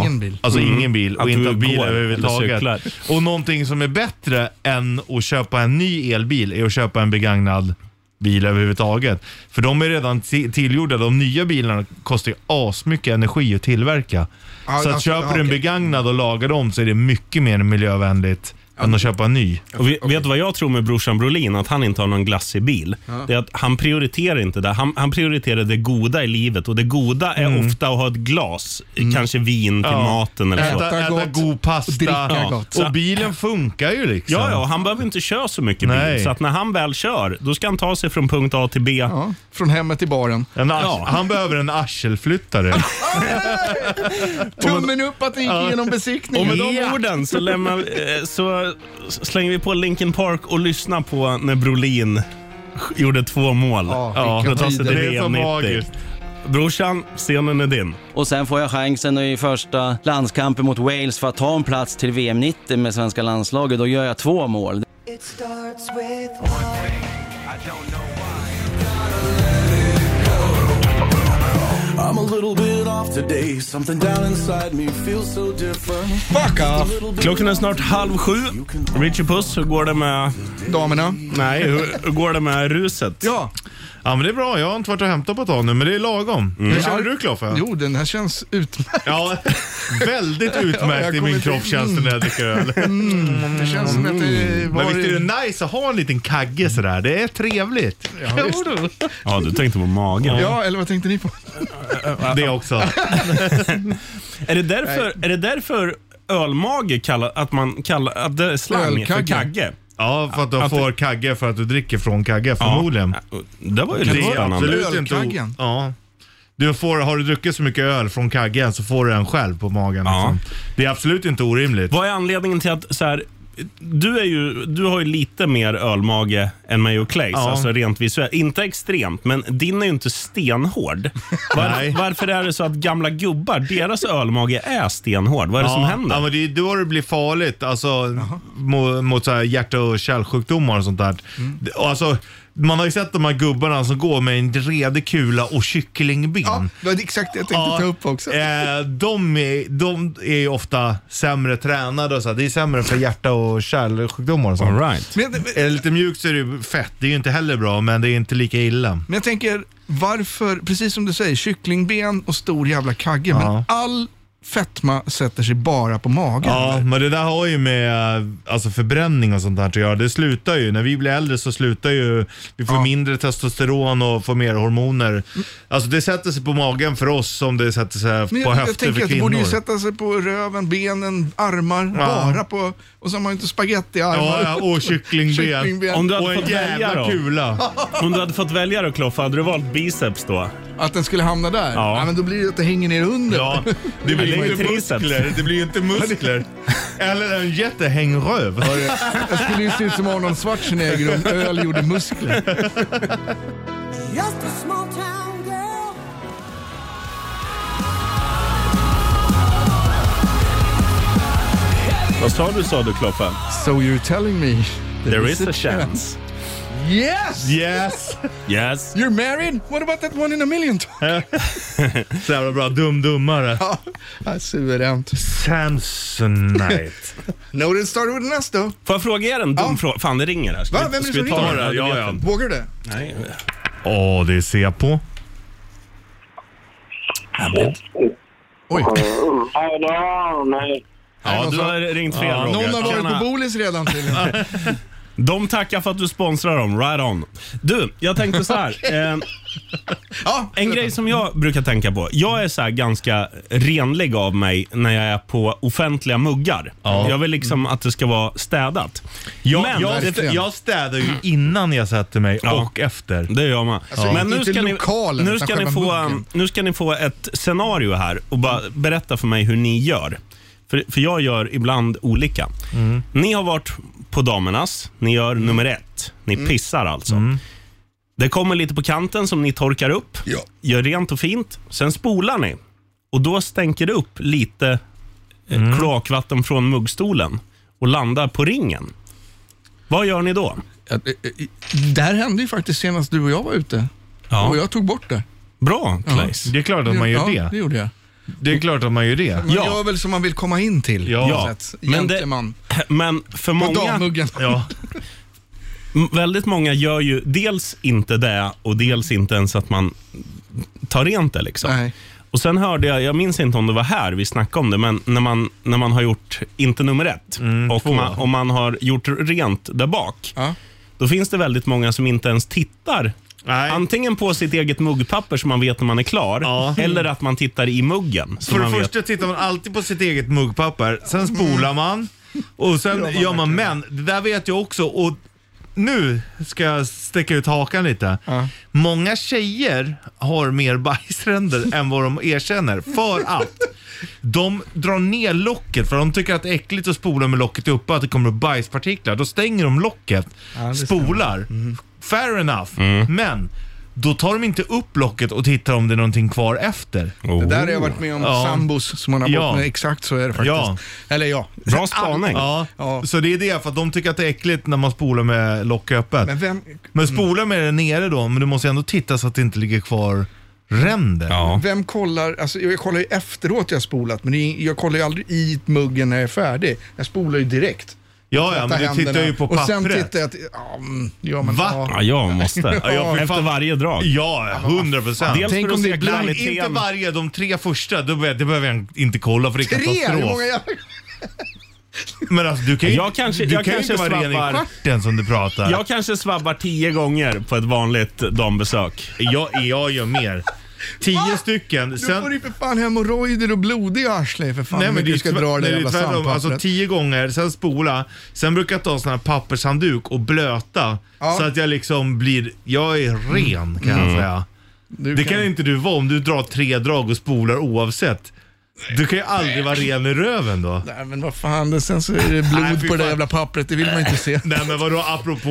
Speaker 4: Ingen bil.
Speaker 3: Alltså ingen bil och
Speaker 2: Mm. Att
Speaker 3: inte
Speaker 2: du
Speaker 3: bil
Speaker 2: går eller cyklar.
Speaker 3: överhuvudtaget. Och någonting som är bättre än att köpa en ny elbil är att köpa en begagnad bil överhuvudtaget. För de är redan ti- tillgjorda. De nya bilarna kostar ju asmycket energi att tillverka.
Speaker 4: Ja,
Speaker 3: så att
Speaker 4: alltså,
Speaker 3: köper du en
Speaker 4: okej.
Speaker 3: begagnad och lagar dem så är det mycket mer miljövänligt än att köpa en ny.
Speaker 2: Och vi, Vet du vad jag tror med brorsan Brolin? Att han inte har någon glassig bil.
Speaker 3: Ja.
Speaker 2: Det är att han prioriterar inte det. Han, han prioriterar det goda i livet och det goda är
Speaker 10: Mm.
Speaker 2: ofta att ha ett glas, kanske vin till
Speaker 3: Ja.
Speaker 2: maten eller så.
Speaker 3: Äta- äta Äta gott god pasta. och dricka gott. Och bilen funkar ju liksom.
Speaker 2: Ja, ja, och han behöver inte köra så mycket
Speaker 3: Nej.
Speaker 2: bil. Så att när han väl kör, då ska han ta sig från punkt A till B.
Speaker 4: Från hemmet till baren.
Speaker 3: En ars- Han behöver en arselflyttare.
Speaker 4: Tummen upp att den gick
Speaker 2: Ja.
Speaker 4: igenom
Speaker 2: Och
Speaker 4: besiktningen.
Speaker 2: med de orden så, lämnar, vi- eh, så slänger vi på Linkin Park och lyssnar på när Brolin gjorde två mål.
Speaker 13: Ja,
Speaker 2: för att ta sig till
Speaker 13: det är så
Speaker 2: VM 90.
Speaker 13: magiskt.
Speaker 2: Brorsan, scenen är din.
Speaker 13: Och sen får jag chansen i första landskampen mot Wales för att ta en plats till VM 90 med svenska landslaget. Då gör jag två mål.
Speaker 6: It starts with one.
Speaker 10: I'm a little bit off today. Something down inside me feels so different. Fuck off!
Speaker 2: Klockan är snart halv sju. Richie Puss, hur går det med...
Speaker 4: Damerna?
Speaker 2: Nej, hur, hur går det med ruset?
Speaker 4: Ja.
Speaker 3: Ja men det är bra, jag har inte varit och hämtat på ett tag nu men det är lagom. Hur känner du Kloffe?
Speaker 4: Jo, den här känns utmärkt.
Speaker 3: Ja, väldigt
Speaker 4: Ja,
Speaker 3: utmärkt
Speaker 4: jag
Speaker 3: i
Speaker 4: kommer
Speaker 3: min
Speaker 4: inte-
Speaker 3: kropp känns det när jag dricker öl.
Speaker 4: Mm, det känns som att det var...
Speaker 3: Men visst är det nice att ha en liten kagge sådär? Det är trevligt.
Speaker 4: Ja, visst.
Speaker 2: Ja, du tänkte på magen.
Speaker 4: Ja, eller vad tänkte ni på?
Speaker 3: Mm. Det också.
Speaker 2: Är det därför, är det därför ölmage kallar, att man kallar, att det är slang för
Speaker 3: Ölkagge.
Speaker 2: kagge?
Speaker 3: Ja, för att du
Speaker 2: Att-
Speaker 3: får kagge för att du dricker från kagge förmodligen.
Speaker 2: Äh, Det var ju lite
Speaker 3: är
Speaker 2: spännande.
Speaker 3: absolut inte
Speaker 2: Ölkaggen.
Speaker 3: Ja. Du får, har du druckit så mycket öl från kaggen så får du en själv på magen. liksom. Det är absolut inte orimligt.
Speaker 2: Vad är anledningen till att så här, du, är ju, du har ju lite mer ölmage än mig och Claes,
Speaker 3: Ja.
Speaker 2: alltså rent visuellt. Inte extremt, men din är ju inte stenhård. Var, varför är det så att gamla gubbar, deras ölmage är stenhård? Vad är det
Speaker 3: ja,
Speaker 2: som händer?
Speaker 3: Ja, men det är då det blir farligt. Alltså, mot, mot så här hjärt och kärlsjukdomar och sånt där. Det- och Alltså, man har ju sett de här gubbarna som går med en redig kula och kycklingben. Ja,
Speaker 4: det var exakt det jag tänkte ta upp också.
Speaker 3: Eh, de, är, de är ju ofta sämre tränade och så. här. Det är sämre för hjärta och kärlsjukdomar och sånt.
Speaker 2: All right.
Speaker 4: Men,
Speaker 3: är det lite mjukt så är det ju fett. Det är ju inte heller bra, men det är inte lika illa.
Speaker 4: Men jag tänker, varför, precis som du säger, kycklingben och stor jävla kagge, men all fetma sätter sig bara på magen.
Speaker 3: Ja, men det där har ju med eh, alltså, förbränning och sånt där att göra. Det slutar ju, när vi blir äldre så slutar ju, vi får mindre testosteron och får mer hormoner. Alltså det sätter sig på magen för oss som det sätter sig
Speaker 4: Men
Speaker 3: på
Speaker 4: jag, jag
Speaker 3: höfter
Speaker 4: tänker
Speaker 3: för
Speaker 4: att det borde
Speaker 3: kvinnor.
Speaker 4: ju sätta sig på röven, benen, armar,
Speaker 3: Ja.
Speaker 4: bara på... Och så har man ju inte spagettiarmar.
Speaker 3: Ja, ja, och kycklingben.
Speaker 2: Om du hade
Speaker 3: Och en
Speaker 2: fått välja
Speaker 3: jävla
Speaker 2: då?
Speaker 3: kula.
Speaker 2: Om du hade fått välja då Kloffe, hade du valt biceps då?
Speaker 4: Att den skulle hamna där?
Speaker 2: Ja.
Speaker 4: Ja. men då blir det ju att det hänger ner under.
Speaker 2: Ja,
Speaker 3: Det blir
Speaker 2: ju
Speaker 3: ju inte
Speaker 2: triceps.
Speaker 3: muskler. Det blir ju inte muskler. Eller en jättehängröv.
Speaker 4: Jag skulle ju se ut som Arnold Schwarzenegger om öl gjorde muskler.
Speaker 6: Just a small town girl.
Speaker 2: Vad sa du, sa du Kloffe?
Speaker 4: So you're telling me
Speaker 2: There is a chance.
Speaker 4: Yes!
Speaker 3: Yes!
Speaker 2: Yes.
Speaker 4: You're married? What about that one in a million?
Speaker 3: Så jävla bra. Dum dummare.
Speaker 4: Ja, suveränt.
Speaker 3: Samsonite.
Speaker 4: no, it started with an S though.
Speaker 2: Får jag fråga er en dum fråga? Fan, det ringer här. Ska
Speaker 4: Va?
Speaker 2: vi-
Speaker 4: Vem
Speaker 2: ska
Speaker 4: är det som
Speaker 2: vi ta
Speaker 4: ringer?
Speaker 2: den här?
Speaker 3: Ja,
Speaker 2: vet
Speaker 3: ja.
Speaker 2: inte.
Speaker 4: Vågar du det?
Speaker 2: Nej.
Speaker 3: Åh, det ser jag på.
Speaker 4: Oj.
Speaker 15: nej.
Speaker 2: Ja, du har ringt fel
Speaker 4: Ja,
Speaker 2: Roger.
Speaker 4: Någon har varit
Speaker 2: Tjena.
Speaker 4: på Bolis redan tydligen.
Speaker 2: De tackar för att du sponsrar dem, right on. Du, jag tänkte så här. eh, en grej som jag brukar tänka på. Jag är så här ganska renlig av mig när jag är på offentliga muggar. Jag vill
Speaker 3: Mm.
Speaker 2: liksom att det ska vara städat.
Speaker 3: Jag,
Speaker 2: Men-
Speaker 3: jag, jag städar ju innan jag sätter mig
Speaker 2: Ja.
Speaker 3: och efter.
Speaker 2: Det gör man.
Speaker 3: Alltså,
Speaker 2: Men nu
Speaker 3: inte
Speaker 2: ska, ni,
Speaker 3: lokalen,
Speaker 2: nu,
Speaker 3: utan
Speaker 2: ska ni
Speaker 3: själva
Speaker 2: få, um,
Speaker 3: muggen.
Speaker 2: nu ska ni få ett scenario här och bara berätta för mig hur ni gör. För, för jag gör ibland olika.
Speaker 3: Mm.
Speaker 2: Ni har varit på damernas, ni gör nummer ett. Ni
Speaker 3: Mm.
Speaker 2: pissar alltså. Det kommer lite på kanten som ni torkar upp, gör rent och fint. Sen spolar ni och då stänker det upp lite mm. kloakvatten från muggstolen och landar på ringen. Vad gör ni då?
Speaker 4: Det här eh, hände ju faktiskt senast du och jag var ute.
Speaker 2: Ja.
Speaker 4: Och jag tog bort det.
Speaker 2: Bra,
Speaker 4: Ja.
Speaker 2: Claes.
Speaker 3: Det är klart att man gör
Speaker 4: Ja,
Speaker 3: det.
Speaker 4: det gjorde jag.
Speaker 3: Det är klart att man gör det.
Speaker 4: Man gör väl som man vill komma in till. på något sätt.
Speaker 2: Men, det,
Speaker 4: Gentleman.
Speaker 2: men för många...
Speaker 4: dammuggen.
Speaker 2: Ja. M- Väldigt många gör ju dels inte det och dels inte ens att man tar rent det. Liksom. Och Sen hörde jag, jag minns inte om det var här vi snackade om det, men när man, när man har gjort, inte nummer ett, och
Speaker 3: två.
Speaker 2: man, om man har gjort rent där bak, då finns det väldigt många som inte ens tittar Antingen på sitt eget muggpapper som man vet när man är klar, eller att man tittar i muggen. så
Speaker 3: För det
Speaker 2: man vet-
Speaker 3: första tittar man alltid på sitt eget muggpapper, sen spolar man och sen
Speaker 2: Gör man
Speaker 3: gör man men. Det där vet jag också och nu ska jag sticka ut hakan lite. Många tjejer har mer bajsränder än vad de erkänner för att de drar ner locket för de tycker att det är äckligt att spola med locket uppe att det kommer upp bajspartiklar. Då stänger de locket,
Speaker 11: det stämmer.
Speaker 3: spolar. Fair enough.
Speaker 2: Mm.
Speaker 3: Men då tar de inte upp locket och tittar om det är någonting kvar efter.
Speaker 4: Det där har jag varit med om
Speaker 3: Ja.
Speaker 4: sambos som man har bott
Speaker 3: Ja.
Speaker 4: med. Exakt så är det faktiskt.
Speaker 3: Ja.
Speaker 4: Eller ja.
Speaker 3: All- Ja. så det är det för att de tycker att det är äckligt när man spolar med lock öppet.
Speaker 4: Men Mm. vem-
Speaker 3: Men spola med det nere då, men du måste ändå titta så att det inte ligger kvar ränder.
Speaker 4: Vem kollar, alltså jag kollar ju efteråt jag spolat, men det är- jag kollar ju aldrig i muggen när jag är färdig. Jag spolar ju direkt.
Speaker 3: Ja, ja,
Speaker 4: Tvättar
Speaker 3: men du
Speaker 4: händerna.
Speaker 3: tittar ju på
Speaker 4: Och sen
Speaker 3: pappret.
Speaker 4: tittar jag till, ja, mm, ja men
Speaker 3: Va?
Speaker 4: ja.
Speaker 2: Ja, jag måste.
Speaker 3: Ja, jag får
Speaker 2: Efter
Speaker 3: fan-
Speaker 2: varje drag.
Speaker 3: Ja, hundra procent.
Speaker 2: Dels Tänk för att om det se blir- kvaliteten.
Speaker 3: Inte varje, de tre första, då be- det behöver jag inte kolla för det är
Speaker 4: Tre? Hur
Speaker 3: katastrof.
Speaker 4: många jag...
Speaker 3: Men alltså du kan ju,
Speaker 2: Jag kanske-
Speaker 3: du
Speaker 2: jag
Speaker 3: kan ju
Speaker 2: kanske
Speaker 3: inte vara ren i
Speaker 2: svabbar-
Speaker 3: stjärten som du pratar.
Speaker 2: Jag kanske svabbar tio gånger på ett vanligt dambesök.
Speaker 3: Jag, jag gör mer. Tio stycken.
Speaker 4: Du får ju för fan hemorrojder och blod i arslet för fan Nej, men du ska
Speaker 3: tvär-
Speaker 4: dra det
Speaker 3: nej,
Speaker 4: där jävla
Speaker 3: tvärtom.
Speaker 4: sandpappret.
Speaker 3: Alltså tio gånger, sen spola. Sen brukar jag ta sån här pappershandduk och blöta.
Speaker 4: Ja.
Speaker 3: Så att jag liksom blir, jag är ren kan jag
Speaker 2: Mm.
Speaker 3: säga. det kan
Speaker 4: kan-
Speaker 3: inte du vara om du drar tre drag och spolar oavsett. Du kan ju aldrig vara ren i röven då.
Speaker 4: Nej men vad fan, det- sen så är det blod
Speaker 3: Nej, fy
Speaker 4: på
Speaker 3: fan.
Speaker 4: det där jävla pappret, det vill man inte se.
Speaker 3: Nej men vadå apropå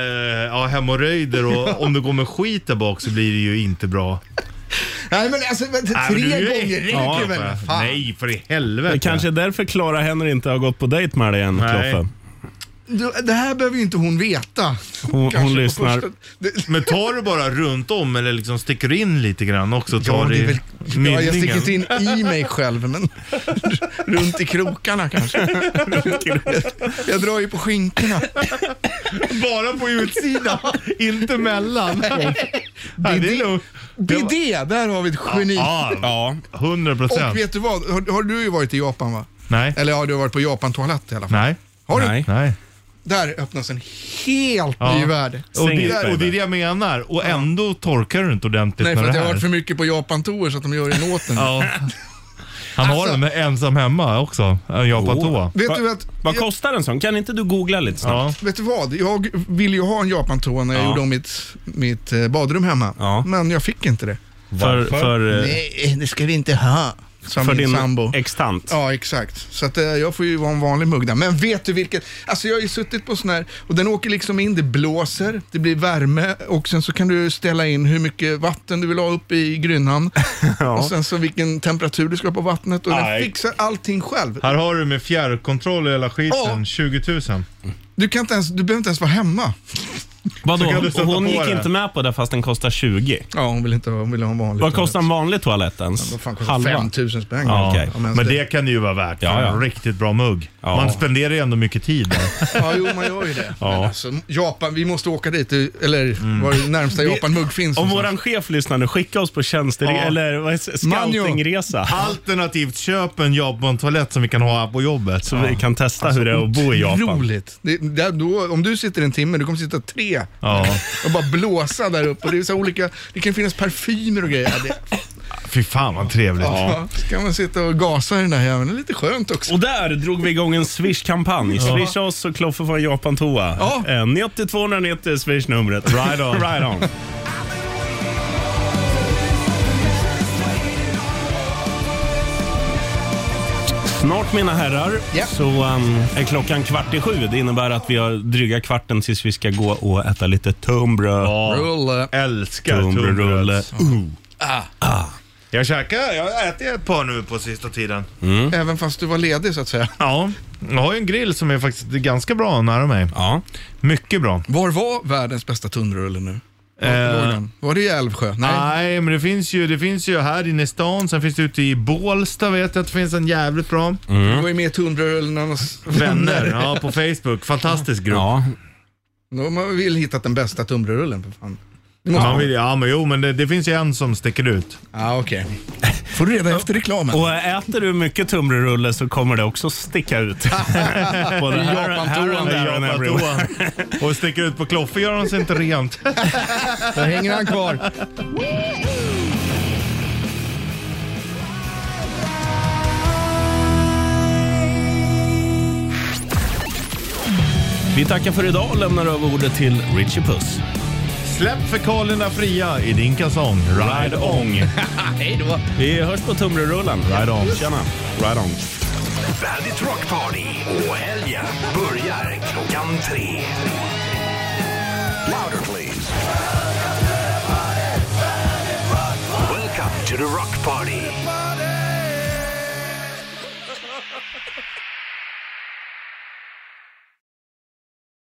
Speaker 3: eh, ja, hemorrojder och om du går med skit där bak så blir det ju inte bra.
Speaker 4: Nej men alltså, men,
Speaker 3: Nej, men
Speaker 4: tre
Speaker 3: du är ju äcklig.
Speaker 4: gånger räcker
Speaker 3: Ja,
Speaker 4: väl?
Speaker 3: för-
Speaker 4: Fan.
Speaker 3: Nej, för i helvete.
Speaker 2: Det kanske är därför Clara Henry inte har gått på dejt med dig än,
Speaker 3: Nej.
Speaker 2: Kloffe.
Speaker 4: Du, det här behöver ju inte hon veta.
Speaker 2: Hon,
Speaker 4: Kanske
Speaker 2: hon
Speaker 4: på
Speaker 2: lyssnar.
Speaker 4: första-
Speaker 3: Men tar du bara runt om eller liksom sticker in lite grann också?
Speaker 4: Ja,
Speaker 3: Tar
Speaker 4: det är
Speaker 3: i
Speaker 4: väl- Ja, jag sticker
Speaker 3: mynningen?
Speaker 4: inte in i mig själv, men runt i krokarna kanske. jag, jag drar ju på skinkorna.
Speaker 3: Bara på utsidan, inte mellan. Nej, det är lugnt.
Speaker 4: Bidé, där har vi ett geni.
Speaker 3: Ja, hundra
Speaker 4: Och
Speaker 3: procent.
Speaker 4: vet du vad, har, har du ju varit i Japan va?
Speaker 3: Nej.
Speaker 4: Eller har du varit på Japan-toalett i alla fall?
Speaker 3: Nej.
Speaker 4: Har du?
Speaker 3: Nej. Nej.
Speaker 4: Där öppnas en helt
Speaker 3: Ja.
Speaker 4: ny värld.
Speaker 3: Och det, och det är det jag menar. Och ändå torkar du inte ordentligt
Speaker 4: Nej,
Speaker 3: med
Speaker 4: för
Speaker 3: det
Speaker 4: att jag har
Speaker 3: här.
Speaker 4: varit för mycket på Japan-tour så att de gör en åt en.
Speaker 3: Ja. Han
Speaker 4: Alltså-
Speaker 3: har den ensam hemma också. Äh, En japatoa.
Speaker 4: Vet du att-
Speaker 2: Vad kostar en sån? Kan inte du googla lite snabbt?
Speaker 4: Vet du vad? Jag ville ju ha en Japan-toa när jag
Speaker 2: Ja.
Speaker 4: gjorde om mitt, mitt eh, badrum hemma. Men jag fick inte det.
Speaker 2: För- Varför? för, eh,
Speaker 4: Nej, det ska vi inte ha. Som
Speaker 2: För
Speaker 4: min
Speaker 2: din
Speaker 4: sambo.
Speaker 2: extant.
Speaker 4: Ja, exakt. Så att, eh, jag får ju vara en vanlig mugg där. Men vet du vilket? Alltså jag har ju suttit på sån här och den åker liksom in, det blåser, det blir värme och sen så kan du ställa in hur mycket vatten du vill ha upp i grynnan. Och sen så vilken temperatur du ska ha på vattnet och den
Speaker 3: Aj.
Speaker 4: fixar allting själv.
Speaker 3: Här har du med fjärrkontroll och hela skiten,
Speaker 4: Ja.
Speaker 3: 20 000.
Speaker 4: Du, kan inte ens, du behöver inte ens vara hemma.
Speaker 2: Vadå?
Speaker 4: Så kan du
Speaker 2: Och
Speaker 4: sätta
Speaker 2: hon
Speaker 4: på
Speaker 2: gick
Speaker 4: det.
Speaker 2: inte med på det fast den kostar 20?
Speaker 4: Ja, hon vill inte hon vill ha en vanlig
Speaker 2: Vad kostar en vanlig toalett ens?
Speaker 4: Ja, vad fan kostar 5 000 spänn?
Speaker 2: Ja, okej.
Speaker 4: Om ens
Speaker 3: Men det kan ju vara värt.
Speaker 2: Ja, ja.
Speaker 3: En riktigt bra mugg.
Speaker 2: Ja.
Speaker 3: Man spenderar ju ändå mycket tid där.
Speaker 4: Ja, jo, man gör ju det.
Speaker 3: Ja.
Speaker 4: Men alltså, Japan, vi måste åka dit, eller var det närmsta Japan-mugg finns.
Speaker 2: Om
Speaker 4: någonstans.
Speaker 2: våran chef lyssnar nu, skicka oss på tjänster...
Speaker 3: Ja.
Speaker 2: Eller vad heter det?
Speaker 3: Manjo.
Speaker 2: scoutingresa.
Speaker 3: Alternativt köp en Japan-toalett som vi kan ha på jobbet.
Speaker 2: Så vi kan testa hur det är att bo i Japan.
Speaker 4: Otroligt. Det, där, då, om du sitter en timme, du kommer sitta tre
Speaker 3: Ja.
Speaker 4: och bara blåsa där uppe. Och det, är så här olika, det kan finnas parfymer och grejer. Ja, Det,
Speaker 3: Fy fan vad trevligt.
Speaker 4: ja. Så kan man sitta och gasa i den där jäveln. Det är lite skönt också.
Speaker 2: Och där drog vi igång en Swish-kampanj.
Speaker 4: Ja.
Speaker 2: Swisha oss så Kloffe får en Japan-toa.
Speaker 4: Ja.
Speaker 2: Eh, 90 290 är Swish-numret.
Speaker 3: Right on.
Speaker 2: right on. Snart mina herrar så um, är klockan kvart i sju. Det innebär att vi har dryga kvarten tills vi ska gå och äta lite tunnbröd.
Speaker 4: Rulle.
Speaker 3: Älskar
Speaker 2: Tunnbrödsrulle.
Speaker 3: tunnbrödet. Ah. Jag käkar, jag äter ett par nu på sista tiden.
Speaker 4: Även fast du var ledig så att säga.
Speaker 3: Ja, jag har ju en grill som är faktiskt ganska bra nära mig.
Speaker 2: Ja.
Speaker 3: Mycket bra.
Speaker 4: Var var världens bästa tunnrulle nu?
Speaker 3: Eh. Ah.
Speaker 4: Var, låg den? var det i Älvsjö? Nej.
Speaker 3: Nej, men det finns, ju, det finns ju här inne i stan, sen finns det ute i Bålsta vet jag att det finns en jävligt bra.
Speaker 2: Mm.
Speaker 4: Du var ju med i tunnbrödrullarnas
Speaker 3: Mm. Vänner, ja på Facebook. Fantastisk grupp.
Speaker 2: Ja.
Speaker 4: De har väl hittat den bästa tunnbrödrullen för fan. Det måste
Speaker 3: Man
Speaker 4: man.
Speaker 3: vill, ja, men jo, men det, det finns ju en som sticker ut.
Speaker 4: Ja, okej. Får du reda efter reklamen.
Speaker 2: Och äter du mycket tunnbrödsrulle så kommer det också sticka ut. Både här, här and there and everywhere.
Speaker 3: Och sticker ut på kloffe gör de sig inte rent.
Speaker 4: Där hänger han kvar.
Speaker 2: Vi tackar för idag och lämnar över ordet till Richie Puss.
Speaker 3: Släpp fekalerna fria i din kalsong. Ride on.
Speaker 2: Hej då. Vi hörs på tunnbrödsrullen. Right on. Tjena. Right on.
Speaker 1: Bandit Rock Party och helgen börjar klockan tre.